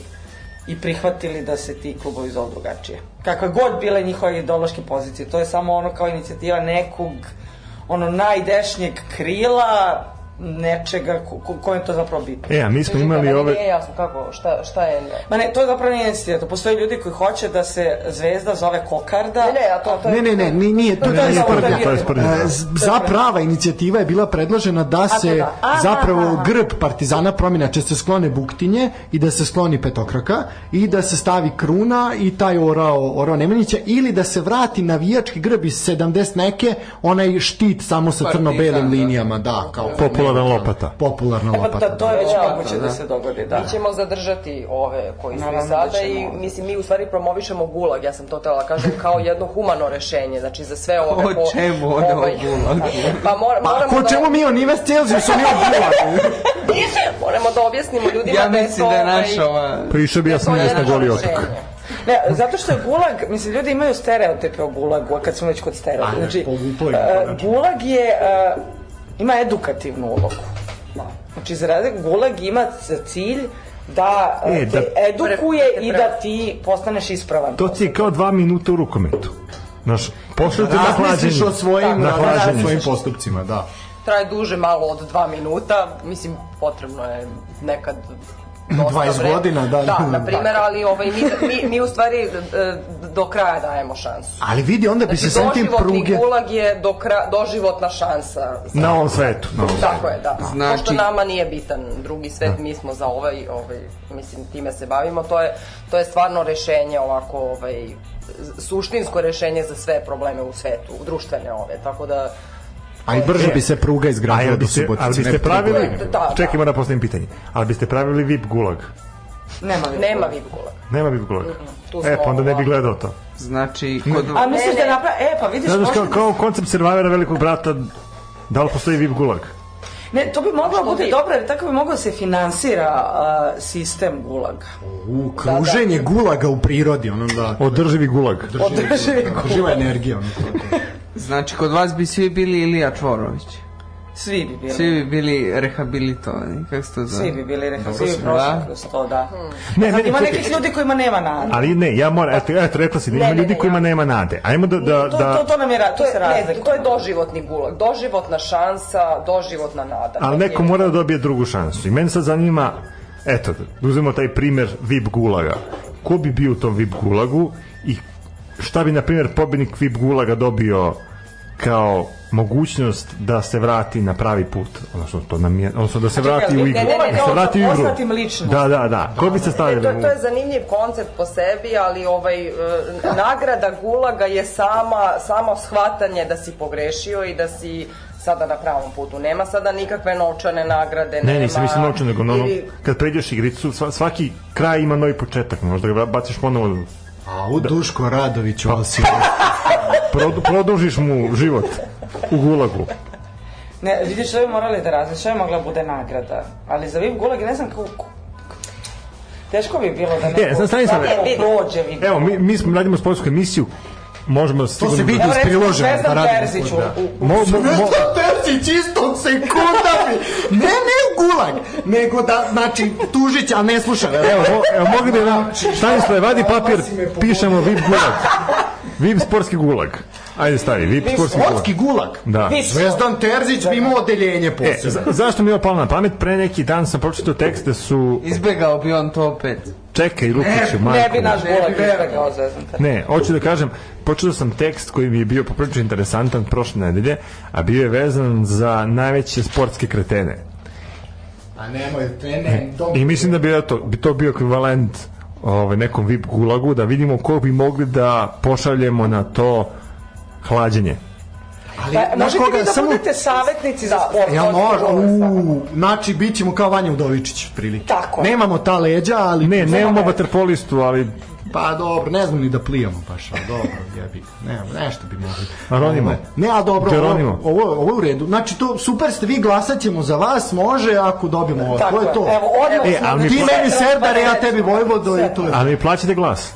Speaker 4: i prihvatili da se ti klubovi zovu drugačije. Kakva god bile njihove ideološke pozicije, to je samo ono kao inicijativa nekog ono najdešnjeg krila nečega ko, ko, kojem to zapravo bitno.
Speaker 1: E, a mi smo imali ove...
Speaker 5: Nije jasno kako, šta, šta je...
Speaker 4: Ma ne, to je zapravo nije inicijativa. To postoje ljudi koji hoće da se zvezda zove kokarda.
Speaker 5: Ne, ne, a to, to je...
Speaker 2: Ne, ne, ne, ni- nije, to,
Speaker 4: Ne,
Speaker 2: to je
Speaker 4: nije
Speaker 2: sprdnja.
Speaker 4: sprdnja, to je
Speaker 1: sprdnja, da.
Speaker 2: E, z- Za prava inicijativa je bila predložena da
Speaker 4: to
Speaker 2: se
Speaker 4: da. Aha,
Speaker 2: zapravo
Speaker 4: aha.
Speaker 2: grb partizana promjena, će se sklone buktinje i da se skloni petokraka i da se stavi kruna i taj orao, orao Nemanjića ili da se vrati navijački grb iz 70 neke, onaj štit samo sa
Speaker 3: Partizan,
Speaker 2: crno-belim
Speaker 3: da.
Speaker 2: linijama, da, kao
Speaker 1: Popularan lopata.
Speaker 2: Popularna
Speaker 4: E, pa,
Speaker 2: lopata.
Speaker 4: da, to je već
Speaker 5: Da,
Speaker 4: moguće
Speaker 3: da,
Speaker 4: da.
Speaker 3: da.
Speaker 4: se dogodi, da.
Speaker 5: Mi ćemo zadržati ove koji su
Speaker 4: Naravno
Speaker 5: i
Speaker 4: da
Speaker 5: sada i
Speaker 4: ćemo.
Speaker 5: mislim mi u stvari promovišemo gulag, ja sam to tela kažem kao jedno humano rešenje, znači za sve ove ovaj,
Speaker 3: O čemu onda o gulagu?
Speaker 5: pa mora,
Speaker 2: Pa,
Speaker 5: moramo
Speaker 2: ko
Speaker 5: da,
Speaker 2: čemu mi o Nives Celsiusu, mi o Bulagu.
Speaker 5: moramo da objasnimo ljudima
Speaker 3: Ja
Speaker 5: da je
Speaker 3: mislim
Speaker 5: to,
Speaker 3: da je
Speaker 5: ovaj,
Speaker 3: naša ova...
Speaker 1: Pa išao bi ja sam
Speaker 5: to
Speaker 1: na
Speaker 5: jedno
Speaker 1: goli
Speaker 5: rešenje.
Speaker 1: otok.
Speaker 4: Ne, zato što je gulag, mislim, ljudi imaju stereotipe o gulagu, a kad smo već kod stereotipa.
Speaker 2: Ajde,
Speaker 4: Znači,
Speaker 2: povuklo je,
Speaker 4: e,
Speaker 2: konačno.
Speaker 4: gulag je, e, ima edukativnu ulogu. Znači, za razliku, gulag ima za cilj da e,
Speaker 1: E, da-
Speaker 4: te edukuje
Speaker 5: Pre-
Speaker 4: i
Speaker 5: pre-
Speaker 4: da ti postaneš ispravan.
Speaker 1: To ti je kao dva minuta u rukometu. Znaš, pošljete na
Speaker 3: Da.
Speaker 2: Razmisliš
Speaker 1: hlađenje.
Speaker 2: o svojim,
Speaker 1: na
Speaker 2: o
Speaker 1: hlađenje.
Speaker 2: svojim postupcima, da.
Speaker 5: Traje duže malo od dva minuta, mislim potrebno je nekad dosta
Speaker 2: 20
Speaker 5: vremena.
Speaker 2: godina, da.
Speaker 5: Da, na primjer,
Speaker 2: Da.
Speaker 5: ali ovaj, mi, mi, mi u stvari e, do kraja dajemo šansu.
Speaker 2: Ali vidi, onda bi se
Speaker 4: Znači,
Speaker 2: sam tim
Speaker 5: doživotni
Speaker 2: pruge...
Speaker 5: gulag je do kra, doživotna šansa.
Speaker 1: Na ovom svetu. Na ovom.
Speaker 5: Tako je, da.
Speaker 3: Znači-
Speaker 5: Pošto nama nije bitan drugi svet,
Speaker 2: Da.
Speaker 5: mi smo za ovaj, ovaj, mislim, time se bavimo, to je, to je stvarno rešenje ovako, ovaj, suštinsko rešenje za sve probleme u svetu, društvene ove, tako da...
Speaker 2: A i brže
Speaker 1: E,
Speaker 2: bi se pruga
Speaker 1: A jel
Speaker 2: izgradila do
Speaker 1: biste,
Speaker 2: Subotice.
Speaker 1: ali
Speaker 2: ne
Speaker 1: biste
Speaker 2: pruga.
Speaker 1: pravili...
Speaker 5: Da, da.
Speaker 1: Čekaj, ima da postavim pitanje. Ali biste pravili VIP gulag?
Speaker 4: Nema li
Speaker 5: Nema VIP gulaga.
Speaker 1: Nema VIP gulag.
Speaker 5: tu
Speaker 1: E,
Speaker 5: smo
Speaker 1: pa onda ne bi
Speaker 5: ovako.
Speaker 1: gledao to.
Speaker 3: Znači, kod...
Speaker 4: A misliš
Speaker 5: Ne,
Speaker 4: da
Speaker 5: ne.
Speaker 4: napravi... E, pa vidiš,
Speaker 1: Znaš,
Speaker 4: možda
Speaker 1: kao, kao koncept Survivora velikog brata, da li postoji VIP gulag?
Speaker 4: Ne, to bi moglo
Speaker 5: Što
Speaker 4: bude
Speaker 5: bi?
Speaker 4: dobro, jer tako bi moglo da se finansira a, sistem gulaga.
Speaker 2: U,
Speaker 4: Da,
Speaker 2: kruženje gulaga u prirodi, ono da...
Speaker 1: Održivi gulag.
Speaker 4: Održivi
Speaker 2: Živa energija, ono to.
Speaker 3: Znači, kod vas bi svi bili Ilija Čvorović.
Speaker 4: Svi bi bili.
Speaker 3: Svi
Speaker 4: Svi,
Speaker 3: bi bili rehabilitovani. Kako se to zove?
Speaker 4: bi bili rekao, svi
Speaker 3: Dobro
Speaker 4: bi
Speaker 3: sam,
Speaker 4: prošli
Speaker 3: da.
Speaker 4: kroz to, da.
Speaker 5: Hmm.
Speaker 1: Ne,
Speaker 4: Sad,
Speaker 1: meni
Speaker 4: ima
Speaker 1: čekaj.
Speaker 4: nekih ljudi kojima nema nade.
Speaker 1: Ali ne, ja moram, eto, eto rekla si, da
Speaker 5: Ne,
Speaker 1: ima
Speaker 5: ne,
Speaker 1: ljudi
Speaker 5: ne,
Speaker 1: kojima
Speaker 5: ja-
Speaker 1: nema nade. Ajmo da... da,
Speaker 4: To, to,
Speaker 1: da
Speaker 4: to nam je, ra- to
Speaker 5: To
Speaker 4: se
Speaker 5: je, ne,
Speaker 4: razlikuje.
Speaker 5: to je doživotni gulag, doživotna šansa, doživotna nada.
Speaker 1: ali neko mora da dobije drugu šansu. I mene sad zanima, eto, da uzmemo taj primer VIP gulaga. Ko bi bio u tom VIP gulagu i šta bi, na primjer, pobednik VIP gulaga dobio kao mogućnost da se vrati na pravi put, odnosno to nam je, odnosno da se vrati u igru,
Speaker 5: ne, ne, ne,
Speaker 1: da se
Speaker 5: ne,
Speaker 1: vrati u igru.
Speaker 4: poznatim ličnostima.
Speaker 1: Da, da, da. Ko bi se
Speaker 5: E, to,
Speaker 1: stavljali? u-
Speaker 5: to je zanimljiv koncept po sebi, ali ovaj e, nagrada gulaga je sama samo shvatanje da si pogrešio i da si sada na pravom putu. Nema sada nikakve novčane nagrade,
Speaker 1: Ne,
Speaker 5: nema.
Speaker 1: nisam mislim naučio, nego ono,
Speaker 5: ili-
Speaker 1: kad pređeš igricu, sva- svaki kraj ima novi početak, možda ga baciš ponovo,
Speaker 2: A
Speaker 1: Da.
Speaker 2: u Duško Radović
Speaker 1: Pa-
Speaker 2: ovo si...
Speaker 1: produ- produžiš mu život u gulagu.
Speaker 4: Ne, vidiš, što bi morali da različi, što bi mogla bude nagrada. Ali za VIP gulag, ne znam kako... ko- Teško bi bilo da neko...
Speaker 1: E, znam, stani sad.
Speaker 4: da neko prođe VIP
Speaker 1: Evo, mi, mi smo, radimo sportsku emisiju, možemo da
Speaker 2: To
Speaker 1: sigurno...
Speaker 2: se vidi
Speaker 4: Evo,
Speaker 2: iz
Speaker 4: recimo,
Speaker 2: priloženja da
Speaker 4: Zvezdan
Speaker 2: radimo.
Speaker 4: Terzić u-
Speaker 2: Da.
Speaker 4: u-
Speaker 1: Mo, mo, mo,
Speaker 2: Zvezdan Terzić istog sekunda mi... Ne, ne u gulag, nego da, znači, tužić, a ne sluša.
Speaker 1: evo, mo, evo, mogli da bi nam... Stanislav, vadi papir, pišemo VIP gulag. VIP sportski gulag. Ajde stavi, VIP
Speaker 4: Vi-
Speaker 1: sportski gulag.
Speaker 2: Sportski gulag.
Speaker 1: Da.
Speaker 4: Vi-
Speaker 2: Zvezdan Terzić bi
Speaker 4: Da,
Speaker 2: imao odeljenje
Speaker 1: E, za,
Speaker 2: posebno.
Speaker 1: zašto mi je ovo palo na pamet? Pre neki dan sam pročitao tekst da su...
Speaker 3: Izbegao bi on to opet.
Speaker 1: Čekaj, Lukiću, majko.
Speaker 4: Ne bi naš
Speaker 3: ne bi
Speaker 4: gulag
Speaker 3: verovao.
Speaker 4: izbegao zezan Terzić.
Speaker 1: Ne, hoću da kažem, počeo sam tekst koji mi je bio poprilično interesantan prošle nedelje, a bio je vezan za najveće sportske kretene.
Speaker 2: A nemoj, ne, ne, to
Speaker 1: I mislim da bi, eto, bi to bio ekvivalent ovaj, nekom VIP gulagu, da vidimo ko bi mogli da pošaljemo na to hlađenje.
Speaker 2: Ali,
Speaker 4: Pa,
Speaker 2: znaš
Speaker 4: možete
Speaker 2: koga,
Speaker 4: vi da
Speaker 2: samo...
Speaker 4: budete savjetnici za sport.
Speaker 2: E, Ja
Speaker 4: sportski
Speaker 2: možda,
Speaker 4: gulag, svakako.
Speaker 2: uuu, znači bit ćemo kao Vanja Udovičić, prilike.
Speaker 4: Tako je.
Speaker 2: Nemamo ta leđa, ali...
Speaker 1: Ne, nemamo vaterpolistu, ali
Speaker 2: Pa dobro, ne znam ni da plijamo baš, ali dobro, jebi ga. Ne, nešto bi mogli.
Speaker 1: Geronimo.
Speaker 2: Ovo- Ne, a dobro, ovo,
Speaker 1: Geronimo.
Speaker 2: ovo, ovo je u redu. Znači, to, super ste, vi glasat ćemo za vas, može, ako dobijemo ovo.
Speaker 4: Tako
Speaker 2: to je to.
Speaker 4: Evo, odmah
Speaker 1: E,
Speaker 4: smo
Speaker 1: ali mi
Speaker 2: Ti
Speaker 4: sve da
Speaker 2: meni Serdare, ja tebi
Speaker 4: transparentno.
Speaker 2: Vojvodo i to je.
Speaker 1: ali mi plaćate glas.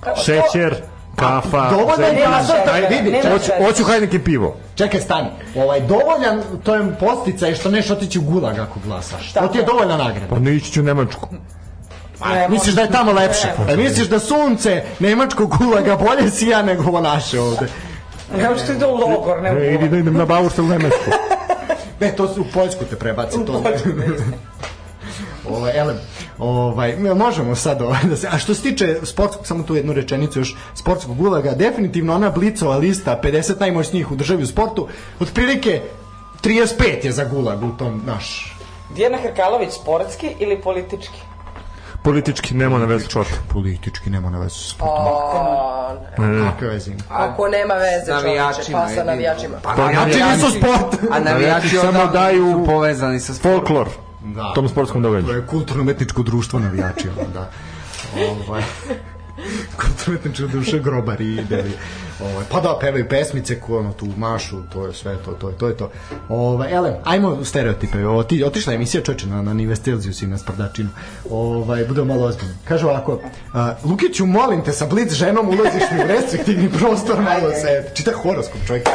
Speaker 4: Kako-
Speaker 1: Šećer, kafa,
Speaker 2: Dovoljno je
Speaker 1: zekić.
Speaker 2: glasa, taj,
Speaker 4: Nema
Speaker 2: vidi,
Speaker 4: svega,
Speaker 2: čak-
Speaker 1: Hoću,
Speaker 4: nema
Speaker 1: hoću Heineken pivo.
Speaker 2: Čekaj, stani. Ovaj, dovoljan, to je posticaj što neš otići u gulag ako glasaš. To ti je dovoljna nagrada.
Speaker 1: Pa ne ići ću u Nemačku.
Speaker 2: A, misliš da je tamo lepše? E, misliš da sunce nemačkog gulaga bolje sija nego ovo naše ovde?
Speaker 4: Kao što ide da u logor, ne u
Speaker 1: E, idi
Speaker 4: gulag.
Speaker 1: da idem na Bauštel u Nemačku.
Speaker 2: Ne, E, to su u Poljsku te prebaci to.
Speaker 1: da-
Speaker 2: ovaj, elem, ovaj, mi možemo sad ovaj, da se, a što se tiče sportskog, samo tu jednu rečenicu još, sportskog gulaga, definitivno ona blicova lista 50 najmoćnijih u državi u sportu, otprilike 35 je za gulag u tom naš
Speaker 4: Dijana Hrkalović, sportski ili politički?
Speaker 1: Politički, nema na vezu čota.
Speaker 2: politički nema na vezu sa sportom.
Speaker 5: A,
Speaker 2: Kakve veze ima?
Speaker 5: Ako nema veze, čoveče,
Speaker 3: Navijačima
Speaker 5: pa
Speaker 3: jedino.
Speaker 5: sa navijačima.
Speaker 2: Pa navijači nisu sport.
Speaker 3: A navijači
Speaker 1: Samo
Speaker 3: odavno
Speaker 1: daju
Speaker 3: su povezani sa sportom.
Speaker 1: Folklor.
Speaker 2: Da.
Speaker 1: Tom sportskom
Speaker 2: To
Speaker 1: događaju.
Speaker 2: je kulturno-umetničko društvo navijači, ono, da. Ovaj. kulturno-umetničko društvo grobari i deli. Ovaj. Pa da, pevaju pesmice, ko ono, tu mašu, to je sve, to, to, je- to je to. Ovaj, elem, ajmo u stereotipe. O, ti, otišla je emisija čoveče na, na Nivestelzius i na Sprdačinu. Ovaj, budemo malo ozbiljni. Kaže ovako, uh, Lukiću, molim te, sa blic ženom ulaziš mi u restriktivni prostor, malo se, čita horoskop čovjek.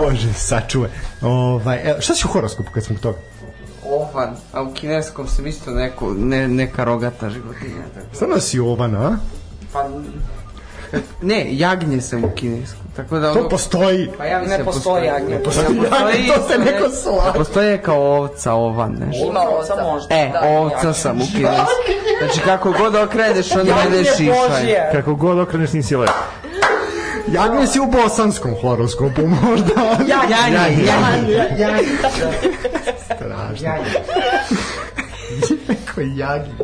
Speaker 2: Bože, sačuvaj. Ovaj, e, šta će u horoskopu kad smo kod toga?
Speaker 3: Ovan, a u kineskom sam isto neko, ne, neka rogata životinja. Tako.
Speaker 2: Stvarno si Jovana, a?
Speaker 3: Pa, ne, jagnje sam u kineskom. Tako da
Speaker 2: To postoji.
Speaker 3: Pa ja mislim da
Speaker 4: Ne postoji jagnje.
Speaker 2: Postoji,
Speaker 3: postoji
Speaker 2: to se
Speaker 3: isto,
Speaker 2: neko
Speaker 3: ne-
Speaker 2: sla.
Speaker 3: Postoje kao ovca ovan, nešto.
Speaker 5: Ima ovca.
Speaker 4: Samo možda.
Speaker 3: E,
Speaker 5: Da,
Speaker 3: ovca sam u kineskom. Znači kako god okreneš, onda
Speaker 4: Jagnje
Speaker 3: vedeš išaj.
Speaker 4: Božje.
Speaker 1: Kako god okreneš nisi lep.
Speaker 2: Jagnje Ja, si u bosanskom horoskopu možda.
Speaker 3: Jagnje,
Speaker 2: ja,
Speaker 3: jagnje.
Speaker 2: jagnje. Strašno. Neko jagnje.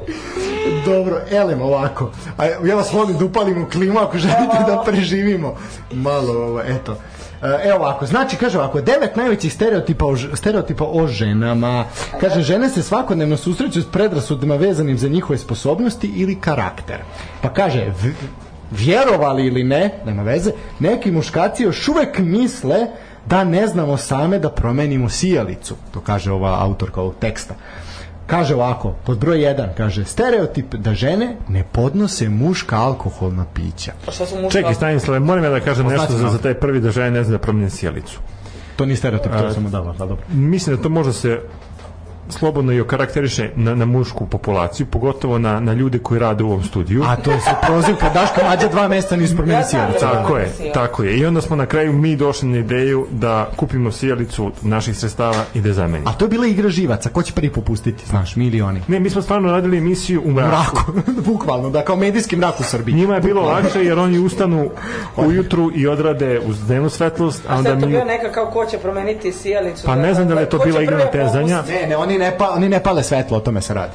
Speaker 2: Dobro, elem ovako. A ja vas molim da upalimo klimu ako želite da preživimo. Malo ovo, eto. E, Evo ovako, znači kaže ovako, devet najvećih stereotipa o, ž- stereotipa o ženama. Kaže, žene se svakodnevno susreću s predrasudima vezanim za njihove sposobnosti ili karakter. Pa kaže, v- vjerovali ili ne, nema veze, neki muškaci još uvek misle da ne znamo same da promenimo sijalicu. To kaže ova autorka ovog teksta. Kaže ovako, pod broj 1, kaže, stereotip da žene ne podnose muška alkoholna pića.
Speaker 4: Pa šta su muška?
Speaker 1: Čekaj, Stanislave, moram ja da kažem nešto za,
Speaker 2: znaci
Speaker 1: za taj prvi da žene ne zna da promene sjelicu.
Speaker 2: To nije stereotip, to je samo dava, da dobro.
Speaker 1: Mislim da to može se slobodno i okarakteriše na, na mušku populaciju, pogotovo na, na ljude koji rade u ovom studiju.
Speaker 2: A to se prozivka Daška Mađa dva mesta nisu promenili
Speaker 4: Ja znam
Speaker 2: sjalicu.
Speaker 4: da-
Speaker 1: Tako je,
Speaker 4: Sjelicu.
Speaker 1: tako je. I onda smo na kraju mi došli na ideju da kupimo sjelicu naših sredstava i da je zamenimo.
Speaker 2: A to je bila igra živaca, ko će prvi popustiti, znaš, mi ili oni.
Speaker 1: Ne, mi smo stvarno radili emisiju u mraku.
Speaker 2: Mraku, bukvalno, da kao medijski mrak u Srbiji.
Speaker 1: Njima je bilo lakše jer oni ustanu ujutru i odrade uz dnevnu svetlost, a
Speaker 4: Šta
Speaker 1: onda
Speaker 4: je to
Speaker 1: mi...
Speaker 4: bio neka kao ko će promeniti sijalicu?
Speaker 1: Pa ne znam da li je to
Speaker 4: ko će
Speaker 1: bila igra
Speaker 4: prvo
Speaker 1: natezanja.
Speaker 4: popustiti?
Speaker 2: Ne, ne, oni ne, pa, oni ne pale svetlo, o tome se radi.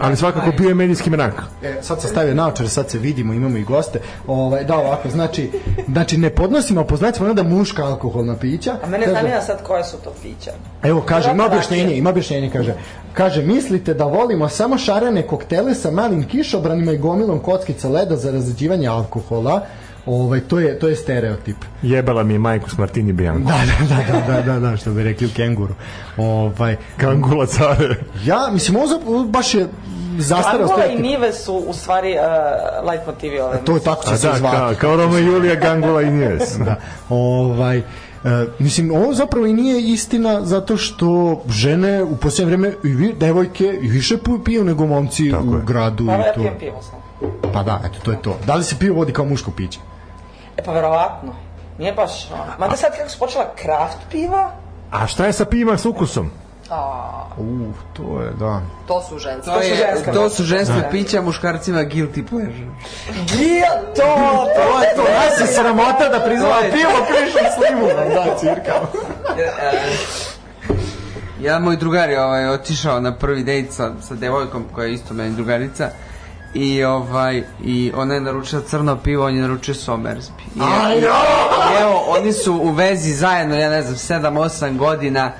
Speaker 1: Ali svakako bio je medijski mrak.
Speaker 2: E, sad sam stavio naočare, sad se vidimo, imamo i goste. Ovaj, da, ovako, znači, znači ne podnosimo, poznaćemo onda da muška alkoholna pića.
Speaker 4: A mene
Speaker 2: Kaže-
Speaker 4: zanima sad koja su to pića.
Speaker 2: Evo kaže, ima
Speaker 4: Vjerojatno
Speaker 2: objašnjenje,
Speaker 4: rakije.
Speaker 2: ima objašnjenje kaže. Kaže, mislite da volimo samo šarene koktele sa malim kišobranima i gomilom kockica leda za razređivanje alkohola? Ovaj to je to je stereotip.
Speaker 1: Jebala mi je majku s Martini Bianco.
Speaker 2: Da, da, da, da, da, da, što bi rekli u kenguru. Ovaj
Speaker 1: Kangula care.
Speaker 2: ja mislim ovo zap- baš je zastareo
Speaker 4: Angola i
Speaker 2: stereotip.
Speaker 4: Nive su u stvari uh, light motivi ove.
Speaker 2: To je tako
Speaker 1: A
Speaker 2: će se
Speaker 1: da,
Speaker 2: zvati.
Speaker 1: kao, kao Roma i Julija, Gangula i Nijes.
Speaker 2: da. Ovaj, e, mislim, ovo zapravo i nije istina zato što žene u posljednje vreme i vi, devojke i više pu- piju nego momci
Speaker 1: Tako
Speaker 2: u
Speaker 1: je.
Speaker 2: gradu.
Speaker 4: Pa
Speaker 2: i
Speaker 4: ja
Speaker 2: to.
Speaker 4: pijem pivo sam.
Speaker 2: Pa da, eto, to je to. Da li se pivo vodi kao muško piće?
Speaker 4: E pa verovatno. Nije baš ono. Mada sad kako su počela kraft piva,
Speaker 1: A šta je sa pivima s ukusom?
Speaker 5: A,
Speaker 2: U, to je, da.
Speaker 5: to su ženske.
Speaker 4: To su
Speaker 3: je,
Speaker 4: ženska
Speaker 3: to
Speaker 4: vrsta.
Speaker 3: su ženska pića, muškarcima guilty pleasure.
Speaker 4: gdje to, to je to.
Speaker 2: Nas je sramota da priznala
Speaker 3: To je-
Speaker 2: pivo krišnu slivu. Da, cirka.
Speaker 3: Ja, moj drugar je ovaj, otišao na prvi dejt sa, sa devojkom koja je isto meni drugarica i ovaj i ona je naručila crno pivo, on je naručio Somersby. I, i- i evo, oni su u vezi zajedno, ja ne znam, 7-8 godina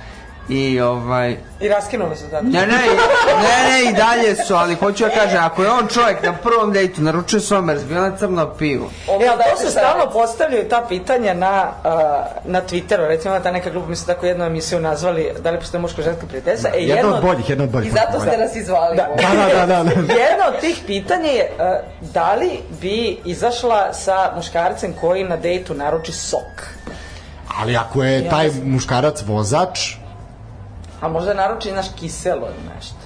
Speaker 3: i ovaj
Speaker 4: I raskinuli se zato.
Speaker 3: Ne, ne, i- ne, ne, i dalje su, ali hoću ja kažem, ako je on čovjek na prvom dejtu naručio Somersby, ona crno pivo.
Speaker 4: E, ali to
Speaker 5: dajte
Speaker 4: se
Speaker 5: šta
Speaker 4: stalno
Speaker 5: reći.
Speaker 4: postavljaju ta pitanja na, a, na Twitteru, recimo ima ta neka grupa, mi su tako jednu emisiju nazvali da li postoje muško-ženska prijateljstva. E,
Speaker 2: Da, Jedna od boljih, jedna od boljih.
Speaker 5: I zato ste nas izvali.
Speaker 4: Da.
Speaker 5: ovdje.
Speaker 2: Da, da, da, da.
Speaker 4: Jedno od tih pitanja je e, da li bi izašla sa muškarcem koji na dejtu naruči sok?
Speaker 2: Ali ako je taj muškarac vozač,
Speaker 4: A možda naruči, znaš, kiselo ili nešto.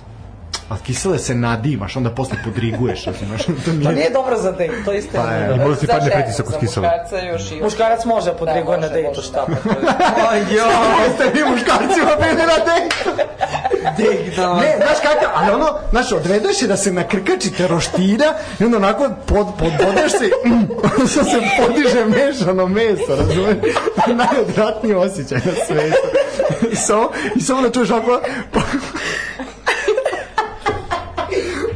Speaker 2: a kisele se nadimaš, onda posle podriguješ, razumeš? To
Speaker 4: To
Speaker 5: Pa
Speaker 2: nije...
Speaker 4: Pa nije dobro za dejt, to isto
Speaker 2: Pa
Speaker 4: je
Speaker 2: je.
Speaker 4: dobro.
Speaker 1: I možda ti
Speaker 5: Za
Speaker 1: padne
Speaker 5: ženu,
Speaker 1: pritisak od
Speaker 5: za
Speaker 1: kisela.
Speaker 5: muškarca još i...
Speaker 4: Muškarac može podriguje
Speaker 5: Da,
Speaker 4: na
Speaker 5: može,
Speaker 4: dejtu,
Speaker 5: može,
Speaker 4: šta
Speaker 5: da.
Speaker 4: pa to je.
Speaker 3: O, jo,
Speaker 2: Jeste vi muškarcima bili na dejtu? Ne, znaš kakav, ali ono, znaš, odvedeš je da se nakrkačite roštira i onda onako pod, podbodeš se, mm, što se podiže mešano meso, razumeš? Najodvratniji osjećaj na svetu. I samo, i samo da čuješ ovako... po-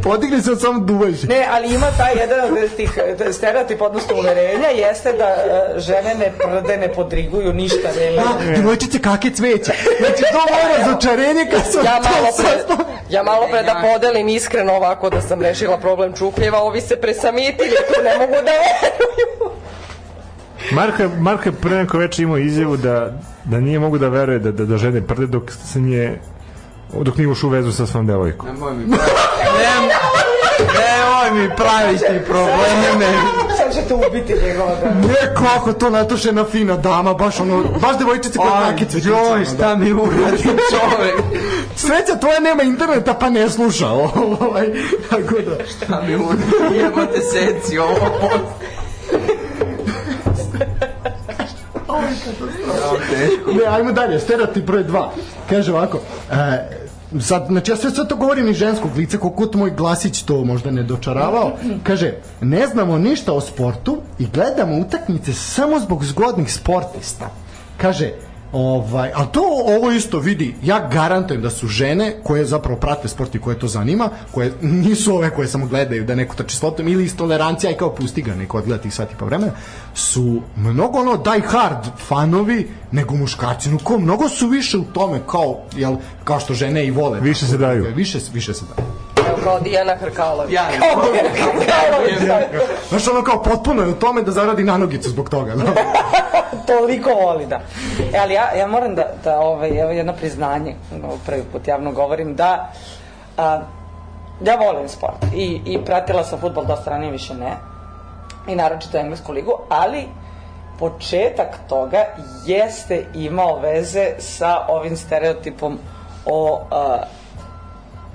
Speaker 2: Podigne se od samo duvaži.
Speaker 4: Ne, ali ima taj jedan od tih e, stereotip, odnosno uverenja, jeste da e, žene ne prde, ne podriguju ništa, ne,
Speaker 2: A, djevojčice kake cveće. Znači, to moje razočarenje kad sam
Speaker 5: Ja
Speaker 2: to
Speaker 5: malo, pre,
Speaker 2: saznao.
Speaker 5: ja malo pre da podelim iskreno ovako da sam rešila problem čupljeva, ovi se presamitili, tu ne mogu da veruju.
Speaker 1: Marko je, Marko je pre neko već imao izjavu da, da nije mogu da veruje da, da, da žene prde dok se nije dok nije ušao u vezu sa svom devojkom.
Speaker 3: Nemoj mi praviti. Nemoj mi praviti probleme.
Speaker 4: sad ćete ubiti njegova da.
Speaker 2: Ne, kako to natušena fina dama, baš ono, baš devojčice koje kake cveće.
Speaker 3: Joj, šta mi uradi čovek?
Speaker 2: Sreća tvoja nema interneta pa ne sluša ovo, ovaj, tako da.
Speaker 3: Šta mi uradi? Jebote seci ovo pot. Ovo je teško.
Speaker 2: Ne, ajmo dalje, stereotip broj 2. Kaže ovako, e, sad, znači ja sve, sve to govorim iz ženskog lica, koliko to moj glasić to možda ne dočaravao. Kaže, ne znamo ništa o sportu i gledamo utakmice samo zbog zgodnih sportista. Kaže, Ovaj, ali to ovo isto vidi, ja garantujem da su žene koje zapravo prate sport i koje to zanima, koje nisu ove koje samo gledaju da neko trči s loptom ili iz tolerancija i kao pusti ga neko odgleda tih sati po vremena, su mnogo ono die hard fanovi nego muškarci, no ko mnogo su više u tome kao, jel, kao što žene i vole. da.
Speaker 1: Više se daju.
Speaker 2: Više, više se daju.
Speaker 5: Evo kao Dijana Hrkalović.
Speaker 3: Ja,
Speaker 2: Znaš ono kao potpuno je u tome da zaradi nanogicu zbog toga. Da?
Speaker 4: Toliko voli, da. E, ali ja, ja moram da, da ovaj, evo jedno priznanje, ovo prvi put javno govorim, da a, ja volim sport i, i pratila sam futbol dosta ranije, više ne, i naročito englesku ligu, ali početak toga jeste imao veze sa ovim stereotipom o a,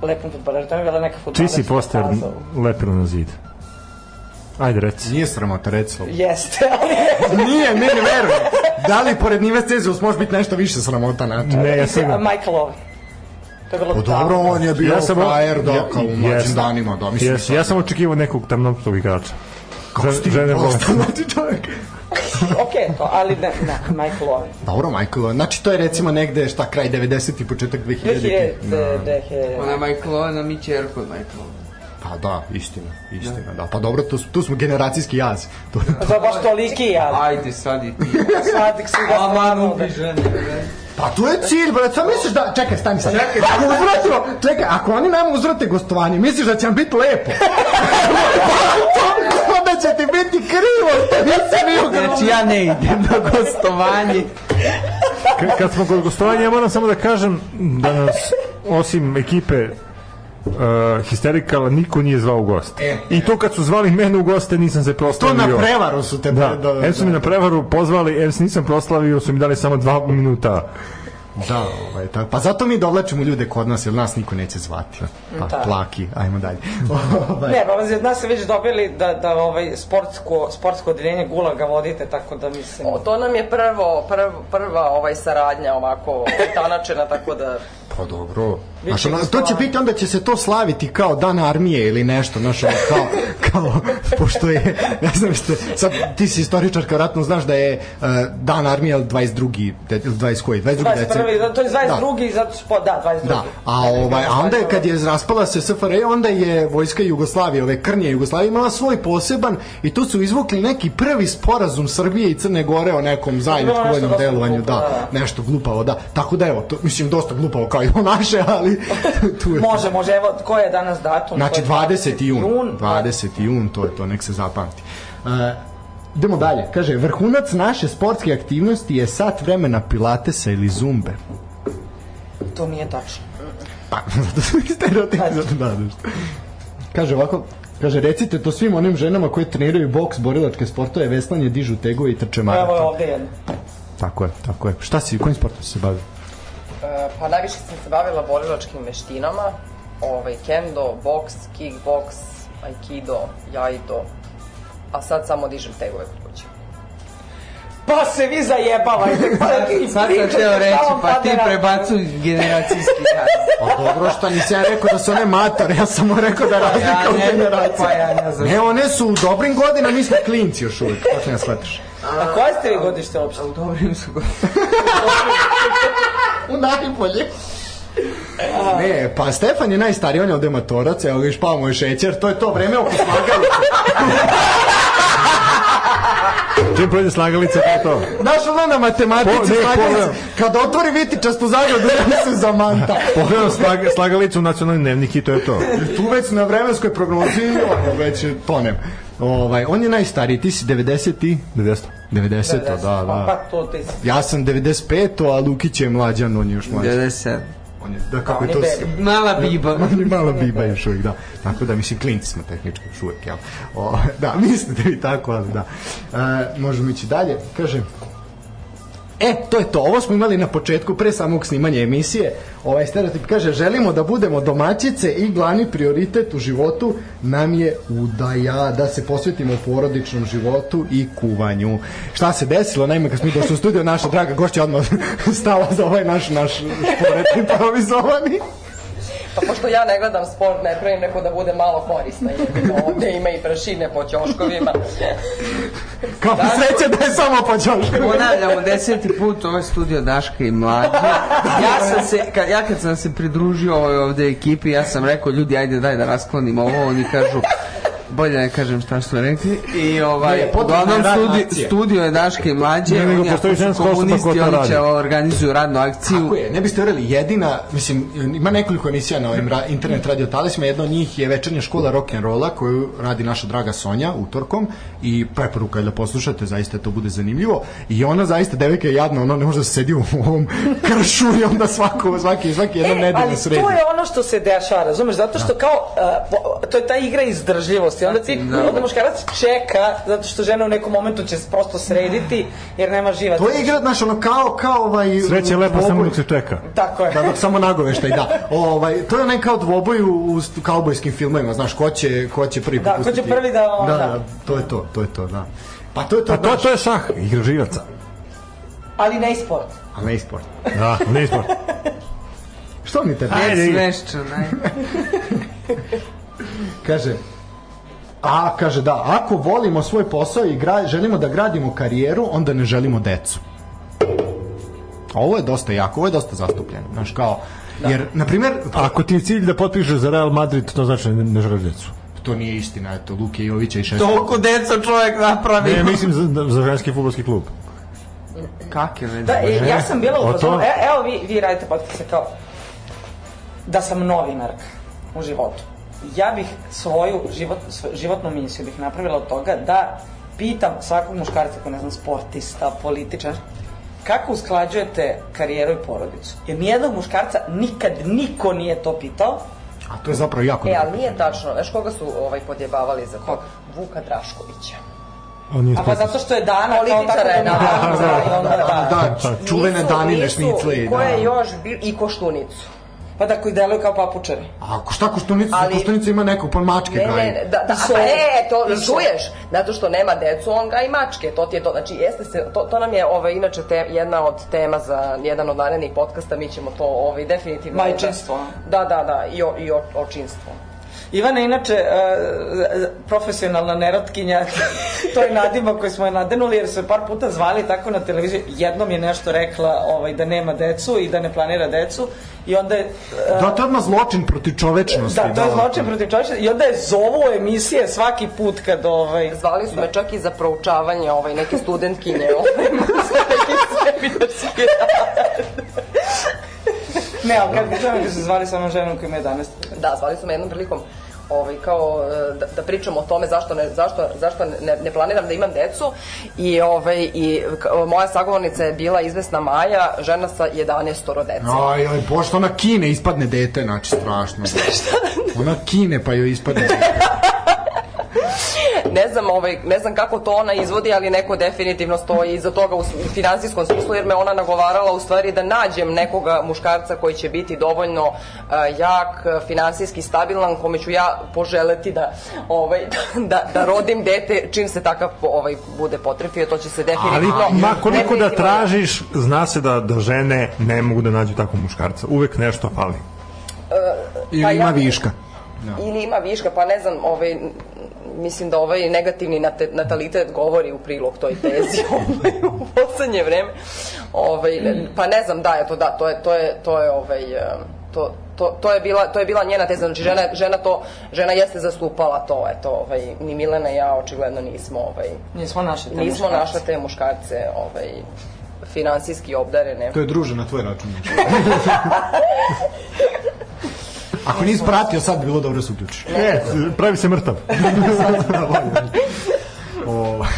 Speaker 4: lepom futboleru. To mi je bila neka
Speaker 1: Čiji
Speaker 4: futbolera.
Speaker 1: si poster lepila na zid? Ajde, reci.
Speaker 2: Nije sramota, reci
Speaker 4: Jeste, ali
Speaker 2: Nije, ne, ne verujem. Da li pored Nive Cezius može biti nešto više sramota na to?
Speaker 1: Ne, ja sam...
Speaker 4: Michael Owen. To je bilo
Speaker 2: Pa dobro,
Speaker 4: davno.
Speaker 2: on je bio
Speaker 1: Ja
Speaker 2: ja
Speaker 1: sam-
Speaker 2: frajer, da,
Speaker 1: ja-
Speaker 2: kao u mlađim
Speaker 1: jesam.
Speaker 2: danima, da, mislim.
Speaker 1: Jes, ja sam očekivao nekog tamnoptog igrača.
Speaker 2: Kako si ti
Speaker 1: žene
Speaker 2: prosto mladi čovjek?
Speaker 4: Ok, to, ali ne, ne, Michael Owen.
Speaker 2: Dobro, Michael, znači to je recimo negde, šta, kraj 90. i početak 2000.
Speaker 4: da, 2000,
Speaker 3: Ona je Michael Owen, a mi ćerku od Michael Owen.
Speaker 2: Pa da, istina, istina, da. Pa dobro, tu, s- tu smo generacijski jaz. To,
Speaker 4: To baš toliki ja.
Speaker 3: Ajde sad i ti.
Speaker 4: Sad si ga
Speaker 3: Aman
Speaker 4: stvarno...
Speaker 3: ubi žene. bre.
Speaker 2: pa tu je cilj, brate, sad misliš da... Čekaj, stani sad. Čekaj, ako uzvratimo, čekaj, ako oni nam uzvrate gostovanje, misliš da će nam biti lepo? onda će ti biti krivo, što nisi bio
Speaker 3: Znači ja ne idem na gostovanje.
Speaker 1: K- kad smo kod gostovanja, ja moram samo da kažem da nas, osim ekipe Uh, histerikala niko nije zvao u goste.
Speaker 2: E.
Speaker 1: I to kad su zvali mene u goste nisam se
Speaker 2: To
Speaker 1: proslavio.
Speaker 2: na prevaru su te... da-
Speaker 1: Da, em su mi na prevaru pozvali, em se nisam proslavio, su mi dali samo dva minuta
Speaker 2: Da, ovaj, tako. Pa zato mi dovlačimo ljude kod nas, jer nas niko neće zvati. Pa,
Speaker 4: Da.
Speaker 2: plaki, ajmo dalje. ovaj.
Speaker 4: Ne, dolazi od nas se već dobili da, da ovaj sportsko, sportsko odeljenje Gula ga vodite, tako da mislim...
Speaker 5: O, to nam je prvo, prv, prva ovaj saradnja ovako tanačena, tako da
Speaker 2: Pa dobro. A
Speaker 4: Biće
Speaker 2: što, na- to će
Speaker 4: slavno.
Speaker 2: biti, onda će se to slaviti kao dan armije ili nešto, znaš, ono, kao, kao, pošto je, ne znam što, sad ti si istoričarka, vratno znaš da je uh, dan armije 22. De, ili 20 koji, 22.
Speaker 4: 21.
Speaker 2: decembra.
Speaker 4: Da, to je 22. Da. zato što, da, 22.
Speaker 2: Da, a ovaj, a onda je kad je raspala se SFRJ, onda je vojska Jugoslavije, ove krnje Jugoslavije imala svoj poseban i tu su izvukli neki prvi sporazum Srbije i Crne Gore o nekom zajedničkom
Speaker 4: nešto
Speaker 2: vojnom
Speaker 4: dosta
Speaker 2: delovanju,
Speaker 4: glupavo,
Speaker 2: da, nešto glupavo, da. Tako da evo, to, mislim dosta glupavo kao i o naše, ali tu je.
Speaker 4: Može, može, evo, koji je danas datum?
Speaker 2: Znači
Speaker 4: To je
Speaker 2: 20. jun,
Speaker 4: pa
Speaker 2: 20. jun, to je to, nek se zapamti. Uh, idemo dalje, kaže, vrhunac naše sportske aktivnosti je sat vremena pilatesa ili zumbe.
Speaker 4: To nije tačno.
Speaker 2: Pa, zato sam ih stereotipizat, da, da. što. Kaže ovako, kaže, recite to svim onim ženama koje treniraju boks, borilačke sportove, veslanje, dižu tegove i trče
Speaker 4: Evo je
Speaker 2: maraton.
Speaker 4: ovde jedno.
Speaker 2: Tako je, tako je. Šta si, kojim sportom si se bavio?
Speaker 5: E, Pa najviše sam se bavila borilačkim veštinama, ovaj, kendo, boks, kickboks, aikido, jaido, a sad samo dižem tegove kod kuće.
Speaker 4: Pa se vi zajebavajte. i
Speaker 3: Sad sam
Speaker 4: pričate
Speaker 3: teo reći,
Speaker 4: šta vam
Speaker 3: pa
Speaker 4: pada
Speaker 3: ti
Speaker 4: na-
Speaker 3: prebacuj generacijski jaz.
Speaker 2: Pa dobro, šta nisi ja rekao da su one matore, ja sam mu rekao da razlika
Speaker 3: Ja
Speaker 2: u
Speaker 3: ne, pa
Speaker 2: generaciji.
Speaker 3: ja ne znam.
Speaker 2: Ne, one su u dobrim godinama, mi smo klinci još uvijek, to ne shvataš.
Speaker 4: A koje ste vi godište uopšte?
Speaker 3: U dobrim su godinama.
Speaker 2: U najbolje. Ne, pa Stefan je najstariji, on je ovde matorac, evo ga i špao mu je šećer, to je to vreme oko slagalice.
Speaker 1: Čim prođe slagalica, to je to.
Speaker 2: Znaš ono na matematici
Speaker 1: Po- ne,
Speaker 2: slagalice,
Speaker 1: pogledam.
Speaker 2: kad otvori vitičastu zagradu, da se zamanta.
Speaker 1: Pogledam slag, slagalicu u nacionalni dnevnik i to je to.
Speaker 2: Tu već na vremenskoj prognozi, ono, već je tonem. Ovaj, on je najstariji, ti si 90 i...
Speaker 1: 90.
Speaker 2: 90, da,
Speaker 4: Pa
Speaker 2: da.
Speaker 4: to ti si.
Speaker 2: Ja sam 95, a Lukić je mlađan, on je još mlađan.
Speaker 3: 97.
Speaker 2: On je, da, kako je to...
Speaker 4: On je
Speaker 2: s-
Speaker 3: Mala biba.
Speaker 2: On je mala biba još uvijek, da. Tako da, mislim, klinci smo tehnički još uvijek, jel? O, da, mislite vi tako, ali da. E, možemo ići dalje. Kaže, E, to je to. Ovo smo imali na početku pre samog snimanja emisije. Ovaj stereotip kaže, želimo da budemo domaćice i glavni prioritet u životu nam je udaja, da se posvetimo porodičnom životu i kuvanju. Šta se desilo? Naime, kad smo mi došli u studio, naša draga gošća je odmah stala za ovaj naš, naš šporet improvizovani.
Speaker 5: Pa pošto ja ne gledam sport, ne pravim neko da bude malo korisna, jer ovde ima i prašine po ćoškovima.
Speaker 2: Kao da, sreće da je samo pa Đoško.
Speaker 3: Ponavljamo deseti put, ovo je studio Daška i Mlađe. Ja, sam se, kad, ja kad sam se pridružio ovoj ovde ekipi, ja sam rekao, ljudi, ajde daj da rasklonim ovo, oni kažu, bolje ne kažem šta su rekli i ovaj
Speaker 2: Ne,
Speaker 3: ne,
Speaker 2: potrebna je
Speaker 3: uglavnom
Speaker 2: radna
Speaker 3: studi,
Speaker 2: akcija.
Speaker 3: studio je Daška i Mlađe
Speaker 1: Ne, nego
Speaker 3: oni ako
Speaker 1: postoji
Speaker 3: su
Speaker 1: ženska osoba
Speaker 3: komunisti,
Speaker 1: koja to
Speaker 3: oni će
Speaker 1: radi.
Speaker 3: organizuju radnu akciju
Speaker 2: Tako je, ne biste verili, jedina, mislim, ima nekoliko emisija na ovim ra, internet radio talesima, jedna od njih je večernja škola rock'n'rolla koju radi naša draga Sonja utorkom i preporuka je da poslušate, zaista to bude zanimljivo i ona zaista, devojka je jadna, ona ne može da se sedi u ovom kršu i onda svako, svaki, svaki jednom
Speaker 4: E, ali
Speaker 2: nedelju sredi.
Speaker 4: to je ono što se dešava, razumeš? Zato
Speaker 2: Da.
Speaker 4: što kao, uh, po- to je ta igra izdržljivosti. Onda ti,
Speaker 3: Da.
Speaker 4: onda muškarac čeka, zato što žena u nekom momentu će prosto srediti, jer nema živaca.
Speaker 2: To je igra, znaš, ono kao, kao ovaj...
Speaker 1: Sreće je lepa samo
Speaker 2: dvoboj.
Speaker 1: dok se čeka.
Speaker 4: Tako je.
Speaker 2: Da, dok samo nagoveštaj, da. Ovaj, to je onaj kao dvoboj u, u st- kaubojskim filmovima, znaš, ko će, ko će prvi
Speaker 4: Da, ko će
Speaker 2: popustiti.
Speaker 4: prvi da, ono,
Speaker 2: Da,
Speaker 4: da.
Speaker 2: da, to je to, to je to, da. Pa to je to,
Speaker 1: Pa to, to je šah, igra živaca.
Speaker 4: Ali ne i sport.
Speaker 2: A ne isport.
Speaker 1: Da, ne sport.
Speaker 2: Što mi te
Speaker 1: Ajde.
Speaker 3: svešću, ne.
Speaker 2: Kaže, a, kaže, da, ako volimo svoj posao i gra, želimo da gradimo karijeru, onda ne želimo decu. A Ovo je dosta jako, ovo je dosta zastupljeno, znaš, kao,
Speaker 4: Da.
Speaker 2: jer, na primjer,
Speaker 1: Ako ti je cilj da potpišeš za Real Madrid, to znači ne, ne želiš djecu.
Speaker 2: to nije istina, eto, Luke Jovića i Šeška.
Speaker 3: Toliko deco čovjek napravi.
Speaker 1: Ne, mislim za, za ženski futbolski klub.
Speaker 3: Kak je, ne?
Speaker 4: Da, e, ja sam bila
Speaker 1: O
Speaker 4: u
Speaker 1: to-
Speaker 4: fazonu, e, evo vi, vi radite podcaste kao, da sam novinarka u životu. Ja bih svoju život, svo- životnu misiju bih napravila od toga da pitam svakog muškarca koji ne znam, sportista, političar, kako usklađujete karijeru i porodicu? Jer nijednog muškarca nikad niko nije to pitao,
Speaker 2: A to je zapravo jako
Speaker 5: E,
Speaker 2: dobro.
Speaker 5: ali nije tačno, znaš koga su ovaj, podjebavali za to? Vuka Draškovića.
Speaker 1: On nije
Speaker 4: A pa
Speaker 1: sportista.
Speaker 4: zato što je dana kao tako
Speaker 5: Političara je
Speaker 4: da mu dana
Speaker 5: naravno,
Speaker 4: zna i onda
Speaker 5: da,
Speaker 4: da.
Speaker 2: Da,
Speaker 1: Da.
Speaker 2: ču- čuvene
Speaker 5: Nisu-
Speaker 2: danine
Speaker 5: nisu,
Speaker 2: šnicle.
Speaker 5: I ko
Speaker 2: da.
Speaker 5: je još bio, i koštunicu.
Speaker 4: Pa da koji deluju kao papučari.
Speaker 2: A ko- šta koštunica?
Speaker 5: Ali-
Speaker 2: Koštunica ima neko, pa mačke
Speaker 5: Ne,
Speaker 2: gaji.
Speaker 5: ne, da, da,
Speaker 4: I
Speaker 5: pa
Speaker 4: so-
Speaker 5: e, to
Speaker 4: i so-
Speaker 5: čuješ, zato što nema decu, on ga i mačke, to ti je to, znači jeste se, to, to nam je ovaj, inače te, jedna od tema za jedan od narednih podcasta, mi ćemo to ovaj, definitivno...
Speaker 4: Majčinstvo.
Speaker 5: Da, da, da, i, o, i o, očinstvo.
Speaker 4: Ivana je inače e, e, profesionalna nerotkinja, to je nadima koju smo je nadenuli jer su je par puta zvali tako na televiziji, jednom je nešto rekla ovaj, da nema decu i da ne planira decu i onda je... e,
Speaker 2: Da, to je odmah zločin protiv čovečnosti.
Speaker 4: Da, to je zločin protiv čovječa i onda je zovu u emisije svaki put kad ovaj...
Speaker 5: Zvali su me čak i za proučavanje ovaj, neke studentkinje, ovaj, neki seminarski
Speaker 4: Ne, ali kad bi čovjek se zvali samo ženom koji ima 11.
Speaker 5: Da, zvali su me jednom prilikom ovaj, kao e, da, da pričam o tome zašto ne, zašto, zašto ne, ne planiram da imam decu i, ovaj, i k- moja sagovornica je bila izvesna Maja, žena sa 11 dece.
Speaker 2: Aj, aj, pošto ona kine, ispadne dete, znači strašno. Ona kine, pa joj ispadne dete.
Speaker 5: Ne znam, ovaj, ne znam kako to ona izvodi, ali neko definitivno stoji iza toga u, s- u finansijskom smislu, jer me ona nagovarala u stvari da nađem nekoga muškarca koji će biti dovoljno e, jak, e, finansijski stabilan, kome ću ja poželeti da, ovaj, da, da rodim dete, čim se takav ovaj, bude potrefio, to će se definitivno...
Speaker 2: Ali,
Speaker 1: Ma koliko da
Speaker 5: definitivno-
Speaker 1: tražiš, zna se da, da žene ne mogu da nađu takvog muškarca. Uvek nešto fali.
Speaker 2: I
Speaker 5: Pa
Speaker 2: ima
Speaker 5: ja-
Speaker 2: viška.
Speaker 5: ili ima viška, pa ne znam, ovaj, n- mislim da ovaj negativni nate- natalitet govori u prilog toj tezi ovaj, u poslednje vreme. Ovaj, ne- pa ne znam, da, eto, da, to je, to je, to je, ovaj, e, to, to, to, je bila, to je bila njena teza, znači žena, žena, to, žena jeste zastupala to, eto, ovaj, ni Milena i ja očigledno nismo, ovaj,
Speaker 4: Nismo naše te
Speaker 5: nismo
Speaker 4: muškarce.
Speaker 5: našle te muškarce, ovaj, finansijski obdarene.
Speaker 2: To je druže na tvoj račun. Ako nisi pratio, sad bi bilo dobro da se uključiš.
Speaker 1: E, pravi se mrtav.
Speaker 2: O, Ovaj,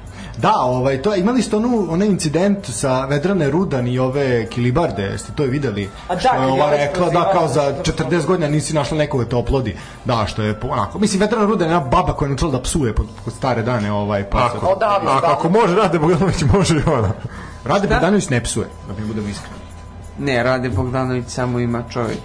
Speaker 2: da, ovaj, to, je- imali ste onu, onaj incident sa Vedrane Rudan i ove Kilibarde, ste to i videli?
Speaker 4: A da,
Speaker 2: što je ova
Speaker 4: Kilibarde
Speaker 2: rekla, da,
Speaker 4: prozivala-
Speaker 2: kao za 40 godina nisi našla nekoga da te oplodi. Da, što je po- onako. Mislim, Vedrana Rudan je jedna baba koja je načela da psuje pod, pod stare dane, ovaj, pa sad-
Speaker 1: Ako,
Speaker 5: Odavno,
Speaker 1: ako,
Speaker 5: da.
Speaker 1: ako može Rade Bogdanović, može i ona.
Speaker 2: Rade Bogdanović ne psuje, da mi budemo iskreni.
Speaker 3: Ne, Rade Bogdanović samo ima čovjek.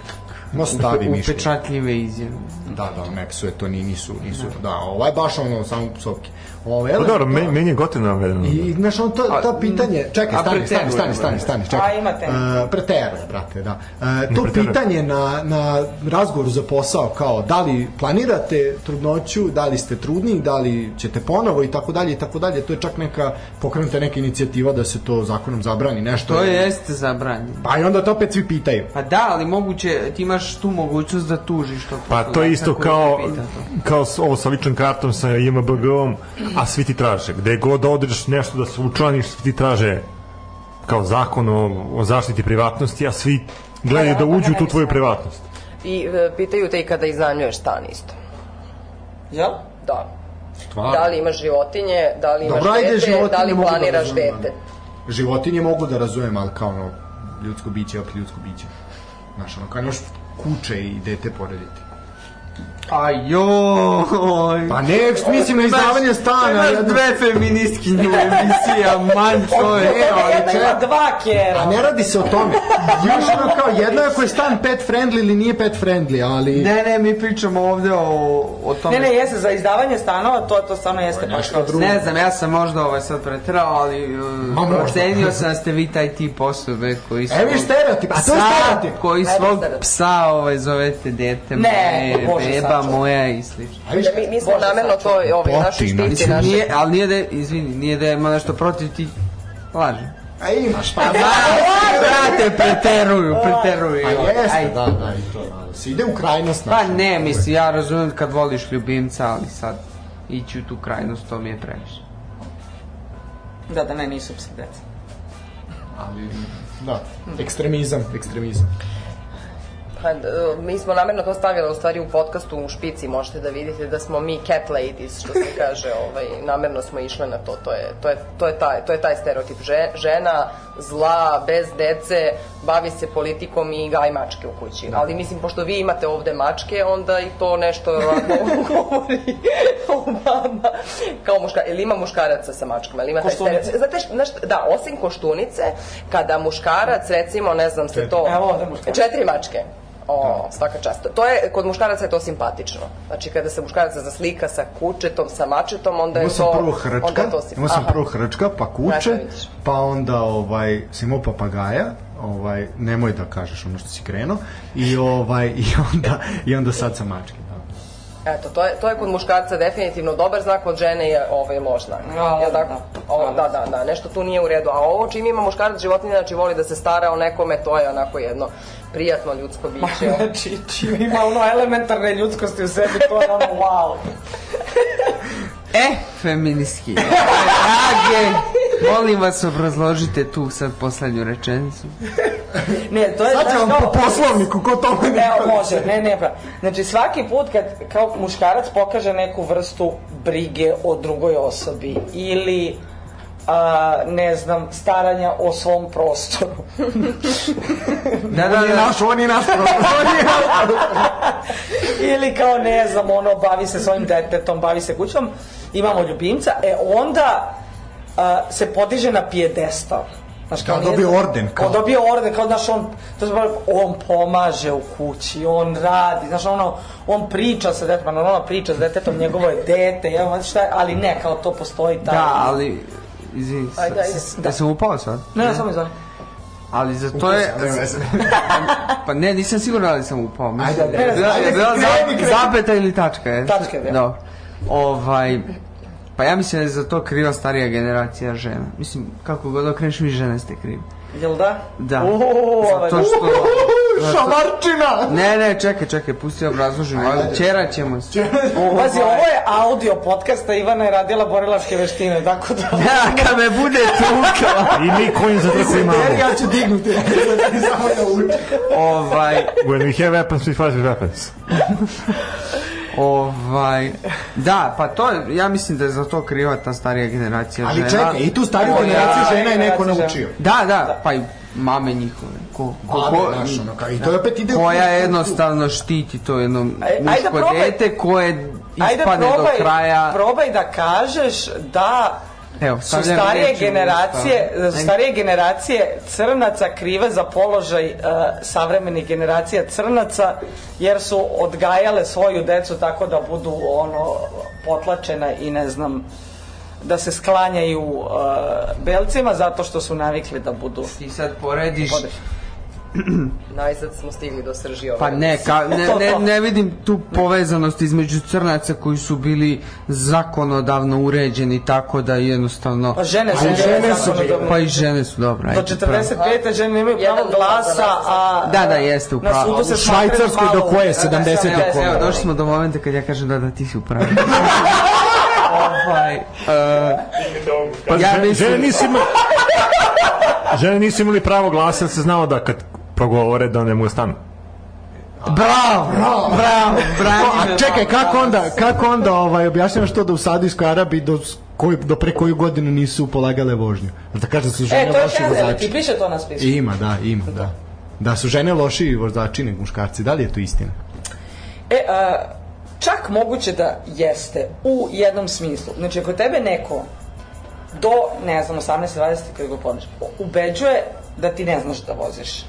Speaker 2: No, stavi
Speaker 3: Upe-
Speaker 2: mišljenje.
Speaker 3: Upečatljive izjave.
Speaker 2: Da, da, ne psuje, to ni, nisu, nisu, da, ovaj baš ono, samo psovke. Ovaj,
Speaker 1: Pa
Speaker 2: ele-
Speaker 1: dobro, meni, meni je gotivna Vedrana.
Speaker 2: I, znaš, on, to, to pitanje... Čekaj,
Speaker 3: a
Speaker 2: stani, stani,
Speaker 3: preteruje,
Speaker 2: stani,
Speaker 3: brate.
Speaker 2: stani, stani, čekaj.
Speaker 4: A, ima teme.
Speaker 2: E, preteruje, brate, da. E, to
Speaker 1: preteruje.
Speaker 2: pitanje na, na razgovoru za posao, kao da li planirate trudnoću, da li ste trudni, da li ćete ponovo i tako dalje i tako dalje, to je čak neka pokrenuta neka inicijativa da se to zakonom zabrani, nešto.
Speaker 3: To jeste zabranjeno.
Speaker 2: Pa i onda to opet svi pitaju.
Speaker 3: Pa da, ali moguće, ti imaš tu mogućnost da tužiš to.
Speaker 1: Pa to je isto kao, kao s- ovo sa ličnom kartom, sa IMBG-om, a svi ti traže. Gde god odreš nešto da se učlaniš, svi ti traže kao zakon o, o zaštiti privatnosti, a svi gledaju da uđu u tu tvoju privatnost.
Speaker 5: I e, pitaju te i kada iznajmljuješ stan isto.
Speaker 4: Jel?
Speaker 5: Da. Da li imaš životinje, da li imaš
Speaker 2: Dobro, ajde,
Speaker 5: dete,
Speaker 2: životinje
Speaker 5: da li
Speaker 2: mogu da
Speaker 5: planiraš
Speaker 2: razumem,
Speaker 5: dete.
Speaker 2: ali- Životinje mogu da razumem, ali kao ono, ljudsko biće, je opet ljudsko biće. Znaš, ono, kao imaš kuće i dete porediti.
Speaker 3: A joj!
Speaker 2: Pa ne, mislim na izdavanje stana.
Speaker 3: Imaš
Speaker 2: Pa jedno-
Speaker 3: dve feministkinje u emisiji, a man to je.
Speaker 2: E, ali
Speaker 4: Jedna da, Znači, ima
Speaker 2: čekaj,
Speaker 4: dva kjera.
Speaker 2: A ne radi se o tome. Još ono kao, jedno je ako je stan pet friendly ili nije pet friendly, ali...
Speaker 3: E, Ne, ne, mi pričamo ovde o, o tome.
Speaker 4: Ne, ne, jeste, za izdavanje stanova to, to stvarno jeste baš
Speaker 2: Nešto drugo.
Speaker 3: Ne znam, ja sam možda ovaj sad pretrao, ali uh,
Speaker 2: možda.
Speaker 3: procenio sam da ste vi taj tip osobe koji su...
Speaker 2: E, viš stereotip, a to je
Speaker 3: Psa
Speaker 2: stereotip. pa
Speaker 3: Koji
Speaker 5: Ajde,
Speaker 3: svog
Speaker 5: stereotip.
Speaker 3: psa ovaj, zovete dete
Speaker 4: Ne,
Speaker 3: moje,
Speaker 4: Bože,
Speaker 3: beba
Speaker 4: sačuvaj.
Speaker 3: moja i slično.
Speaker 2: A viš,
Speaker 5: Da, mi, mi smo
Speaker 4: Bože,
Speaker 5: namerno to
Speaker 4: sačuvaj.
Speaker 5: ovaj, našu
Speaker 2: Potina.
Speaker 5: štiti,
Speaker 2: Mislim,
Speaker 5: naše...
Speaker 3: Nije, ali nije da, je- izvini, nije da ima nešto protiv ti, laže.
Speaker 2: a imaš, pa da.
Speaker 3: Brate, preteruju,
Speaker 5: Ovaj.
Speaker 3: preteruju.
Speaker 5: Pa
Speaker 2: A jeste,
Speaker 3: Ajde.
Speaker 2: da, da, i to, da. Se ide u krajnost.
Speaker 3: Pa
Speaker 2: znaš.
Speaker 3: ne, mislim, ja razumem kad voliš ljubimca, ali sad ići u tu krajnost, to mi je previše.
Speaker 4: Da, da, ne, nisu psi deca.
Speaker 2: Ali, da, ekstremizam, ekstremizam.
Speaker 5: Pa, e, mi smo namerno to stavili u stvari u podcastu u špici, možete da vidite da smo mi cat ladies, što se kaže, ovaj, namerno smo išle na to, to je, to je, to je, taj, to je taj stereotip. Že, žena zla, bez dece, bavi se politikom i gaj mačke u kući. Ali mislim, pošto vi imate ovde mačke, onda i to nešto ovako govori o vama. Kao muška, ili ima muškaraca sa mačkama, ili ima taj
Speaker 4: Koštunice.
Speaker 5: stereotip. Znate, šta- znaš, da, osim koštunice, kada muškarac, recimo, ne znam se to...
Speaker 4: Evo ovde muškarac.
Speaker 5: da, e, Četiri mačke. O,
Speaker 2: Da.
Speaker 5: svaka čast. To je, kod muškaraca je to simpatično. Znači, kada se muškaraca zaslika sa kučetom, sa mačetom, onda je
Speaker 2: Imao sam
Speaker 5: to...
Speaker 2: prvo hrčka,
Speaker 5: onda to sim-
Speaker 2: imao sam
Speaker 5: Aha.
Speaker 2: prvo hrčka, pa kuče,
Speaker 5: Eto, vidiš.
Speaker 2: pa onda ovaj, sam imao papagaja, ovaj, nemoj da kažeš ono što si krenuo, i, ovaj, i, onda, i onda sad sa mačke. Da.
Speaker 5: Eto, to je, to je kod muškarca definitivno dobar znak, kod žene je ovaj loš znak.
Speaker 4: A,
Speaker 5: Jel tako?
Speaker 4: da.
Speaker 5: Ovo, da, da, da, nešto tu nije u redu. A ovo čim ima muškarac životinja, znači voli da se stara o nekome, to je onako jedno prijatno ljudsko biće.
Speaker 4: Znači, čim ima ono elementarne ljudskosti u sebi, to je ono wow.
Speaker 3: E, feministki. Drage, molim vas obrazložite tu sad poslednju rečenicu.
Speaker 4: Ne, to je...
Speaker 2: Sad
Speaker 4: znaš,
Speaker 2: ću vam
Speaker 4: kao-
Speaker 2: po poslovniku, ko tome ne
Speaker 4: Evo, može, ne, ne, pa. Znači, svaki put kad kao muškarac pokaže neku vrstu brige o drugoj osobi ili a, ne znam, staranja o svom prostoru.
Speaker 3: Da, da,
Speaker 2: Ovo nije
Speaker 3: da.
Speaker 2: naš, ovo nije naš problem, ovo nije naš problem.
Speaker 4: ili kao ne znam, ono, bavi se svojim detetom, bavi se kućom, imamo ljubimca, e onda a, se podiže na pijedestal. Znaš,
Speaker 2: Kao
Speaker 4: nije-
Speaker 2: dobio orden, kao.
Speaker 4: Kao dobio orden, kao, znaš, on, to se pravi, on pomaže u kući, on radi, znaš, ono, on priča sa detetom, ono, ona priča sa detetom, njegovo je dete, ja, znaš šta, je, ali ne, kao to postoji taj...
Speaker 3: Da, ali... Izvini,
Speaker 5: Ajde, ajde.
Speaker 3: da sam upao sad.
Speaker 4: Ne, ne, samo izvani.
Speaker 3: Ali za to je... Pa ne, nisam siguran ali sam upao. Mislim,
Speaker 2: Ajde, ajde.
Speaker 3: je bila-
Speaker 4: Ajde,
Speaker 3: je bila
Speaker 4: kreni,
Speaker 3: za- zapeta ili tačka, je?
Speaker 4: Tačka je bila.
Speaker 3: Dobro. Ovaj, pa ja mislim da je za to kriva starija generacija žena. Mislim, kako god da okreneš, vi žene ste krivi.
Speaker 4: Jel da?
Speaker 3: Da.
Speaker 4: Uuu,
Speaker 3: Zato što...
Speaker 2: Šamarčina!
Speaker 3: Ne, ne, čekaj, čekaj, pusti obrazložim. Ajde, Čera ćemo se.
Speaker 4: Pazi, ovo je audio podcasta, Ivana je radila borilačke veštine, tako da...
Speaker 3: Da, kad me bude tukala.
Speaker 1: I mi kojim za trku
Speaker 2: Jer
Speaker 1: imamo.
Speaker 2: ja ću dignuti, samo da učim.
Speaker 3: Ovaj,
Speaker 1: When we have weapons, we fight with weapons.
Speaker 3: ovaj, da, pa to je, ja mislim da je za to kriva ta starija generacija žena.
Speaker 2: Ali čekaj, i tu stariju
Speaker 4: Moja
Speaker 2: generaciju žena je neko
Speaker 4: generacija
Speaker 2: naučio.
Speaker 3: Da, da, pa i mame njihove. Ko, ko,
Speaker 2: Mame,
Speaker 3: ko,
Speaker 2: znaš, ono, kao, I to je opet ide u-
Speaker 3: koja jednostavno štiti to jedno
Speaker 4: Aj- ajde
Speaker 3: muško
Speaker 4: probaj.
Speaker 3: dete koje ispadne do kraja.
Speaker 4: probaj da kažeš da
Speaker 3: Evo,
Speaker 4: su
Speaker 3: stavljam
Speaker 4: starije
Speaker 3: riječ u
Speaker 4: generacije,
Speaker 3: usta.
Speaker 4: da su
Speaker 3: Ajde.
Speaker 4: starije generacije crnaca krive za položaj uh, savremenih generacija crnaca, jer su odgajale svoju decu tako da budu ono potlačena i ne znam da se sklanjaju uh, belcima zato što su navikli da budu
Speaker 3: Ti sad porediš,
Speaker 5: Najzad smo stigli do srži ove
Speaker 3: pa ne, ka, ne,
Speaker 4: To,
Speaker 3: ne,
Speaker 4: to.
Speaker 3: ne vidim tu povezanost između crnaca koji su bili zakonodavno uređeni tako da jednostavno...
Speaker 4: pa žene su,
Speaker 2: Ali žene su
Speaker 4: zakonodavno-
Speaker 3: Pa i žene su dobro.
Speaker 4: Do
Speaker 3: ajde, pravo.
Speaker 4: 45. žene nemaju
Speaker 5: Jedan
Speaker 4: pravo
Speaker 5: glas
Speaker 4: glasa,
Speaker 5: za nas.
Speaker 4: a...
Speaker 3: Da, da, jeste, u
Speaker 4: Na
Speaker 3: pravu.
Speaker 4: sudu se
Speaker 2: U Švajcarskoj
Speaker 4: smatraju
Speaker 2: do koje
Speaker 4: malo-
Speaker 2: 70
Speaker 4: Da,
Speaker 3: Evo,
Speaker 4: da,
Speaker 2: do koje?
Speaker 3: evo, došli smo do momenta kad ja kažem da, da, ti si u pravu. ovaj, e,
Speaker 1: Pa
Speaker 3: Ja
Speaker 1: ja žene,
Speaker 3: mislim-
Speaker 1: žene, nisu imali, žene nisu imali pravo glasa, jer se znao da kad progovore da ne mu je stanu.
Speaker 3: bravo, bravo, bravo, bravo.
Speaker 2: A čekaj, kako onda, kako onda ovaj, objašnjavaš to da u Saudijskoj Arabiji do, s- koju, do pre koju godinu nisu polagale vožnju? Jel Da kažem da su žene
Speaker 4: E, to je
Speaker 2: loši
Speaker 4: kazano, ti
Speaker 2: vozači.
Speaker 4: piše to na spisku.
Speaker 2: Ima, da, ima, da. Da su žene loši vozači nego muškarci, da li je to istina?
Speaker 4: E, a, čak moguće da jeste, u jednom smislu. Znači, ako tebe neko do, ne znam, 18-20, kada ga podneš, ubeđuje da ti ne znaš da voziš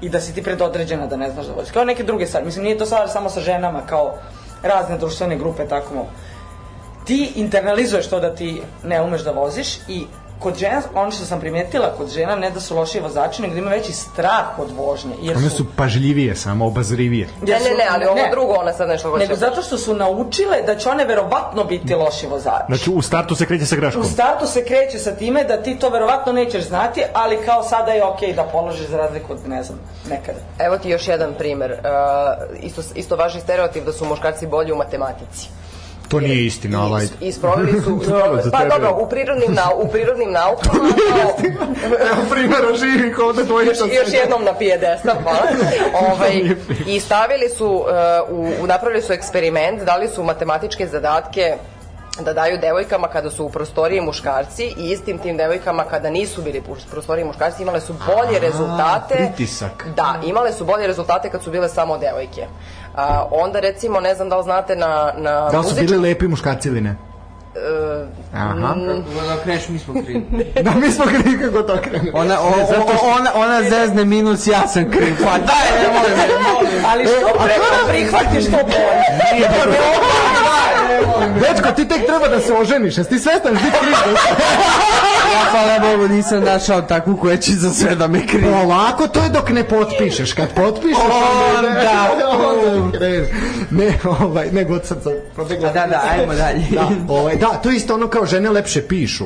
Speaker 4: i da si ti predodređena da ne znaš da voziš. Kao neke druge stvari. Mislim, nije to stvar samo sa ženama, kao razne društvene grupe, tako mogu. ti internalizuješ to da ti ne umeš da voziš i kod žena, ono što sam primetila kod žena, ne da su lošiji vozači, nego da ima veći strah od vožnje. Jer
Speaker 2: One su pažljivije samo, obazrivije.
Speaker 5: Ne, ne, ne, ali ovo drugo, ona sad nešto hoće.
Speaker 4: Nego zato što su naučile da će one verovatno biti loši vozači.
Speaker 1: Znači, u startu se kreće sa greškom.
Speaker 4: U startu se kreće sa time da ti to verovatno nećeš znati, ali kao sada je okej da položiš za razliku od, ne znam, nekada.
Speaker 5: Evo ti još jedan primer. Uh, isto, isto važi stereotip da su muškarci bolji u matematici.
Speaker 2: To nije istina,
Speaker 5: I-
Speaker 2: ovaj.
Speaker 5: I sproveli su...
Speaker 1: Dobro, za
Speaker 5: pa
Speaker 1: tebe.
Speaker 5: dobro, u prirodnim, nau, u prirodnim naukama... kao-
Speaker 2: Evo primjera živih ovde dvojica.
Speaker 5: još, još jednom na pijedesta, hvala. Ovaj, I stavili su, e, u, u, napravili su eksperiment, dali su matematičke zadatke da daju devojkama kada su u prostoriji muškarci i istim tim devojkama kada nisu bili u prostoriji muškarci imale su bolje rezultate.
Speaker 2: pritisak.
Speaker 5: Da, imale su bolje rezultate kad su bile samo devojke. A, onda recimo, ne znam da li znate na, na
Speaker 2: Da li su
Speaker 5: muzički-
Speaker 2: bili lepi muškarci ili ne?
Speaker 5: e,
Speaker 2: Aha.
Speaker 3: Kako god da okreneš, mi smo krivi.
Speaker 2: Da, mi smo krivi kako to krenu.
Speaker 3: Ona, o, o, ona, ona zezne minus, ja sam kriv.
Speaker 2: da!
Speaker 3: Pa daj, ne molim, ne molim.
Speaker 4: Ali što pre to prihvatiš, što bolje.
Speaker 2: Dečko, ti tek treba da se oženiš, jesi ti svestan da ti krivi?
Speaker 3: Ja hvala Bogu nisam našao takvu koja će za sve da me krivi.
Speaker 2: Polako, to je dok ne potpišeš. Kad potpišeš, onda,
Speaker 3: Onda.
Speaker 2: onda krenu. Ne, ovaj, ne, god sad sam
Speaker 3: Da,
Speaker 2: probegla.
Speaker 3: da, ajmo dalje.
Speaker 2: Da, ovaj, da, to je isto ono kao žene lepše pišu.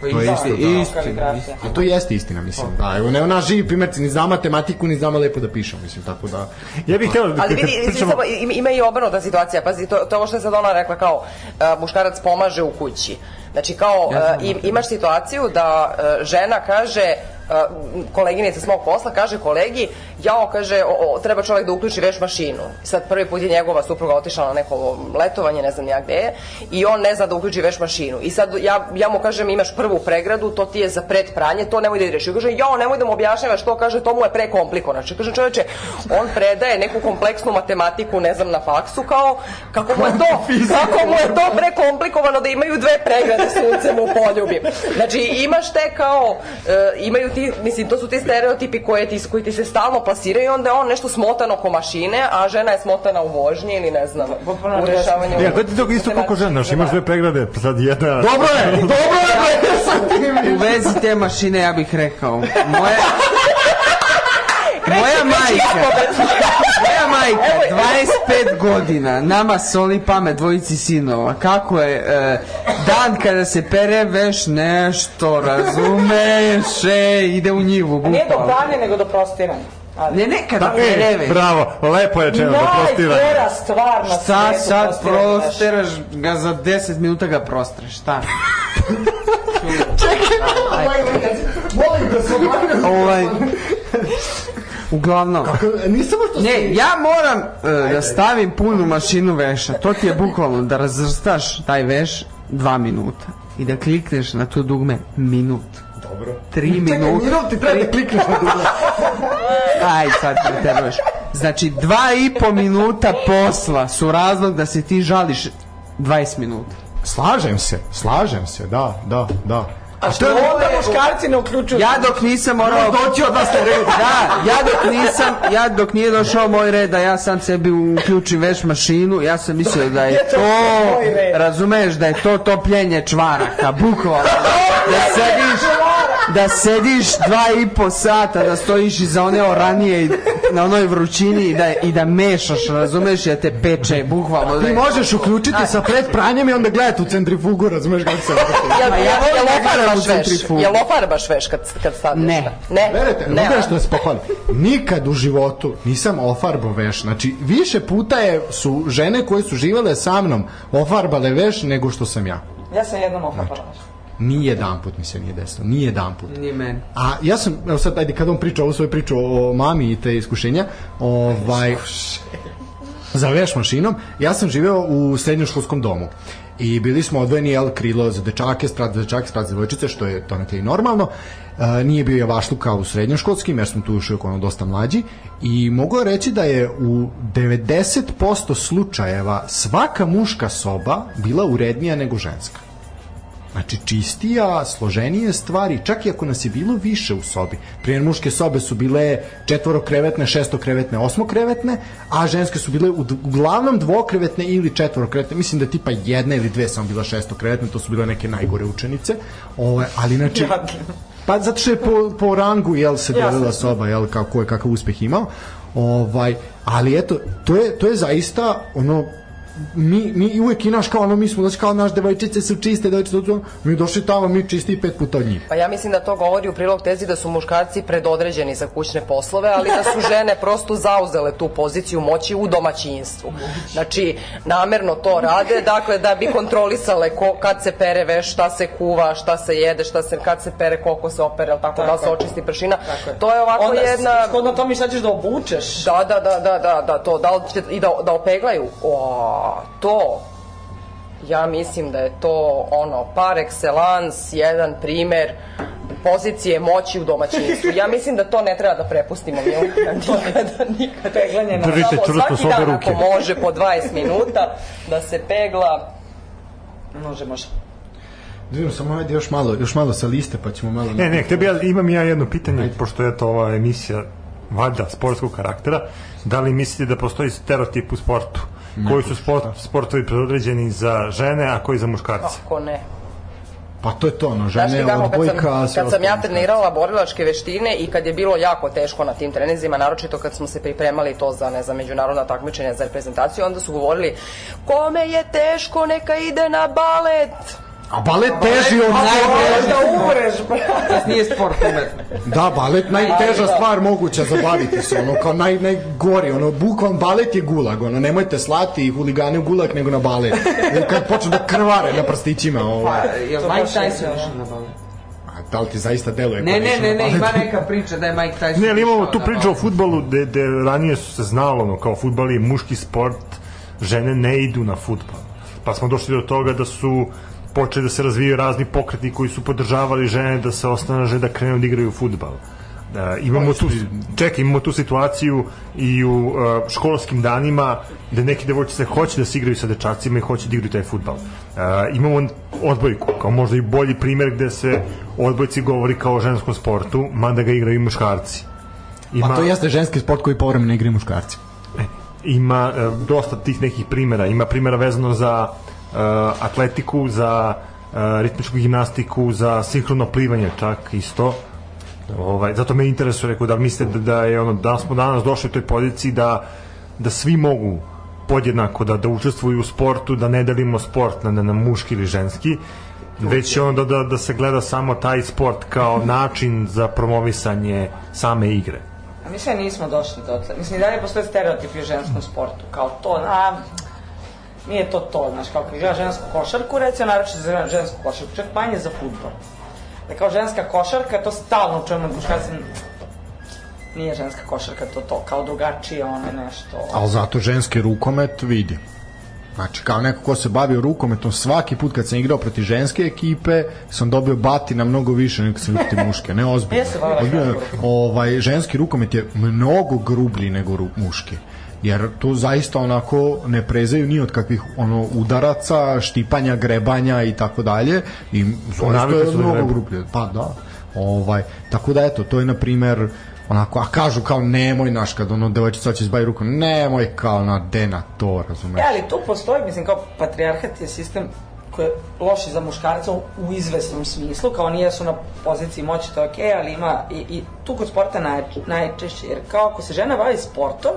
Speaker 3: Pa
Speaker 2: To je isto, da.
Speaker 3: istina.
Speaker 4: Kaligrafija.
Speaker 2: A to jeste istina, mislim. Da, evo, ne, ona živi primjerci, ni zna matematiku, ni znamo lepo da pišemo, mislim, tako da...
Speaker 1: Ja bih hteo da kad
Speaker 5: Ali vidi, vidi,
Speaker 1: pričamo...
Speaker 5: samo, im- ima i obrnuta situacija. Pazi, to, to ovo što je sad ona rekla, kao e, muškarac pomaže u kući. Znači, kao,
Speaker 3: Ja znam
Speaker 5: e, im, imaš situaciju da e, žena kaže, e, koleginica s mog posla kaže kolegi, jao, kaže, o, o, treba čovjek da uključi veš mašinu. Sad prvi put je njegova supruga otišla na neko letovanje, ne znam ja gde je, i on ne zna da uključi veš mašinu. I sad ja, ja mu kažem, imaš prvu pregradu, to ti je za pred pranje, to nemoj da ideš. I kaže, jao, nemoj da mu objašnjavaš to, kaže, to mu je prekomplikovano. Znači, kaže, čoveče, on predaje neku kompleksnu matematiku, ne znam, na faksu, kao, kako mu je to, kako mu je to prekomplikovano da imaju dve pregrade suncem u poljubi. Znači, imaš te kao, e, imaju ti, mislim, to su ti stereotipi koje ti, koji ti se stalno plasiraju, onda je on nešto smotan oko mašine, a žena je smotana u vožnji ili ne znam,
Speaker 4: Potpuno
Speaker 5: u rešavanju.
Speaker 1: Ja, gledaj to isto koliko
Speaker 5: Znači-
Speaker 1: žena, znaš, imaš dve pregrade, pa sad jedna...
Speaker 2: Dobro je, dobro je, bre, sa tim.
Speaker 3: U vezi te mašine ja bih rekao, moja... Moja majka, moja majka, 25 godina, nama soli pamet dvojici sinova, kako je e, dan kada se pere veš nešto, razumeš, e, ide u njivu,
Speaker 4: Nije do
Speaker 2: da-
Speaker 3: bukvalno.
Speaker 4: pranja, nego do prostiranja. Ali...
Speaker 3: Ne, ne, kada
Speaker 1: Da,
Speaker 3: pere
Speaker 1: e,
Speaker 3: veš.
Speaker 1: bravo, lepo je rečeno da prostira.
Speaker 4: Najgora stvar na
Speaker 3: Šta
Speaker 4: svetu
Speaker 3: sad
Speaker 4: prostiranje, znaš.
Speaker 3: prosteraš ga za 10 minuta ga prostreš, šta?
Speaker 2: Molim da se obavljam.
Speaker 3: Ovaj, uglavnom.
Speaker 2: Nisam što
Speaker 3: Ne, ja moram e, da stavim punu mašinu veša. To ti je bukvalno da razvrstaš taj veš dva minuta i da klikneš na to dugme minut. Dobro. Tri
Speaker 2: Čekaj,
Speaker 3: minuta.
Speaker 2: minut ti treba da klikneš na dugme.
Speaker 3: Aj, sad me teruješ. Znači, dva i po minuta posla su razlog da se ti žališ 20 minuta.
Speaker 2: Slažem se, slažem se, da, da, da.
Speaker 4: A što
Speaker 2: je-
Speaker 4: onda muškarci ne uključuju?
Speaker 3: Ja dok nisam morao...
Speaker 2: Doći od vas na red.
Speaker 3: Da, ja dok nisam, ja dok nije došao moj red da ja sam sebi uključim veš mašinu, ja sam mislio da je to,
Speaker 4: moj red.
Speaker 3: razumeš, da je to topljenje čvaraka, bukvalno. Da sediš, da sediš dva i po sata, da stojiš iza one oranije i na onoj vrućini i da, i da mešaš, razumeš, ja te peče, bukvalno. Da
Speaker 2: Ti
Speaker 3: je,
Speaker 2: možeš uključiti sa pred pranjem i onda gledati u centrifugu, razumeš kako se obrati.
Speaker 5: Jel,
Speaker 3: Ma
Speaker 5: jel,
Speaker 3: ja
Speaker 5: jel,
Speaker 3: volim da gledam u
Speaker 5: ofarbaš veš?
Speaker 3: centrifugu.
Speaker 5: Jel ofarbaš veš kad, kad stavljaš?
Speaker 3: Ne.
Speaker 5: Ne?
Speaker 2: Verujete,
Speaker 5: ne.
Speaker 2: mogu nešto da se pohvalim. Nikad u životu nisam ofarbo veš. Znači, više puta je, su žene koje su živele sa mnom ofarbale veš nego što sam ja.
Speaker 4: Ja sam jednom okapala.
Speaker 2: Ni jedan put mi se nije desilo. Ni jedan put.
Speaker 3: Ni meni.
Speaker 2: A ja sam, evo sad, ajde, kada on priča ovu svoju priču o mami i te iskušenja, ovaj, za veš mašinom, ja sam živeo u srednjoškolskom domu. I bili smo odvojeni, jel, krilo za dečake, sprat za dečake, sprat za devojčice, što je donekle i normalno. E, nije bio javašluk kao u srednjoškolskim, jer smo tu još uvijek ono dosta mlađi. I mogu reći da je u 90% slučajeva svaka muška soba bila urednija nego ženska. Znači čistija, složenije stvari, čak i ako nas je bilo više u sobi. Primjer, muške sobe su bile četvorokrevetne, šestokrevetne, osmokrevetne, a ženske su bile u- uglavnom dvokrevetne ili četvorokrevetne. Mislim da je tipa jedna ili dve samo bila šestokrevetne, to su bile neke najgore učenice. Ove, ali znači... Pa zato što je po, po rangu jel se delila soba, jel kako ko je kakav uspeh imao. Ovaj, ali eto, to je to je zaista ono mi, mi i uvek i naš kao ono, mi smo, znači kao naš devojčice su čiste, devojčice su, mi došli tamo, mi čisti pet puta od njih.
Speaker 5: Pa ja mislim da to govori u prilog tezi da su muškarci predodređeni za kućne poslove, ali da su žene prosto zauzele tu poziciju moći u domaćinstvu. Znači, namerno to rade, dakle, da bi kontrolisale ko, kad se pere veš, šta se kuva, šta se jede, šta se, kad se pere, koliko se opere, jel tako,
Speaker 4: Tako
Speaker 5: tako da li se
Speaker 4: je.
Speaker 5: očisti pršina.
Speaker 4: Tako je.
Speaker 5: To je ovako
Speaker 4: Onda,
Speaker 5: jedna...
Speaker 4: Shodno tome šta ćeš da obučeš.
Speaker 5: Da, da, da, da, da, da, to, da li će, i da, da opeglaju, o, to, ja mislim da je to, ono, par excellence, jedan primer pozicije moći u domaćinstvu. Ja mislim da to ne treba da prepustimo, Milana, nikada, nikada.
Speaker 4: Peglanje na...
Speaker 1: Drži- Držite
Speaker 5: Samo
Speaker 1: čvrsto s
Speaker 5: svaki
Speaker 1: obe
Speaker 5: dan,
Speaker 1: ruke.
Speaker 5: ako može, po 20 minuta, da se pegla,
Speaker 4: Može, može.
Speaker 2: Da vidim, samo ajde još malo, još malo sa liste, pa ćemo malo...
Speaker 1: Ne, ne, tebi ja, imam ja jedno pitanje, pošto je to ova emisija valjda sportskog karaktera, da li mislite da postoji stereotip u sportu? koji su sport, sportovi predodređeni za žene, a koji za muškarce?
Speaker 5: ako ne.
Speaker 2: Pa to je to, ono,
Speaker 5: Znaš ti
Speaker 2: žene
Speaker 5: kako,
Speaker 2: od bojka...
Speaker 5: kad sam, kad sam ja trenirala borilačke veštine i kad je bilo jako teško na tim trenizima, naročito kad smo se pripremali to za, ne znam, međunarodna takmičenja za reprezentaciju, onda su govorili kome je teško neka ide na balet.
Speaker 2: A balet teži od...
Speaker 4: Možeš da umreš, brate.
Speaker 3: Znači, nije sport umetno.
Speaker 2: Da, balet najteža stvar moguća za baviti se, ono, kao naj, najgori, ono, bukvalno balet je gulag, ono, nemojte slati huligane u gulag nego na balet. Jer kad počnu da krvare na prstićima, ovo,
Speaker 3: Pa, jel
Speaker 4: To
Speaker 3: Mike
Speaker 4: baš je,
Speaker 3: Tyson
Speaker 4: da.
Speaker 3: išao na balet?
Speaker 2: a da li ti zaista deluje?
Speaker 3: Ne,
Speaker 2: kao da
Speaker 3: ne,
Speaker 2: išao
Speaker 3: ne,
Speaker 2: na
Speaker 3: ne,
Speaker 2: balet?
Speaker 3: ima neka priča da je Mike Tyson
Speaker 1: Ne, ali imamo
Speaker 3: išao
Speaker 1: tu
Speaker 3: na
Speaker 1: priču o
Speaker 3: balet.
Speaker 1: futbalu, gde, gde ranije su se znalo, ono, kao futbal je muški sport, žene ne idu na futbal. Pa smo došli do toga da su počeli da se razvijaju razni pokreti koji su podržavali žene da se osnaže da krenu da igraju futbal. Da, imamo tu, čekaj, imamo tu situaciju i u uh, školskim danima gde neki devojčice hoće da se igraju sa dečacima i hoće da igraju taj futbal. Uh, imamo odbojku, kao možda i bolji primer gde se o odbojci govori kao o ženskom sportu, mada ga igraju i muškarci. Ima,
Speaker 2: Pa to jeste ženski sport koji povremeno igraju muškarci.
Speaker 1: ima e, dosta tih nekih primera. Ima primera vezano za e, atletiku, za e, ritmičku gimnastiku, za sinhrono plivanje čak isto. Ovaj, zato me interesuje, rekao, da li mislite da, da je ono, da li smo danas došli u toj poziciji da, da svi mogu podjednako da, da učestvuju u sportu, da ne delimo sport na, na, na muški ili ženski, već je onda da, da se gleda samo taj sport kao način za promovisanje same igre.
Speaker 4: A mi sve nismo došli dotle. Mislim, i dalje postoje stereotipi u ženskom sportu. Kao to, a, nije to to, znaš, kao kad igra žensku košarku, recimo, naroče za žensku košarku, čak manje za futbol. Da kao ženska košarka, to stalno čujemo od muškarca, nije ženska košarka, to to, kao drugačije one nešto.
Speaker 2: Ali zato ženski rukomet vidi. Znači, kao neko ko se bavio rukometom, svaki put kad sam igrao protiv ženske ekipe, sam dobio batina mnogo više nego kad sam igrao protiv muške. Ne, ozbiljno.
Speaker 4: Ja se bavila
Speaker 2: Ozbiljno,
Speaker 4: rukometom.
Speaker 2: ovaj, ženski rukomet je mnogo grublji nego ru, muški. Jer tu zaista onako ne prezaju ni od kakvih ono udaraca, štipanja, grebanja i tako dalje. I zaista
Speaker 1: Navikli su
Speaker 2: je
Speaker 1: da
Speaker 2: mnogo
Speaker 1: grebu.
Speaker 2: grublje. Pa da. Ovaj, tako da eto, to je na primer onako, a kažu kao nemoj naš kad ono devojčica će izbavi rukom, nemoj kao na dena to, razumeš?
Speaker 4: E, ali tu postoji, mislim, kao patrijarhat je sistem koji je loši za muškarca u, u izvesnom smislu, kao nije su na poziciji moći, to je okej, ali ima i, i tu kod sporta naj, najčešće, jer kao ako se žena bavi sportom,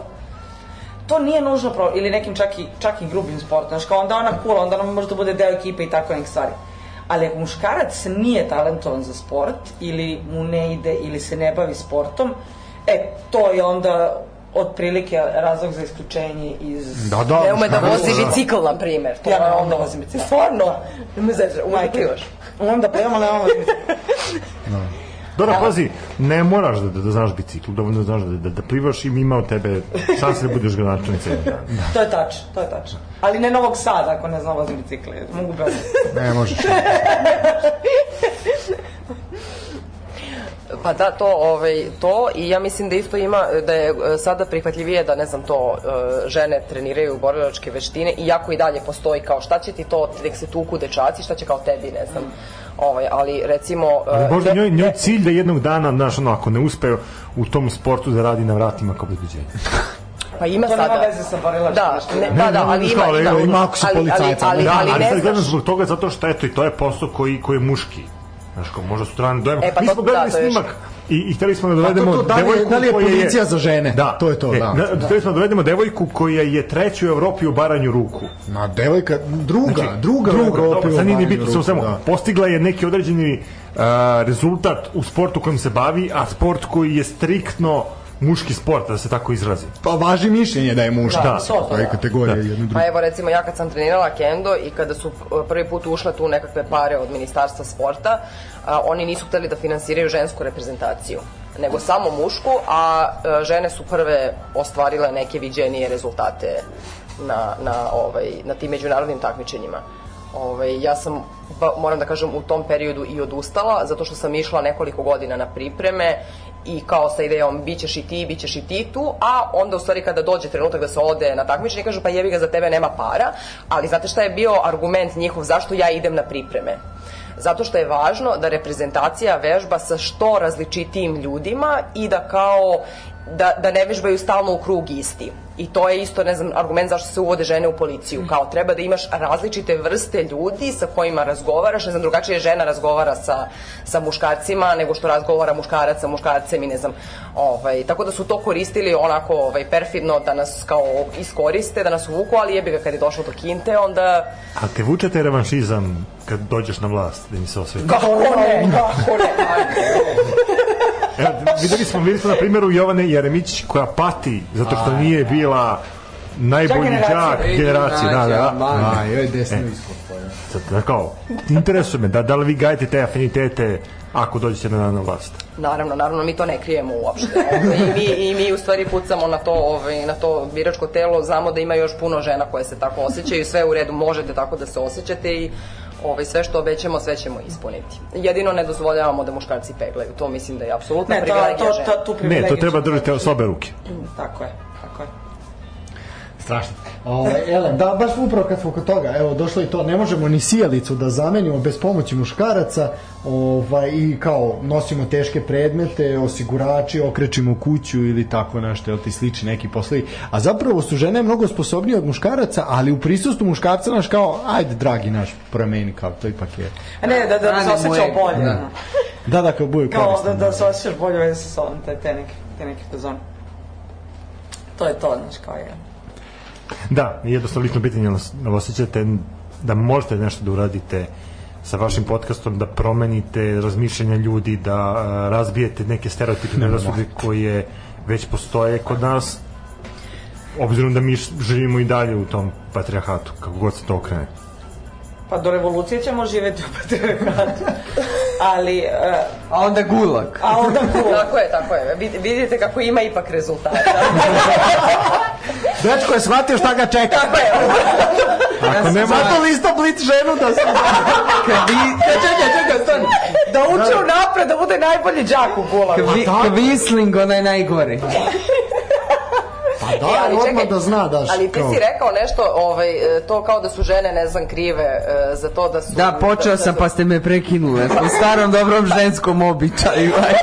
Speaker 4: to nije nužno pro, ili nekim čak i, čak i grubim sportom, znaš, kao onda ona kula, onda ona može da bude deo ekipe i tako nekih stvari. Ali ako muškarac nije talentovan za sport, ili mu ne ide, ili se ne bavi sportom, e, to je onda otprilike razlog za isključenje iz
Speaker 2: Da, da,
Speaker 5: Ne ume da
Speaker 2: muškarac-
Speaker 5: vozi bicikl, na primer. To
Speaker 4: ja
Speaker 5: je
Speaker 4: ne da
Speaker 5: onda
Speaker 4: onda
Speaker 5: vozi
Speaker 4: vozim bicikl. Stvarno?
Speaker 5: Ume zezer, ume da
Speaker 4: Majke
Speaker 5: plivaš.
Speaker 4: još. Onda pa pevam, ali nemam vozim bicikl.
Speaker 1: Dobro, pazi, ne moraš da, da, da znaš bicikl, dovoljno znaš da, da, da plivaš i ima od tebe šanse da budeš gradonačelnica jednog dana.
Speaker 5: Da.
Speaker 4: To je tačno, to je tačno. Ali ne Novog Sada, ako ne znam vozim bicikle. Mogu brzo.
Speaker 2: Ne možeš.
Speaker 5: Pa da, to, ovaj, to i ja mislim da isto ima, e, da je e, sada prihvatljivije da, ne znam, to e, žene treniraju borilačke veštine, iako i dalje postoji kao šta će ti to, nek se tuku dečaci, šta će kao tebi, ne znam. Ovaj, ali recimo... e,
Speaker 1: Ali možda
Speaker 5: de-
Speaker 1: njoj, njoj cilj da jednog dana, znaš, ono, ako ne uspe u tom sportu da radi na vratima kao obezbeđenje.
Speaker 5: Pa ima
Speaker 4: To
Speaker 5: sada.
Speaker 4: nema veze sa borilačkim
Speaker 5: Da, ne,
Speaker 4: veštinama.
Speaker 5: da,
Speaker 1: Ne,
Speaker 5: da,
Speaker 1: ne,
Speaker 5: ali
Speaker 1: ne,
Speaker 5: ima,
Speaker 1: kao,
Speaker 5: ima.
Speaker 1: ali ima
Speaker 2: ako su
Speaker 5: Ali- ali-
Speaker 2: policajci,
Speaker 5: ali-
Speaker 1: Da, ali,
Speaker 5: ali ne
Speaker 1: sad gledam
Speaker 5: znaš.
Speaker 1: zbog toga zato što, eto, i to je posao koji, koji je muški. Znaš, kao možda sutra ne dojem.
Speaker 5: E, pa
Speaker 1: Mi
Speaker 5: to-
Speaker 1: smo gledali
Speaker 5: da, to je
Speaker 1: snimak I, i hteli smo da
Speaker 2: to-
Speaker 1: dovedemo
Speaker 2: to da li je-
Speaker 1: devojku
Speaker 2: da li je
Speaker 1: koja
Speaker 2: policija za žene?
Speaker 1: Da.
Speaker 2: To je to,
Speaker 1: E,
Speaker 2: da.
Speaker 1: na- Hteli smo da dovedemo devojku koja je treća u Evropi u baranju ruku.
Speaker 2: Ma devojka, druga, znači, druga, u
Speaker 1: druga
Speaker 2: Evropi
Speaker 1: dobro,
Speaker 2: u
Speaker 1: sad nije ni
Speaker 2: baranju
Speaker 1: bitno, samo
Speaker 2: ruku,
Speaker 1: samo,
Speaker 2: da.
Speaker 1: postigla je neki određeni uh, rezultat u sportu kojim se bavi, a sport koji je striktno muški sport, da se tako izrazi.
Speaker 2: Pa važi mišljenje da je muška.
Speaker 1: Da,
Speaker 2: to je kategorija da. jedno drugo.
Speaker 5: Pa evo recimo ja kad sam trenirala kendo i kada su e, prvi put ušle tu nekakve pare od ministarstva sporta, a, oni nisu hteli da finansiraju žensku reprezentaciju nego samo mušku, a e, žene su prve ostvarile neke viđenije rezultate na, na, ovaj, na tim međunarodnim takmičenjima. Ovaj, ja sam, ba, moram da kažem, u tom periodu i odustala, zato što sam išla nekoliko godina na pripreme i kao sa idejom bit ćeš i ti, bit ćeš i ti tu, a onda u stvari kada dođe trenutak da se ode na takmičenje, kažu pa jebi ga za tebe nema para, ali znate šta je bio argument njihov zašto ja idem na pripreme? Zato što je važno da reprezentacija vežba sa što različitijim ljudima i da kao da, da ne vežbaju stalno u krug isti. I to je isto, ne znam, argument zašto se uvode žene u policiju. Kao treba da imaš različite vrste ljudi sa kojima razgovaraš, ne znam, drugačije žena razgovara sa, sa muškarcima nego što razgovara muškarac sa muškarcem i ne znam. Ovaj, tako da su to koristili onako ovaj, perfidno da nas kao iskoriste, da nas uvuku, ali jebi ga kad je došlo do kinte, onda
Speaker 1: A te vučete revanšizam kad dođeš na vlast, da mi se osveti.
Speaker 5: kako ne, kako ne,
Speaker 1: Evo, videli smo, videli smo na primjeru Jovane Jeremić koja pati zato što nije bila najbolji đak
Speaker 4: generacija.
Speaker 1: generacije, da, da.
Speaker 2: A, joj, desno isko.
Speaker 1: Sad, da kao, interesuje me da, da li vi gajite te afinitete ako dođete na, na vlast.
Speaker 5: Naravno, naravno, mi to ne krijemo uopšte. Ovaj, I mi, i mi u stvari pucamo na to, ovaj, na to biračko telo, znamo da ima još puno žena koje se tako osjećaju, sve u redu, možete tako da se osjećate i ovaj, sve što obećamo, sve ćemo ispuniti. Jedino ne dozvoljavamo da muškarci peglaju, to mislim da je apsolutna
Speaker 4: Ne, to,
Speaker 5: privilegija
Speaker 4: to, to,
Speaker 5: žena.
Speaker 4: tu
Speaker 1: Ne,
Speaker 4: privilegiju
Speaker 1: to treba
Speaker 4: ću-
Speaker 1: držati s obe ruke.
Speaker 4: Tako je, tako je.
Speaker 2: Strašno. Ove, ele, da, baš upravo kad smo kod toga, evo, došlo i to, ne možemo ni sijalicu da zamenimo bez pomoći muškaraca, ovaj, i kao, nosimo teške predmete, osigurači, okrećimo kuću ili tako nešto, jel ti slični neki poslovi. A zapravo su žene mnogo sposobnije od muškaraca, ali u prisustu muškarca naš kao, ajde, dragi naš, promeni, kao, to ipak je.
Speaker 4: A ne, da, da, da se
Speaker 3: Brani
Speaker 4: osjećao
Speaker 3: mojeg,
Speaker 4: bolje.
Speaker 3: da.
Speaker 4: ono.
Speaker 2: Da, da, kao bude
Speaker 4: Kao da,
Speaker 2: koristan.
Speaker 4: da se osjećaš bolje veze sa sobom, te, te neke, te neke fazone. To je to, znaš, kao je.
Speaker 1: Da, jednostavno lično pitanje, ali osjećate da možete nešto da uradite sa vašim podcastom, da promenite razmišljanja ljudi, da a, razbijete neke stereotipe predrasude koje već postoje kod nas, obzirom da mi š- živimo i dalje u tom patrijarhatu, kako god se to okrene.
Speaker 4: Pa do revolucije ćemo živeti u patriarhatu. Ali, e,
Speaker 3: A onda gulak.
Speaker 4: a onda ko?
Speaker 5: Tako je, tako je. Vid- Vidite kako ima ipak rezultata.
Speaker 2: Dečko je shvatio šta ga čeka.
Speaker 1: Ako nema,
Speaker 2: Zato lista blit ženu da se...
Speaker 3: Kad vi,
Speaker 4: Čekaj, čekaj, stani. Da uče u napred, da bude najbolji džak u gulagu.
Speaker 3: kad vi, kad visling, onaj najgori.
Speaker 2: Pa da,
Speaker 5: E, ali
Speaker 2: odmah
Speaker 5: čekaj,
Speaker 2: da zna, daš.
Speaker 5: Ali ti
Speaker 2: kao.
Speaker 5: si rekao nešto, ovaj, e, to kao da su žene, ne znam, krive e, za to da su...
Speaker 3: Da, počeo sam pa ste me prekinule. Po starom dobrom ženskom običaju. aj.
Speaker 5: E,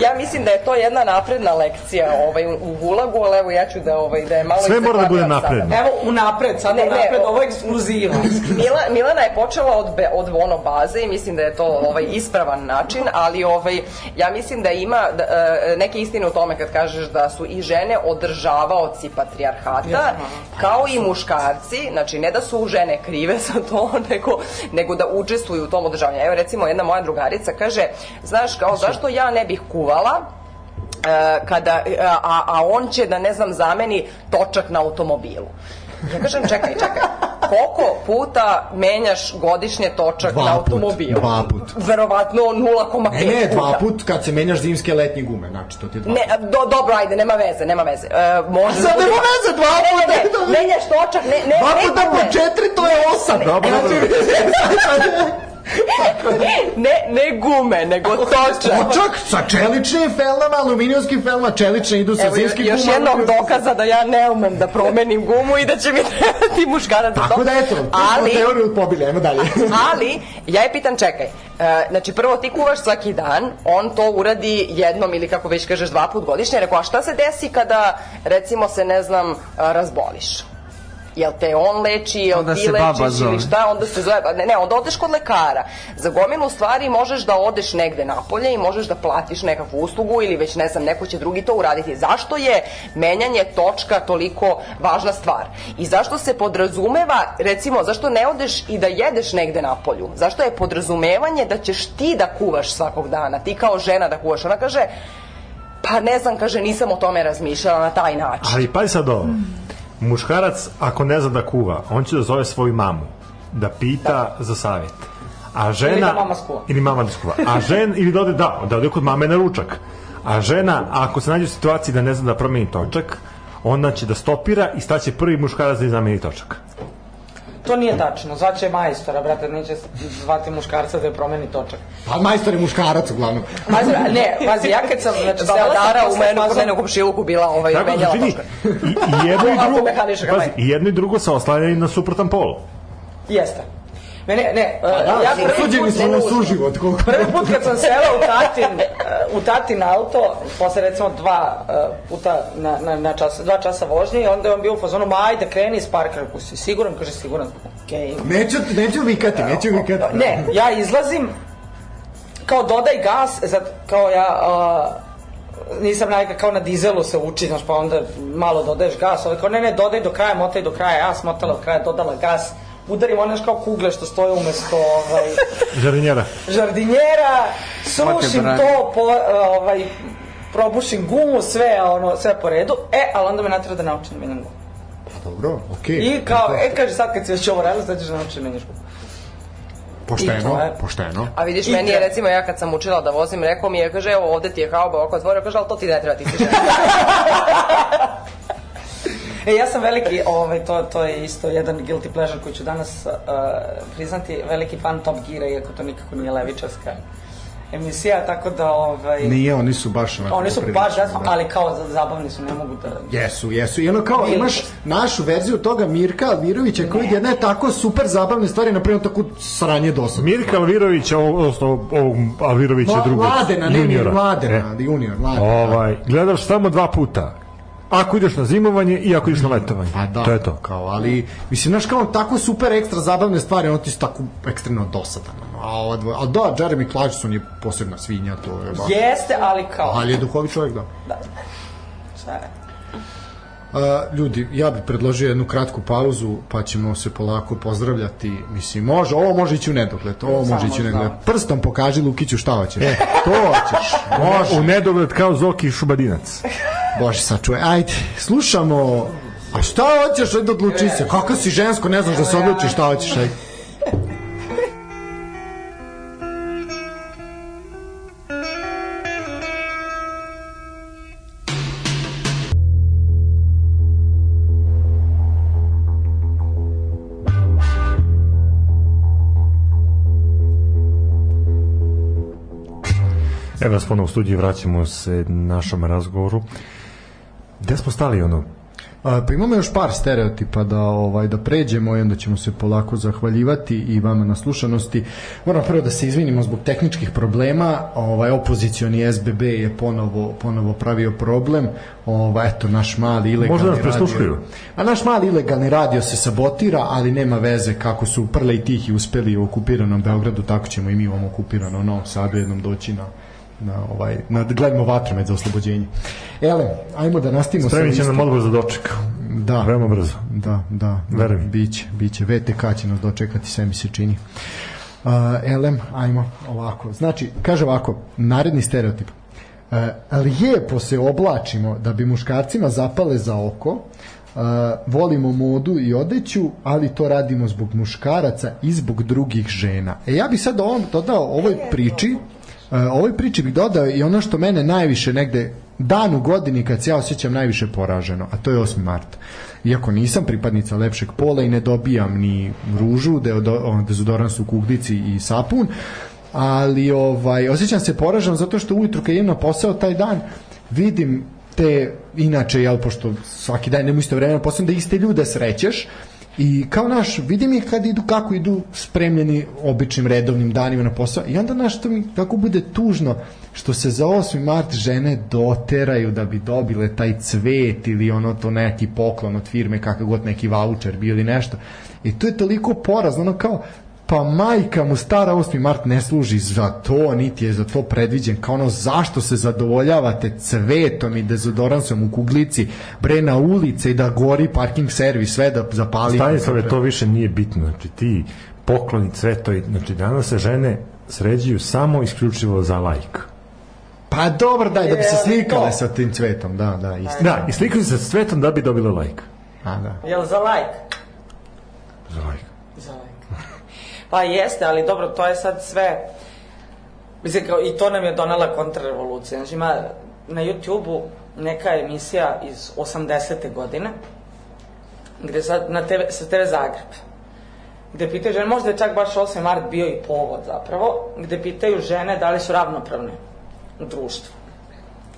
Speaker 5: ja mislim da je to jedna napredna lekcija ovaj, u- u Gulagu, ali evo ja ću da, ovaj, da je malo...
Speaker 1: Sve mora da bude
Speaker 5: izakladiram sada.
Speaker 1: napredno.
Speaker 4: Evo, u napred, sad
Speaker 5: Ne,
Speaker 4: u
Speaker 5: ne,
Speaker 4: napred,
Speaker 5: o-
Speaker 4: ovo je ekskluziva.
Speaker 5: Mila, Milana je počela od, be, od ono baze i mislim da je to ovaj ispravan način, ali ovaj ja mislim da ima da, e, neke istine u tome kad kažeš da su i žene održavaoci patrijarhata kao i muškarci, znači ne da su žene krive za to, nego, nego da učestvuju u tom održavanju. Evo recimo jedna moja drugarica kaže, znaš kao zašto ja ne bih kuvala e, kada, e, a, a on će da ne znam zameni točak na automobilu. Ja kažem čekaj, čekaj, koliko puta menjaš godišnje točak
Speaker 2: Dva
Speaker 5: na
Speaker 2: put,
Speaker 5: automobilu?
Speaker 2: dva put.
Speaker 5: Verovatno 0,5
Speaker 2: E, ne, dva
Speaker 5: puta.
Speaker 2: put kad se menjaš zimske letnje gume, znači to ti je dva
Speaker 5: da. Ne, a, do, dobro, ajde, nema veze, nema veze. E, može
Speaker 2: Sad nema veze, dva puta,
Speaker 5: E, Ne,
Speaker 2: da,
Speaker 5: ne,
Speaker 2: da.
Speaker 5: ne, menjaš točak, ne, ne,
Speaker 2: Dva
Speaker 5: ne,
Speaker 2: puta
Speaker 5: ne,
Speaker 2: po četiri, to je osam. Dobro,
Speaker 5: ne, ne gume, nego točak.
Speaker 2: Počak Pa sa čeličnim felnama, aluminijumskim felnama, čelične idu sa
Speaker 5: Evo,
Speaker 2: zimskim
Speaker 5: još
Speaker 2: gumama.
Speaker 5: jednog dokaza da ja ne umem da promenim gumu i da će mi trebati muškarac za to.
Speaker 2: Tako da eto, tu
Speaker 5: ali,
Speaker 2: smo teoriju pobili, ajmo dalje.
Speaker 5: Ali, ja je pitan, čekaj, e, znači prvo ti kuvaš svaki dan, on to uradi jednom ili kako već kažeš dva put godišnje, rekao, a šta se desi kada recimo se, ne znam, e, razboliš? jel te on leči, jel
Speaker 3: Onda
Speaker 5: ti
Speaker 3: se baba
Speaker 5: lečiš
Speaker 3: zove.
Speaker 5: ili šta, onda se zove, pa ne, ne, onda odeš kod lekara. Za gomilu stvari možeš da odeš negde napolje i možeš da platiš nekakvu uslugu ili već ne znam, neko će drugi to uraditi. Zašto je menjanje točka toliko važna stvar? I zašto se podrazumeva, recimo, zašto ne odeš i da jedeš negde napolju? Zašto je podrazumevanje da ćeš ti da kuvaš svakog dana, ti kao žena da kuvaš? Ona kaže, pa ne znam, kaže, nisam o tome razmišljala na taj način.
Speaker 1: Ali pazi sad ovo. Muškarac, ako ne zna da kuva, on će da zove svoju mamu da pita za savjet. A žena...
Speaker 4: Ili da mama skuva.
Speaker 1: Ili mama da skuva. A žen, ili da ode, da, da ode kod mame na ručak. A žena, ako se nađe u situaciji da ne zna da promeni točak, onda će da stopira i staće prvi muškarac da im zameni točak.
Speaker 4: To nije tačno. Zvaće majstora, brate, neće zvati muškarca da je promeni točak.
Speaker 2: Pa majstor je muškarac uglavnom.
Speaker 4: Pazi, ne, pazi, ja kad sam, znači, sela sam
Speaker 5: Baladara u
Speaker 4: posle
Speaker 5: menu, kod
Speaker 4: fazona-
Speaker 5: mene u komšiluku bila
Speaker 4: E,
Speaker 5: ovaj,
Speaker 1: da Tako da
Speaker 5: menjala
Speaker 1: vidi,
Speaker 5: točka.
Speaker 1: i, i jedno i
Speaker 4: Ako
Speaker 1: drugo,
Speaker 4: mehaničar ga
Speaker 1: pazi,
Speaker 4: menja.
Speaker 1: i jedno i drugo se oslanjaju na suprotan pol.
Speaker 4: Jeste. Mene, ne,
Speaker 5: Pa
Speaker 4: e,
Speaker 5: da,
Speaker 4: ja prvi
Speaker 2: Osuđeni
Speaker 4: put,
Speaker 2: su na suživot. koliko-
Speaker 4: prvi put kad sam sela u tatin, e, u tatin auto, posle recimo dva e, puta na, na, na čas, dva časa vožnje, i onda je on bio u fazonu, ma ajde, kreni iz parka, ako si siguran, kaže, siguran, okej.
Speaker 2: Neću, neću vikati, neću vikati.
Speaker 4: Ne, ja izlazim, kao dodaj gas, e, sad, kao ja, a, nisam navika kao na dizelu se uči, znaš, pa onda malo dodaješ gas, ali kao ne, ne, dodaj do kraja, motaj do kraja, ja smotala do kraja, dodala gas, udarim one znaš, kao kugle što stoje umesto ovaj,
Speaker 1: Žarinjera.
Speaker 4: žardinjera,
Speaker 3: Mate,
Speaker 4: srušim
Speaker 3: brane.
Speaker 4: to, po, ovaj, probušim gumu, sve, ono, sve po redu, e, ali onda me natira da naučim da menjam gumu.
Speaker 2: Dobro, okej.
Speaker 4: I kao, e, kaže, sad kad si već ovo radila, sad ćeš da naučiš da menjaš gumu. i to
Speaker 2: Pošteno,
Speaker 4: je.
Speaker 2: pošteno.
Speaker 5: A vidiš,
Speaker 4: I
Speaker 5: meni je
Speaker 4: tre-
Speaker 5: recimo, ja kad sam učila da vozim, rekao mi je, kaže, evo ovde ti je haoba oko otvorio, kaže, ali to ti ne treba, ti si žena.
Speaker 4: E, ja sam veliki, ovaj, to, to je isto jedan guilty pleasure koji ću danas uh, priznati, veliki fan Top Gira, iako to nikako nije levičarska emisija, tako da, ovaj,
Speaker 2: Nije, oni su baš onako...
Speaker 4: oni su
Speaker 2: prilično,
Speaker 4: baš, jasno, ali kao za- zabavni su, ne mogu da...
Speaker 2: Jesu, jesu. I ono kao
Speaker 4: Bili
Speaker 2: imaš
Speaker 4: su.
Speaker 2: našu verziju toga Mirka Alvirovića koji jedne tako super zabavne stvari, na primjer tako sranje dosadno.
Speaker 1: Mirka Alvirović, ovo- odnosno ovog Alvirovića
Speaker 2: Mla-
Speaker 1: drugog.
Speaker 2: Mladena, ne, ne,
Speaker 1: juniora. E.
Speaker 2: Mladena, junior, Mladena.
Speaker 1: Ovaj, gledaš samo dva puta. Ako ideš na zimovanje i ako ideš na letovanje.
Speaker 2: Pa da,
Speaker 1: to je to.
Speaker 2: kao, ali, mislim, znaš kao, tako super ekstra zabavne stvari, ono ti su tako ekstremno dosadan. ono. A, ova dvoja, a da, Jeremy Clarkson je posebna svinja, to je baš.
Speaker 4: Jeste, ali kao...
Speaker 2: Ali je duhovi čovjek, da.
Speaker 4: šta je?
Speaker 2: A, ljudi, ja bih predložio jednu kratku pauzu, pa ćemo se polako pozdravljati. Mislim, može, ovo može ići u nedogled, ovo može ići u nedogled. Prstom pokaži Lukiću šta hoćeš. E, to hoćeš.
Speaker 1: U nedogled kao Zoki i Šubadinac.
Speaker 2: Bože, sačuvaj. Ajde, slušamo. A šta hoćeš, ajde odluči se. Kako si žensko, ne znaš da se odlučiš šta hoćeš, ajde.
Speaker 1: Evo nas ponovo u studiju, vraćamo se našom razgovoru. Gde smo stali ono?
Speaker 2: A, pa imamo još par stereotipa da ovaj da pređemo i onda ćemo se polako zahvaljivati i vama na slušanosti. Moram prvo da se izvinimo zbog tehničkih problema. Ovaj opozicioni SBB je ponovo ponovo pravio problem. Ovaj eto naš mali ilegalni
Speaker 1: Možda nas
Speaker 2: radio-
Speaker 1: prisluškuju.
Speaker 2: A naš mali ilegalni radio se sabotira, ali nema veze kako su Prle i Tihi uspeli u okupiranom Beogradu, tako ćemo i mi u ovom okupiranom Novom Sadu jednom doći na na ovaj na gledamo vatromet za oslobođenje. Ele, ajmo da nastavimo
Speaker 1: Spremit će
Speaker 2: listom.
Speaker 1: nam odbor za doček.
Speaker 2: Da.
Speaker 1: Veoma brzo.
Speaker 2: Da, da.
Speaker 1: Verujem.
Speaker 2: Biće, biće. VTK će nas dočekati, sve mi se čini. Uh, LM, ajmo ovako. Znači, kaže ovako, naredni stereotip. Uh, lijepo se oblačimo da bi muškarcima zapale za oko, uh, volimo modu i odeću, ali to radimo zbog muškaraca i zbog drugih žena. E ja bih sad ovom dodao ovoj priči, uh, ovoj priči bih dodao i ono što mene najviše negde dan u godini kad se ja osjećam najviše poraženo, a to je 8. mart. Iako nisam pripadnica lepšeg pola i ne dobijam ni ružu, deodo- ono, dezodorans u kuglici i sapun, ali ovaj, osjećam se poraženo zato što ujutru kad idem na posao taj dan vidim te, inače, jel, pošto svaki dan nemu isto vreme na posao, da iste ljude srećeš I kao naš, vidim ih kad idu, kako idu spremljeni običnim redovnim danima na posao. I onda naš, to mi tako bude tužno što se za 8. mart žene doteraju da bi dobile taj cvet ili ono to neki poklon od firme, kakav god neki voucher bio ili nešto. I to je toliko porazno, ono kao, pa majka mu stara 8. mart ne služi za to, niti je za to predviđen, kao ono zašto se zadovoljavate cvetom i dezodoransom u kuglici, bre na ulice i da gori parking servis, sve da zapali.
Speaker 1: Stanislave, to više nije bitno. Znači, ti pokloni cvetovi, znači danas se žene sređuju samo isključivo za lajk.
Speaker 2: Pa dobro, daj, da bi se
Speaker 4: Je, ali
Speaker 2: slikale
Speaker 4: to.
Speaker 2: sa tim cvetom, da, da, isto.
Speaker 1: Da, i slikaju se sa cvetom da bi dobile lajk.
Speaker 2: A, da.
Speaker 4: Jel za lajk?
Speaker 1: Za lajk.
Speaker 4: Za lajk. Pa jeste, ali dobro, to je sad sve... Mislim, kao, i to nam je donela kontrarevolucija. Znači, ima na YouTube-u neka emisija iz 80. godine, gde sad na TV, sa TV Zagreb, gde pitaju žene, možda je čak baš 8. mart bio i povod zapravo, gde pitaju žene da li su ravnopravne u društvu.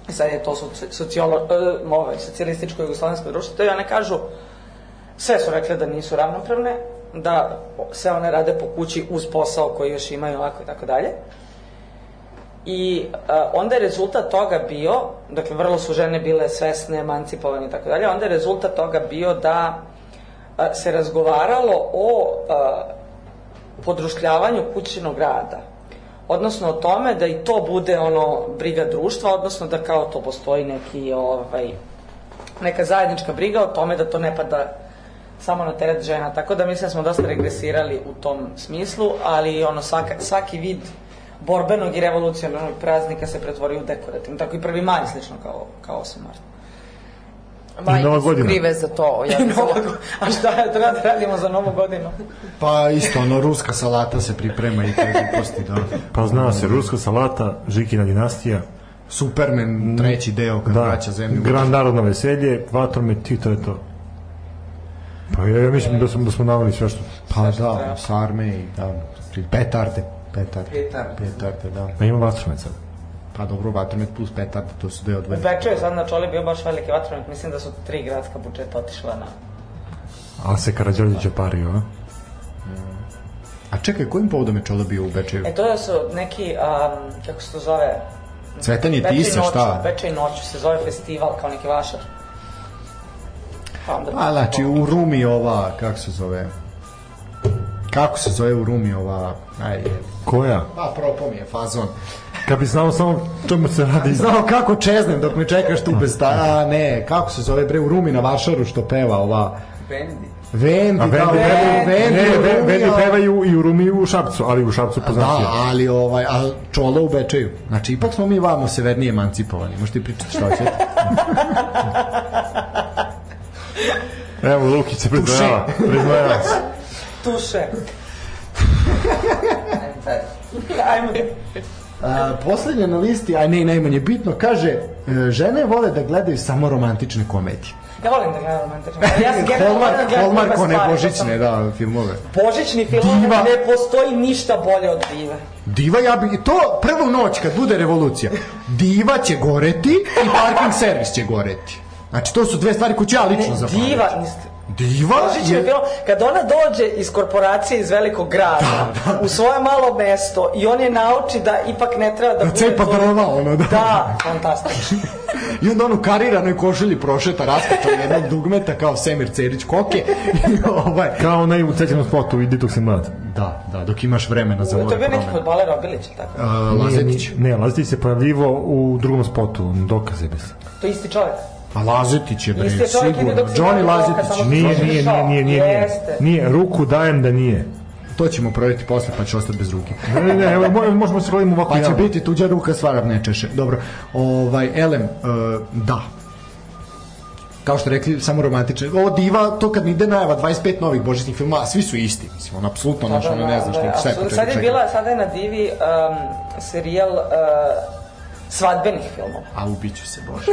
Speaker 4: I sad je to soci- socijolo, uh, ove, socijalističko jugoslovensko društvo, to i one kažu, sve su rekle da nisu ravnopravne, da sve one rade po kući uz posao koji još imaju ovako i tako dalje. I a, onda je rezultat toga bio, dakle vrlo su žene bile svesne, emancipovane i tako dalje, onda je rezultat toga bio da a, se razgovaralo o e, a, podrušljavanju kućinog rada. Odnosno o tome da i to bude ono briga društva, odnosno da kao to postoji neki ovaj, neka zajednička briga o tome da to ne pada samo na teret žena. Tako da mislim da smo dosta regresirali u tom smislu, ali ono svaka, svaki vid borbenog i revolucionarnog praznika se pretvori u dekorativno. Tako i prvi maj slično kao, kao 8. mart.
Speaker 1: I Nova
Speaker 5: Majke su
Speaker 1: godina.
Speaker 5: krive za to. Ja sam
Speaker 4: Nova go- A šta je treba da radimo za novu godinu?
Speaker 2: Pa isto, ono, ruska salata se priprema i te gluposti, da.
Speaker 1: Pa zna se, ruska salata, Žikina dinastija,
Speaker 2: Superman, treći deo, kad da.
Speaker 1: da,
Speaker 2: vraća zemlju.
Speaker 1: Grand Narodno veselje, vatromet i to je to. Pa ja, ja mislim da smo, da smo navali sve što...
Speaker 2: Pa da, sarme i da, petarde, petarde.
Speaker 3: Petarde.
Speaker 2: Petarde, da.
Speaker 1: Da ima vatromet sad.
Speaker 2: Pa dobro, vatromet plus petarde, to su deo
Speaker 4: U
Speaker 2: odvojene.
Speaker 4: Beču je sad na čoli bio baš veliki vatromet. Mislim da su tri gradska budžeta otišla na...
Speaker 1: A se Karadžorđić opario, a?
Speaker 2: A čekaj, kojim povodom je Čola bio u Bečeju?
Speaker 4: E to su neki, um, kako se to zove,
Speaker 2: Cvetanje
Speaker 4: Veče i
Speaker 2: tisa,
Speaker 4: noću,
Speaker 2: šta?
Speaker 4: Veče i noću se zove festival, kao neki vašar. Pa onda...
Speaker 2: A, znači, u Rumi ova, kako se zove? Kako se zove u Rumi ova? Aj,
Speaker 1: Koja?
Speaker 2: pa propo mi je fazon.
Speaker 1: Kad bi znao samo čemu se radi...
Speaker 2: Znao kako čeznem dok me čekaš tu bez ta... A, ne, kako se zove, bre, u Rumi na Vašaru što peva ova...
Speaker 3: Bendi.
Speaker 2: Vendi,
Speaker 1: A Vendi,
Speaker 2: da,
Speaker 1: peva,
Speaker 2: Vendi,
Speaker 1: ne,
Speaker 2: u
Speaker 1: Ve-
Speaker 2: Rumi,
Speaker 1: Vendi
Speaker 2: a-
Speaker 1: peva znači. i u, i u Rumi i u Šapcu, ali u Šapcu poznatije.
Speaker 2: Da, ali ovaj, al čolo u Bečeju. Znači, ipak smo mi vamo severnije emancipovani. Možete i pričati šta hoćete.
Speaker 1: Evo, Lukić se priznava, priznava se.
Speaker 4: Tuše.
Speaker 3: Ajmo dalje.
Speaker 4: Ajmo.
Speaker 2: A, poslednje na listi, a ne i najmanje bitno, kaže, e, žene vole da gledaju samo romantične komedije.
Speaker 4: Ja volim da gledam romantične. komedije. Ja sam generalno volim da
Speaker 2: Hallmark,
Speaker 4: gledam
Speaker 2: Hallmark,
Speaker 4: dobre
Speaker 2: one
Speaker 4: stvari,
Speaker 2: božićne,
Speaker 4: to
Speaker 2: da, filmove.
Speaker 4: pa sam- Božićni film,
Speaker 2: Diva.
Speaker 4: ne postoji ništa bolje od dive.
Speaker 2: Diva, ja bi, to prvu noć kad bude revolucija, diva će goreti i parking servis će goreti. Znači, to su dve stvari koje ću ja
Speaker 4: Ne,
Speaker 2: lično zapamati.
Speaker 4: diva, niste.
Speaker 2: Diva
Speaker 4: Božićni
Speaker 2: je...
Speaker 4: film, kad ona dođe iz korporacije iz velikog grada,
Speaker 2: Da,
Speaker 4: u svoje malo mesto i on je nauči da ipak ne treba da...
Speaker 2: Da
Speaker 4: bude
Speaker 2: cepa
Speaker 4: to-
Speaker 2: drva, ono, da.
Speaker 4: Da, fantastično.
Speaker 2: I onda on u kariranoj košulji prošeta raskačao jednog dugmeta kao Semir Cerić koke. I ovaj,
Speaker 1: Kao onaj u trećenom spotu, idi dok si mlad.
Speaker 2: da, da, dok imaš vremena za
Speaker 4: To
Speaker 2: ove
Speaker 4: je bio neki
Speaker 2: promene.
Speaker 4: fudbaler Obilić, ili tako?
Speaker 2: A, Lazetić.
Speaker 1: Nije, Ne, Lazetić se pojavljivo u drugom spotu, dokaze bez.
Speaker 4: To je isti čovjek.
Speaker 2: A Pa Lazetić je bre,
Speaker 4: Isti je čovjek, ide
Speaker 2: sigurno.
Speaker 4: dok se
Speaker 2: Johnny
Speaker 4: ne
Speaker 2: Lazetić.
Speaker 4: dokaza,
Speaker 1: Nije,
Speaker 4: Može
Speaker 1: nije,
Speaker 4: više.
Speaker 1: nije, nije, nije, nije.
Speaker 4: Jeste.
Speaker 1: Nije, ruku dajem da nije.
Speaker 2: To ćemo provjeriti posle pa će ostati bez ruke.
Speaker 1: Ne, ne, ne, evo, mo- možemo se gledamo ovako
Speaker 2: Pa će
Speaker 1: javno.
Speaker 2: biti tuđa ruka svarav ne češe. Dobro. Ovaj elem e, da. Kao što rekli, samo romantične. Ovo diva, to kad mi ide najava 25 novih božićnih filmova, a svi su isti, mislim, on apsolutno naš, ono ne znaš
Speaker 4: Da,
Speaker 2: šta je
Speaker 4: apsolutno. Sad je bila, sada je na divi um, serijal uh, svadbenih filmova.
Speaker 2: A ubiću se, bože.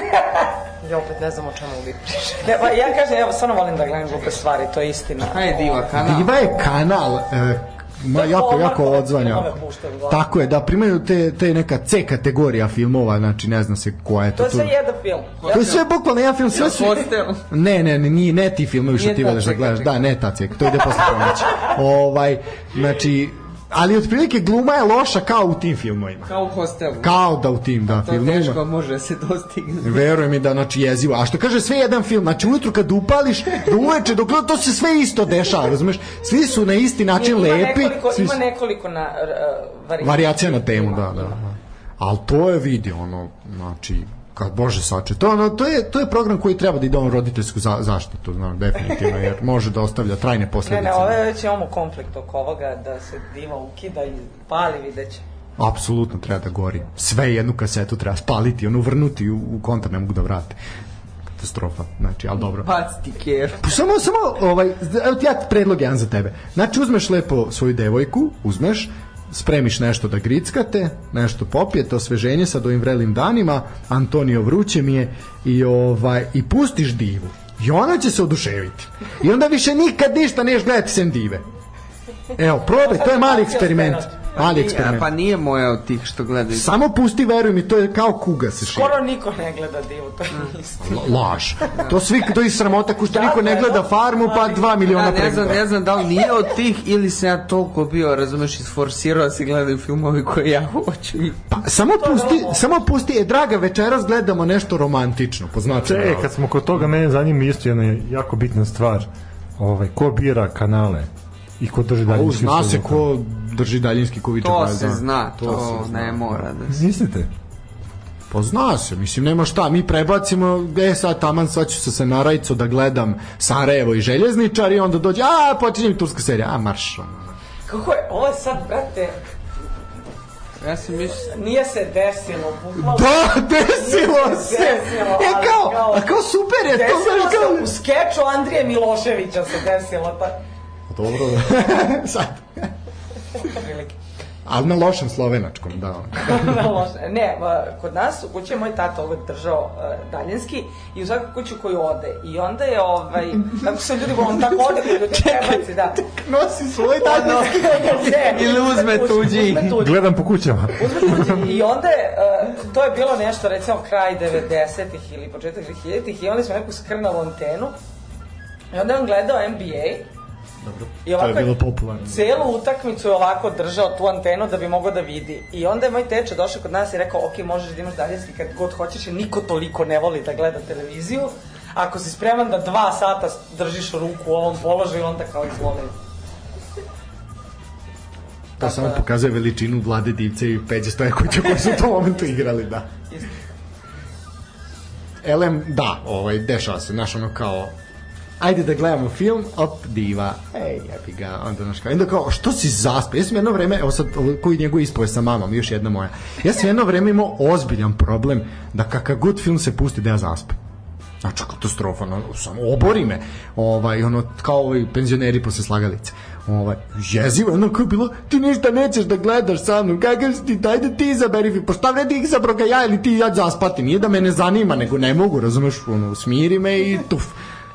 Speaker 5: Ja opet ne znam o čemu vi pričate.
Speaker 4: Ne, pa ja kažem, ja stvarno volim da gledam glupe stvari, to je istina.
Speaker 3: Šta je diva kanal?
Speaker 2: Diva je kanal e,
Speaker 4: Da,
Speaker 2: ma, jako, jako
Speaker 4: Omar-
Speaker 2: odzvanja.
Speaker 4: Ove puštaju uglavnom.
Speaker 2: Tako je, da primaju te, te neka C kategorija filmova, znači ne zna se koja je to.
Speaker 4: To je
Speaker 2: tu.
Speaker 4: sve jedan film.
Speaker 2: To je sve bukvalno jedan film, sve su...
Speaker 3: Hostel.
Speaker 2: Ne, ne, ne, nije, ne ti filmovi što
Speaker 3: Nije
Speaker 2: ti
Speaker 3: ta
Speaker 2: veliš da
Speaker 3: ceka,
Speaker 2: gledaš.
Speaker 3: čekaj.
Speaker 2: Da, ne ta ceka, to ide posle ponoći. ovaj, znači, ali otprilike gluma je loša kao u tim filmovima.
Speaker 3: Kao u hostelu.
Speaker 2: Kao da u tim, da,
Speaker 3: to teško
Speaker 2: filmovima.
Speaker 3: može da se dostigne.
Speaker 2: Veruj mi da, znači, jezivo. A što kaže sve jedan film, znači ujutru kad upališ, do uveče, dok gleda, to se sve isto dešava, razumeš? Svi su na isti način
Speaker 4: Ima
Speaker 2: lepi.
Speaker 4: Nekoliko,
Speaker 2: svi
Speaker 4: ima
Speaker 2: su...
Speaker 4: nekoliko na, r, uh, varijacija.
Speaker 2: Varijacija na temu, da, da. Ali to je video, ono, znači, kad Bože sače, to, ono, to, je, to je program koji treba da ide on roditeljsku za, zaštitu, znam, definitivno, jer može da ostavlja trajne
Speaker 4: Ne,
Speaker 2: posledice.
Speaker 4: ne, ove već imamo konflikt oko ovoga, da se diva ukida i pali videće.
Speaker 2: Apsolutno treba da gori. Sve jednu kasetu treba spaliti, ono, vrnuti u, u konta, ne mogu da vrate. Katastrofa, znači, ali dobro.
Speaker 3: Baciti keru.
Speaker 2: Pa Samo, samo, ovaj, evo ti ja predlog jedan za tebe. Znači, uzmeš lepo svoju devojku, uzmeš, spremiš nešto da grickate, nešto popijete, osveženje sad ovim vrelim danima, Antonio vruće mi je, i, ovaj, i pustiš divu. I ona će se oduševiti. I onda više nikad ništa neš gledati sem dive. Evo, probaj, to je mali eksperiment. Mali eksperiment.
Speaker 3: Pa nije moja od tih što gledaju.
Speaker 2: Samo pusti, veruj mi, to je kao kuga se širi.
Speaker 4: Skoro niko ne gleda divu, to
Speaker 2: Mm.
Speaker 4: je isto.
Speaker 2: La- Laž. To svi, to je sramota, ko što niko ne gleda farmu, pa 2 miliona
Speaker 3: Ja Da, ne znam,
Speaker 2: pregleda.
Speaker 3: ne znam da li nije od tih ili se ja toliko bio, razumeš, isforsirao da se gledaju filmovi koje ja hoću.
Speaker 2: Pa, samo pusti, samo pusti, e, draga, večeras gledamo nešto romantično, po znacima.
Speaker 1: E,
Speaker 2: navoda.
Speaker 1: kad smo kod toga, mene zanima isto jedna jako bitna stvar. Ovaj, ko bira kanale i ko drži dalje?
Speaker 2: U, zna se ko drži daljinski ko viče.
Speaker 3: To
Speaker 2: pa
Speaker 3: se
Speaker 2: zna.
Speaker 3: zna, to,
Speaker 2: se zna.
Speaker 3: ne mora da se...
Speaker 1: Mislite?
Speaker 2: Pa zna se, mislim, nema šta, mi prebacimo, e, sad taman, sad ću se sa Narajco da gledam Sarajevo i Željezničar i onda dođe, a, počinjem turska serija, a, marš, ono.
Speaker 4: Kako je, ovo je sad, brate,
Speaker 3: Ja sam mislio...
Speaker 4: nije se desilo, bukvalno.
Speaker 2: Da, desilo se!
Speaker 4: Desilo,
Speaker 2: e,
Speaker 4: ali
Speaker 2: kao,
Speaker 4: kao-
Speaker 2: a kao super je, to
Speaker 4: Desilo
Speaker 2: znaš
Speaker 4: se u
Speaker 2: kao...
Speaker 4: skeču Andrije Miloševića se desilo, pa
Speaker 2: Dobro, sad.
Speaker 4: prilike.
Speaker 2: Ali na lošem slovenačkom, da. ono.
Speaker 4: Na loše. ne, ma, kod nas u kući je moj tata uvek držao e, daljinski i u svaku kuću koju ode. I onda je, ovaj, tako su ljudi, on tako ode kod ljudi prebaci, da.
Speaker 2: Nosi svoj daljinski.
Speaker 4: Ne,
Speaker 3: Ili uzme tuđi.
Speaker 4: Uzme tuđi.
Speaker 1: Gledam po kućama.
Speaker 4: I onda je, uh, to je bilo nešto, recimo kraj 90-ih ili početak 2000-ih, imali smo neku skrnalu antenu i onda je on gledao NBA i
Speaker 2: To je
Speaker 4: ovako
Speaker 2: bilo
Speaker 4: je
Speaker 2: popularno.
Speaker 4: celu utakmicu je ovako držao tu antenu da bi mogao da vidi. I onda je moj teča došao kod nas i rekao, ok, možeš da imaš daljinski kad god hoćeš, jer niko toliko ne voli da gleda televiziju. Ako si spreman da dva sata držiš ruku u ovom položaju, onda kao izvoli.
Speaker 2: To samo
Speaker 4: da.
Speaker 2: pokazuje veličinu Vlade Divce i Peđe Stojakovića koji su u tom momentu igrali, da.
Speaker 4: Isto.
Speaker 2: Elem, da, ovaj, dešava se, znaš, ono kao, ajde da gledamo film, op, diva, ej, jebi ga, onda znaš kao, onda kao, što si zaspio? Ja sam jedno vreme, evo sad, ovo, koji njegov ispoje sa mamom, još jedna moja, ja sam jedno vreme imao ozbiljan problem da kakav god film se pusti da ja zaspim. Znači, katastrofa, no, samo obori me. Ovaj, ono, kao ovaj penzioneri posle slagalice. Ovaj, jezivo, ono kao je bilo, ti ništa nećeš da gledaš sa mnom, kakav si ti, dajde ti izaberi, pa šta vredi izabro ga ja ili ti ja ću zaspati, nije da me ne zanima, nego ne mogu, razumeš, ono, smiri me i tuf.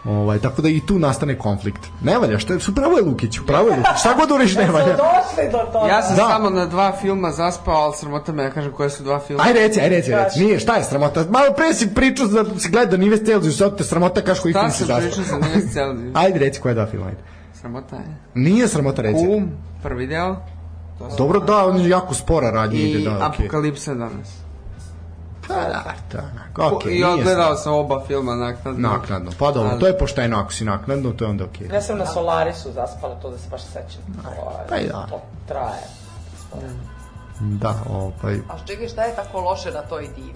Speaker 2: Ovaj, tako da i tu nastane konflikt. Ne valja, što je, su pravo je Lukić, pravo je Lukić, šta god uriš ne valja.
Speaker 4: Došli do toga.
Speaker 3: Ja sam
Speaker 2: Da.
Speaker 3: da. samo na dva filma zaspao, ali sramota me da kažem koje su dva filma.
Speaker 2: Aj reci, aj reci, reci. Nije, šta je sramota? Malo pre si pričao da si gledao Nive Celsius, sad te sramota kaš koji
Speaker 3: Da
Speaker 2: film si
Speaker 3: sam
Speaker 2: zaspao.
Speaker 3: pričao sa Nives Celsius.
Speaker 2: Ajde reci koja je dva filma, ajde.
Speaker 3: Sramota je.
Speaker 2: Nije sramota reći.
Speaker 3: Um, prvi deo.
Speaker 2: Dobro, da, on je jako spora radnja ide,
Speaker 3: I
Speaker 2: da, okej.
Speaker 3: Apokalipsa danas.
Speaker 2: Pa da, da, da, okej,
Speaker 3: I
Speaker 2: nije
Speaker 3: odgledao sam oba filma naknadno.
Speaker 2: sramota. Naknadno, pa dobro,
Speaker 3: Ali-
Speaker 2: to je pošteno, ako si naknadno, to je onda okej.
Speaker 4: Ja sam na Solarisu zaspala, to da se baš sećam. To,
Speaker 2: pa i
Speaker 4: je-
Speaker 2: da.
Speaker 4: to traje.
Speaker 2: Da, ovaj,
Speaker 5: A čekaj, šta je tako loše na toj divi?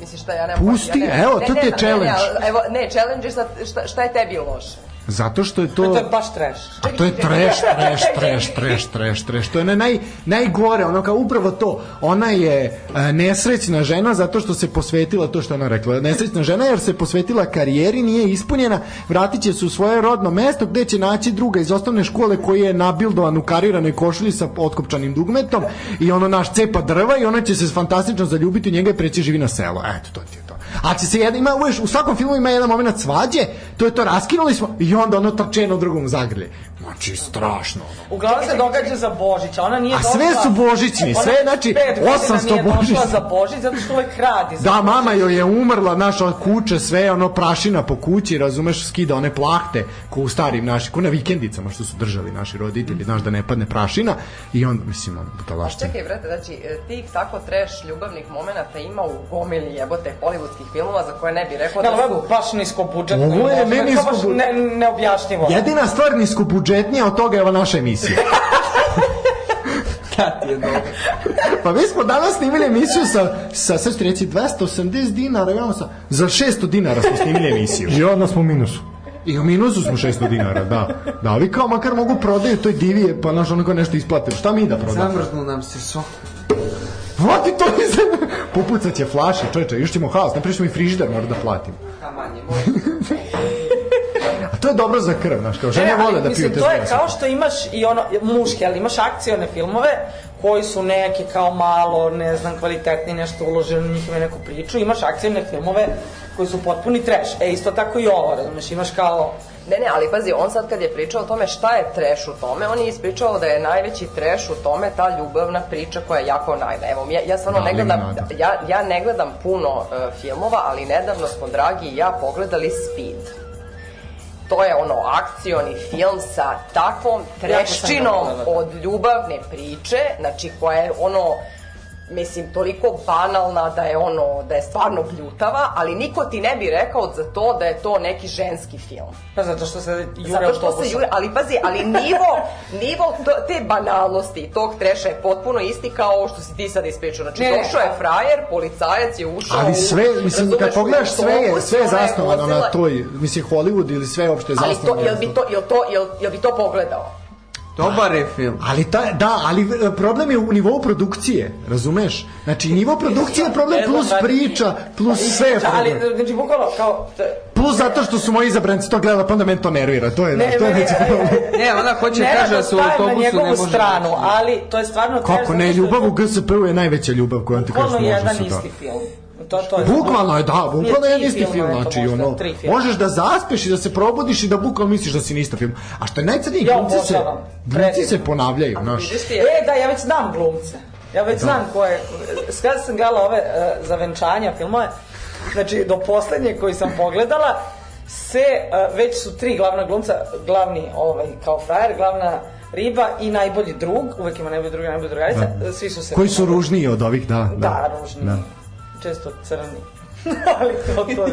Speaker 5: Misliš šta ja ne
Speaker 2: Pusti,
Speaker 5: ja ne,
Speaker 2: evo,
Speaker 5: ne,
Speaker 2: to
Speaker 5: ne
Speaker 2: ti je
Speaker 5: znam,
Speaker 2: challenge.
Speaker 5: Ne, ne, ali, evo, ne, challenge je šta, šta, šta je tebi loše?
Speaker 2: zato što je
Speaker 4: E, To
Speaker 2: to...
Speaker 4: je baš trash.
Speaker 2: A to je trash, trash, trash, trash, trash, trash. To je onaj naj, najgore, ono kao upravo to. Ona je e, nesrećna žena zato što se posvetila to što je ona rekla. Nesrećna žena jer se posvetila karijeri, nije ispunjena, vratit će se u svoje rodno mesto gde će naći druga iz osnovne škole koji je nabildovan u kariranoj košulji sa otkopčanim dugmetom i ono naš cepa drva i ona će se fantastično zaljubiti u njega i preći živi na selo. Eto, to ti je to. A će se jedan, ima, uveš, u svakom filmu ima jedan moment svađe, to je to, raskinuli smo i onda ono tapčeno drugom zagrlje. Znači, strašno. ono.
Speaker 4: Uglavnom se događa za Božić, a ona nije
Speaker 2: A sve su božićni, sve, znači, 800
Speaker 4: Božić.
Speaker 2: božićni.
Speaker 4: došla za Božić zato što uvek radi.
Speaker 2: Da, mama joj je umrla, naša kuća, sve ono prašina po kući, razumeš, skida one plahte ko u starim naši, ko na vikendicama što su držali naši roditelji, znaš da ne padne prašina i onda, mislim, ono, da budalaština.
Speaker 5: Čekaj, brate, znači, e, tih tako treš ljubavnih momenata ima u gomili jebote hollywoodskih filmova za koje ne bi rekao
Speaker 4: Da,
Speaker 5: da,
Speaker 4: ovo
Speaker 5: su...
Speaker 4: je baš nisko budžet.
Speaker 2: Ovo je meni niskobudžetno.
Speaker 4: Ne, neobjašnjivo.
Speaker 2: Jedina stvar niskobudžetnija od toga je ova naša emisija.
Speaker 3: Da ti je dobro.
Speaker 2: Pa mi smo danas snimili emisiju sa, sa sad ćete reći, 280 dinara, imamo sa, za 600 dinara smo snimili emisiju.
Speaker 1: I odmah smo u minusu.
Speaker 2: I u minusu smo 600 dinara, da. Da, ali kao makar mogu prodaju toj divije, pa naš onako nešto isplate. Šta mi da prodamo?
Speaker 3: Zamrznu nam se sok.
Speaker 2: Vrati to iz sebe. Popucat će flaše, čoveče, još ćemo haos, napriš mi frižider, mora da platim.
Speaker 3: A manje, može.
Speaker 2: A to je dobro za krv, znaš, kao žene
Speaker 4: ali,
Speaker 2: vole da piju
Speaker 4: mislim,
Speaker 2: te
Speaker 4: to je
Speaker 2: zdrave.
Speaker 4: kao što imaš i ono, muške, ali imaš akcione filmove koji su neki kao malo, ne znam, kvalitetni, nešto uloženo u njihove neku priču. Imaš akcione filmove koji su potpuni trash. E, isto tako i ovo, razumeš, imaš kao...
Speaker 5: Ne, ne, ali pazi, on sad kad je pričao o tome šta je treš u tome, on je ispričao da je najveći treš u tome ta ljubavna priča koja je jako najna. Evo, ja, ja stvarno
Speaker 2: Da,
Speaker 5: ne gledam,
Speaker 2: limonada.
Speaker 5: ja, ja ne gledam puno e, filmova, ali nedavno smo, dragi i ja, pogledali Speed. To je ono akcioni film sa takvom treščinom
Speaker 4: pogledala.
Speaker 5: od ljubavne priče, znači koja je ono mislim, toliko banalna da je ono, da je stvarno bljutava, ali niko ti ne bi rekao za to da je to neki ženski film.
Speaker 4: Pa zato što se jure
Speaker 5: Zato što se
Speaker 4: autobusom.
Speaker 5: jure, ali pazi, ali nivo, nivo to- te banalnosti i tog treša je potpuno isti kao ovo što si ti sad ispričao. Znači,
Speaker 4: Ne, ne.
Speaker 5: došao je frajer, policajac je ušao
Speaker 2: Ali
Speaker 5: u-
Speaker 2: sve, mislim,
Speaker 5: razumeš,
Speaker 2: kad
Speaker 5: u
Speaker 2: pogledaš sve je,
Speaker 5: autobus,
Speaker 2: sve je
Speaker 5: ona
Speaker 2: zasnovano na
Speaker 5: vozila-
Speaker 2: toj, mislim, Hollywood ili sve je opšte
Speaker 5: Ali
Speaker 2: zasnovano.
Speaker 5: to, jel
Speaker 2: na
Speaker 5: bi to, jel to, jel, jel bi to pogledao?
Speaker 3: Dobar je film.
Speaker 2: Ali ta, da, ali e, problem je u nivou produkcije, razumeš? Znači, nivo produkcije je problem
Speaker 4: Ne znam,
Speaker 2: plus
Speaker 4: brate.
Speaker 2: priča, plus sve je
Speaker 4: Priča,
Speaker 2: problem.
Speaker 4: Ali, znači, bukvalno, kao... t-
Speaker 2: Plus zato što su moji zabranci to gledali, pa onda meni to nervira. To je,
Speaker 4: Ne,
Speaker 2: to je
Speaker 4: meni-
Speaker 2: veći problem.
Speaker 3: Ne, ona hoće da kaže da se u
Speaker 4: stajem na
Speaker 3: autobusu ne
Speaker 4: njegovu
Speaker 3: može. da
Speaker 4: stranu, ali to je stvarno... trash
Speaker 2: da- Kako
Speaker 4: zato
Speaker 2: ne,
Speaker 4: što je
Speaker 2: ljubav u GSP-u je najveća ljubav koja ti kažeš
Speaker 4: Bukvalno
Speaker 2: može
Speaker 4: jedan
Speaker 2: se da.
Speaker 4: isti film. To, to je
Speaker 2: Bukvalno je, da, bukvalno
Speaker 4: Nije
Speaker 2: je
Speaker 4: tri
Speaker 2: jedan isti film,
Speaker 4: filma, eto,
Speaker 2: znači,
Speaker 4: možda,
Speaker 2: ono,
Speaker 4: tri filma.
Speaker 2: možeš da zaspeš i da se probudiš i da bukvalno misliš da si na isti film. A što je najcrnije,
Speaker 4: Ja
Speaker 2: glumci se,
Speaker 4: obožavam.
Speaker 2: glumci
Speaker 4: Predivno.
Speaker 2: se ponavljaju, znaš.
Speaker 5: Vidiš ti je?
Speaker 4: E, da, ja već znam glumce. Ja
Speaker 2: Da.
Speaker 4: već znam ko je... Skada sam gledala ove e, za venčanja filmove, znači, do poslednje koji sam pogledala, se, e, već su tri glavna glumca, glavni ovaj, kao frajer, glavna riba i najbolji drug, uvek ima najbolji drug i najbolji drugarica,
Speaker 2: Da.
Speaker 4: e, svi su se...
Speaker 2: Koji su ružniji od ovih, da.
Speaker 4: Da, ružni.
Speaker 2: da.
Speaker 4: Često crni. ali to, to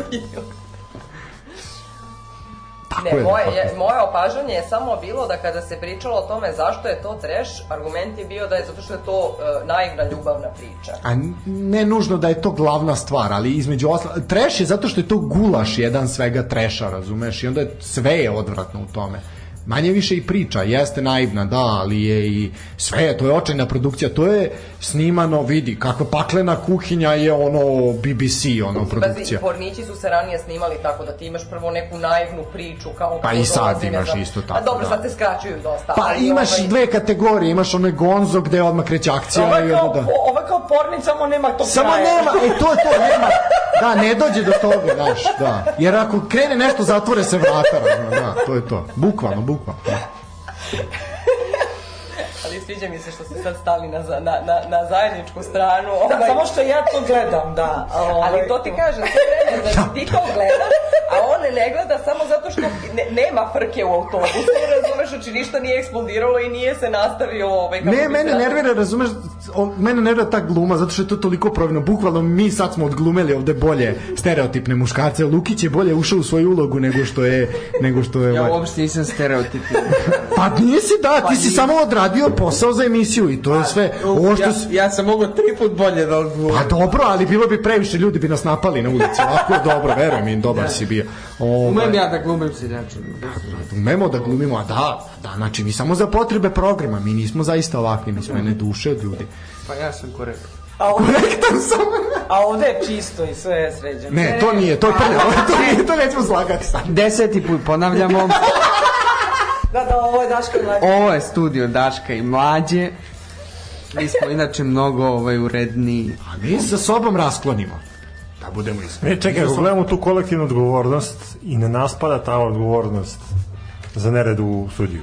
Speaker 2: Tako
Speaker 5: Ne,
Speaker 2: je,
Speaker 5: moje,
Speaker 2: tako je.
Speaker 5: je, moje opažanje je samo bilo da kada se pričalo o tome zašto je to treš, argument je bio da je zato što je to e, naivna ljubavna priča.
Speaker 2: A n- ne nužno da je to glavna stvar, ali između osla... Treš je zato što je to gulaš jedan svega treša, razumeš? I onda je, sve je odvratno u tome. Manje više i priča, jeste naivna, da, ali je i sve, to je očajna produkcija, to je snimano, vidi, kakva paklena kuhinja je ono BBC, ono
Speaker 5: Pazi,
Speaker 2: produkcija.
Speaker 5: pornići su se ranije snimali tako da ti imaš prvo neku naivnu priču kao
Speaker 2: Pa
Speaker 5: kako
Speaker 2: i sad
Speaker 5: dolazi, ne
Speaker 2: imaš
Speaker 5: znam.
Speaker 2: isto
Speaker 5: A
Speaker 2: tako,
Speaker 5: dobro,
Speaker 2: da.
Speaker 5: sad te skraćuju dosta.
Speaker 2: Pa
Speaker 5: ali
Speaker 2: imaš
Speaker 5: ovaj,
Speaker 2: dve kategorije, imaš onaj Gonzo gde odmah kreće akcija.
Speaker 4: Ovo je
Speaker 2: i
Speaker 4: kao,
Speaker 2: onda-
Speaker 4: po- ovo je kao pornic, samo nema to
Speaker 2: da. Samo
Speaker 4: kraja.
Speaker 2: nema, e to je to, nema. Da, ne dođe do toga, znaš, da. Jer ako krene nešto, zatvore se vrata, razumem, da, to je to. Bukvalno, bukvalno.
Speaker 5: Ali sviđa mi se što ste sad stali na, za- na, na, na zajedničku stranu.
Speaker 4: Da,
Speaker 5: ovaj,
Speaker 4: samo što ja to gledam, da. a Ovaj,
Speaker 5: Ali to ti kažem, sve
Speaker 2: Da.
Speaker 5: vreme, znači ti to gledaš, a on ne gleda samo zato što ne, nema frke u autobusu, razumeš, znači ništa nije eksplodiralo i nije se nastavio ovaj... kako
Speaker 2: Ne,
Speaker 5: bi
Speaker 2: mene
Speaker 5: se-
Speaker 2: nervira, razumeš, on, mene nervira ta gluma, zato što je to toliko provino. Bukvalno mi sad smo odglumeli ovde bolje stereotipne muškarce. Lukić je bolje ušao u svoju ulogu nego što je... Nego što je
Speaker 3: Ja
Speaker 2: ovaj.
Speaker 3: uopšte nisam stereotipio.
Speaker 2: Pa nisi, da, ti si samo odradio posao za emisiju i to je sve. Ovo što
Speaker 3: ja,
Speaker 2: si,
Speaker 3: ja sam mogao tri put bolje da odgovorim.
Speaker 2: Pa dobro, ali bilo bi previše ljudi bi nas napali na ulici. Ovako je dobro, verujem im, dobar si bio. Ovaj,
Speaker 3: Umem ja da glumim seljača.
Speaker 2: umemo da glumimo, a da, da, znači mi samo za potrebe programa, mi nismo zaista ovakvi, mi smo jedne duše od ljudi.
Speaker 3: Pa ja sam korektan.
Speaker 4: A ovde,
Speaker 2: Korektan sam.
Speaker 4: a ovde je čisto i sve je sređeno.
Speaker 2: Ne, to nije, to je prljavo, to nije, to nećemo slagati sad.
Speaker 3: Deseti put ponavljamo,
Speaker 4: Da, da, ovo je Daško Mlađe.
Speaker 3: ovo je studio Daška i Mlađe. Mi smo inače mnogo ovaj, uredniji.
Speaker 2: A mi sa sobom rasklonimo. Da budemo iskreni.
Speaker 1: E, čekaj, ako gledamo tu kolektivnu odgovornost i na nas pada ta odgovornost za nered u sudiju.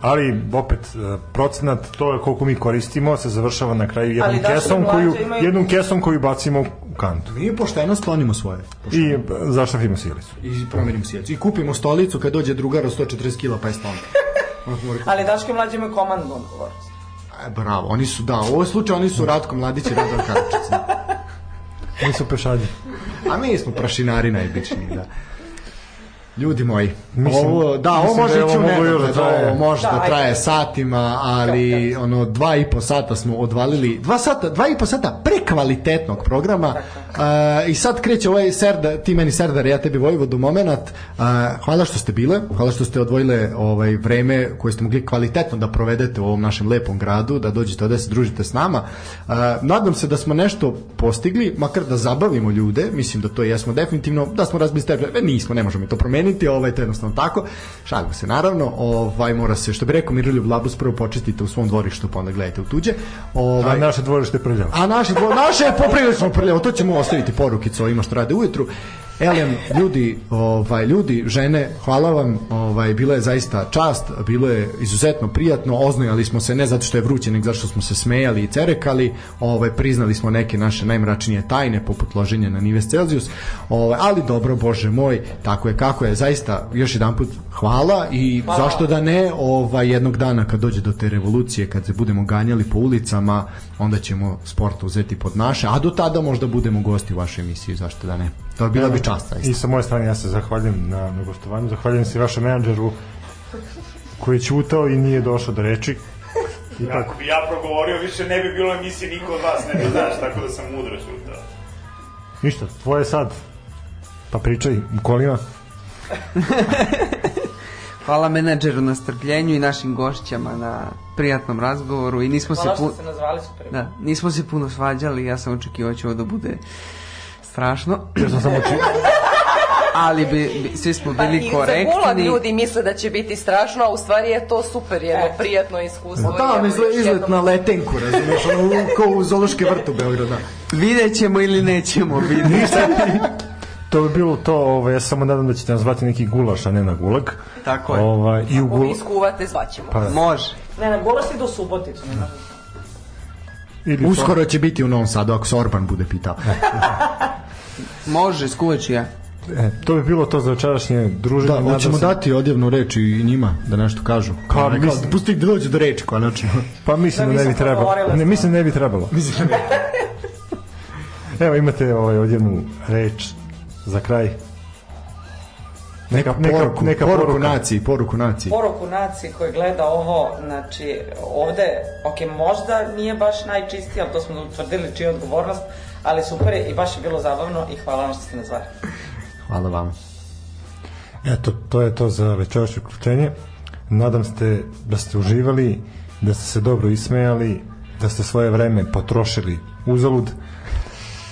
Speaker 1: Ali, opet, e, procenat, to je koliko mi koristimo, se završava na kraju jednom
Speaker 4: Ali da,
Speaker 1: kesom
Speaker 4: mlađe
Speaker 1: koju,
Speaker 4: imaju-
Speaker 1: jednom kesom koju bacimo u kantu.
Speaker 2: Mi pošteno sklonimo svoje.
Speaker 1: I e, zašafimo silicu.
Speaker 2: I promenim sjeću. I kupimo stolicu kad dođe drugar od 140 kila pa je sklonimo.
Speaker 4: Ali Daško i mlađi imaju komandnu odgovornost.
Speaker 2: E, bravo, oni su, da, u ovom slučaju oni su Ratko Mladić i Radan Karčić.
Speaker 1: Mi su pešadji.
Speaker 2: A mi smo prašinari najobičniji, da. Ljudi moji,
Speaker 1: Mislim-
Speaker 2: ovo, da, ovo
Speaker 1: mislim
Speaker 2: može
Speaker 1: da je
Speaker 2: ići u
Speaker 1: ovo moglo
Speaker 2: nedogled,
Speaker 1: još da traje.
Speaker 2: ovo može
Speaker 4: Da,
Speaker 2: da
Speaker 4: ajde.
Speaker 2: traje satima, ali ono, dva i po sata smo odvalili, dva sata, dva i po sata prekvalitetnog programa a, i sad kreće ovaj Serda, ti meni Serdar, ja tebi Vojvodu moment, a, hvala što ste bile, hvala što ste odvojile ovaj vreme koje ste mogli kvalitetno da provedete u ovom našem lepom gradu, da dođete ovde da se družite s nama. A, nadam se da smo nešto postigli, makar da zabavimo ljude, mislim da to jesmo definitivno, da smo razbili stepen, e, nismo, ne možemo mi to promeniti, ovaj, to je jednostavno tako, šalimo se naravno, ovaj, mora se, što bi rekao Miroljub Labus, prvo počistite u svom dvorištu, pa onda gledajte u tuđe.
Speaker 1: A
Speaker 2: Ovaj,
Speaker 1: naše dvorište je prljavo.
Speaker 2: A naše, dvo, naše je poprilično prljavo, to ćemo ostaviti porukicu ovima što rade ujutru. Elem, ljudi, ovaj, ljudi, žene, hvala vam, ovaj, bila je zaista čast, bilo je izuzetno prijatno, oznojali smo se ne zato što je vruće, nego zato što smo se smejali i cerekali, ovaj, priznali smo neke naše najmračnije tajne, poput loženja na Nives Celsius, ovaj, ali dobro, bože moj, tako je kako je, zaista, još jedan put, hvala i hvala. zašto da ne, ovaj, jednog dana kad dođe do te revolucije, kad se budemo ganjali po ulicama, onda ćemo sport uzeti pod naše, a do tada možda budemo gosti u vašoj emisiji, zašto da ne. To bi bila bi čast, zaista.
Speaker 1: I sa moje strane ja se zahvaljujem na, na gostovanju, zahvaljujem se i vašem menadžeru koji je ćutao i nije došao do reči. Ipak,
Speaker 6: Ako bi ja progovorio, više ne bi bilo emisije, niko od vas ne bi znaš, tako da sam mudro ćutao.
Speaker 1: ništa, tvoje je sad. Pa pričaj u kolima.
Speaker 3: Hvala menadžeru na strpljenju i našim gošćama na prijatnom razgovoru i nismo
Speaker 4: Hvala
Speaker 3: se pu...
Speaker 4: što ste nazvali super.
Speaker 3: da, nismo se puno svađali, ja sam očekivao da će ovo da bude strašno,
Speaker 1: Ja sam samo čitao.
Speaker 3: ali bi, bi, svi smo bili
Speaker 5: Pa i za gulag
Speaker 3: korektni.
Speaker 5: ljudi misle da će biti strašno, a u stvari je to super jedno
Speaker 4: E.
Speaker 5: prijatno iskustvo.
Speaker 2: Da,
Speaker 5: jedno-
Speaker 2: izlet, izlet
Speaker 5: jedno-
Speaker 2: na letenku, razumiješ, ono, u- kao u da. Zološke vrtu Beograda.
Speaker 3: Vidjet ćemo ili nećemo vidjeti.
Speaker 1: To bi bilo to, ovaj, ja se samo nadam da ćete nas zvati neki gulaš, a ne na gulag.
Speaker 3: Tako je.
Speaker 1: Ovaj, i u
Speaker 5: Ako vi
Speaker 1: gulag,
Speaker 5: iskuvate, zvaćemo.
Speaker 1: Pa,
Speaker 3: Može.
Speaker 4: Ne, ne, golaš ide u Suboticu, ne možeš.
Speaker 1: ili Uskoro.
Speaker 2: Uskoro će biti u Novom Sadu, ako se Orban bude pitao.
Speaker 3: Može, skuvat ću ja.
Speaker 1: To, e, to bi bilo to za večerašnje druženje.
Speaker 2: Da,
Speaker 1: nadam
Speaker 2: hoćemo
Speaker 1: se-
Speaker 2: dati odjevnu reč i njima, da nešto kažu.
Speaker 1: Kao,
Speaker 2: Kao, kao,
Speaker 1: mislim-
Speaker 2: pusti ih da dođe do reči, konačno.
Speaker 1: Pa mislim
Speaker 4: Da,
Speaker 1: da, ne bi
Speaker 4: nisam
Speaker 1: trebalo.
Speaker 4: progovorila
Speaker 1: Ne,
Speaker 4: stvarno.
Speaker 1: mislim da ne bi trebalo.
Speaker 2: Mislim,
Speaker 1: Evo imate ovaj, odjednu reč za kraj. Neka, neka,
Speaker 2: poruku,
Speaker 1: neka
Speaker 2: poruku,
Speaker 1: poruka.
Speaker 2: naciji, poruku naciji.
Speaker 4: poruku naciji koji gleda ovo, znači ovde, ok, možda nije baš najčistija, ali to smo utvrdili čija je odgovornost, ali super je i baš je bilo zabavno i hvala vam što ste nas zvali.
Speaker 2: Hvala vam.
Speaker 1: Eto, to je to za večerašnje uključenje. Nadam ste da ste uživali, da ste se dobro ismejali, da ste svoje vreme potrošili uzalud.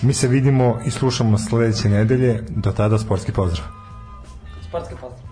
Speaker 1: Mi se vidimo i slušamo sledeće nedelje. Do tada sportski pozdrav.
Speaker 4: Sportski pozdrav.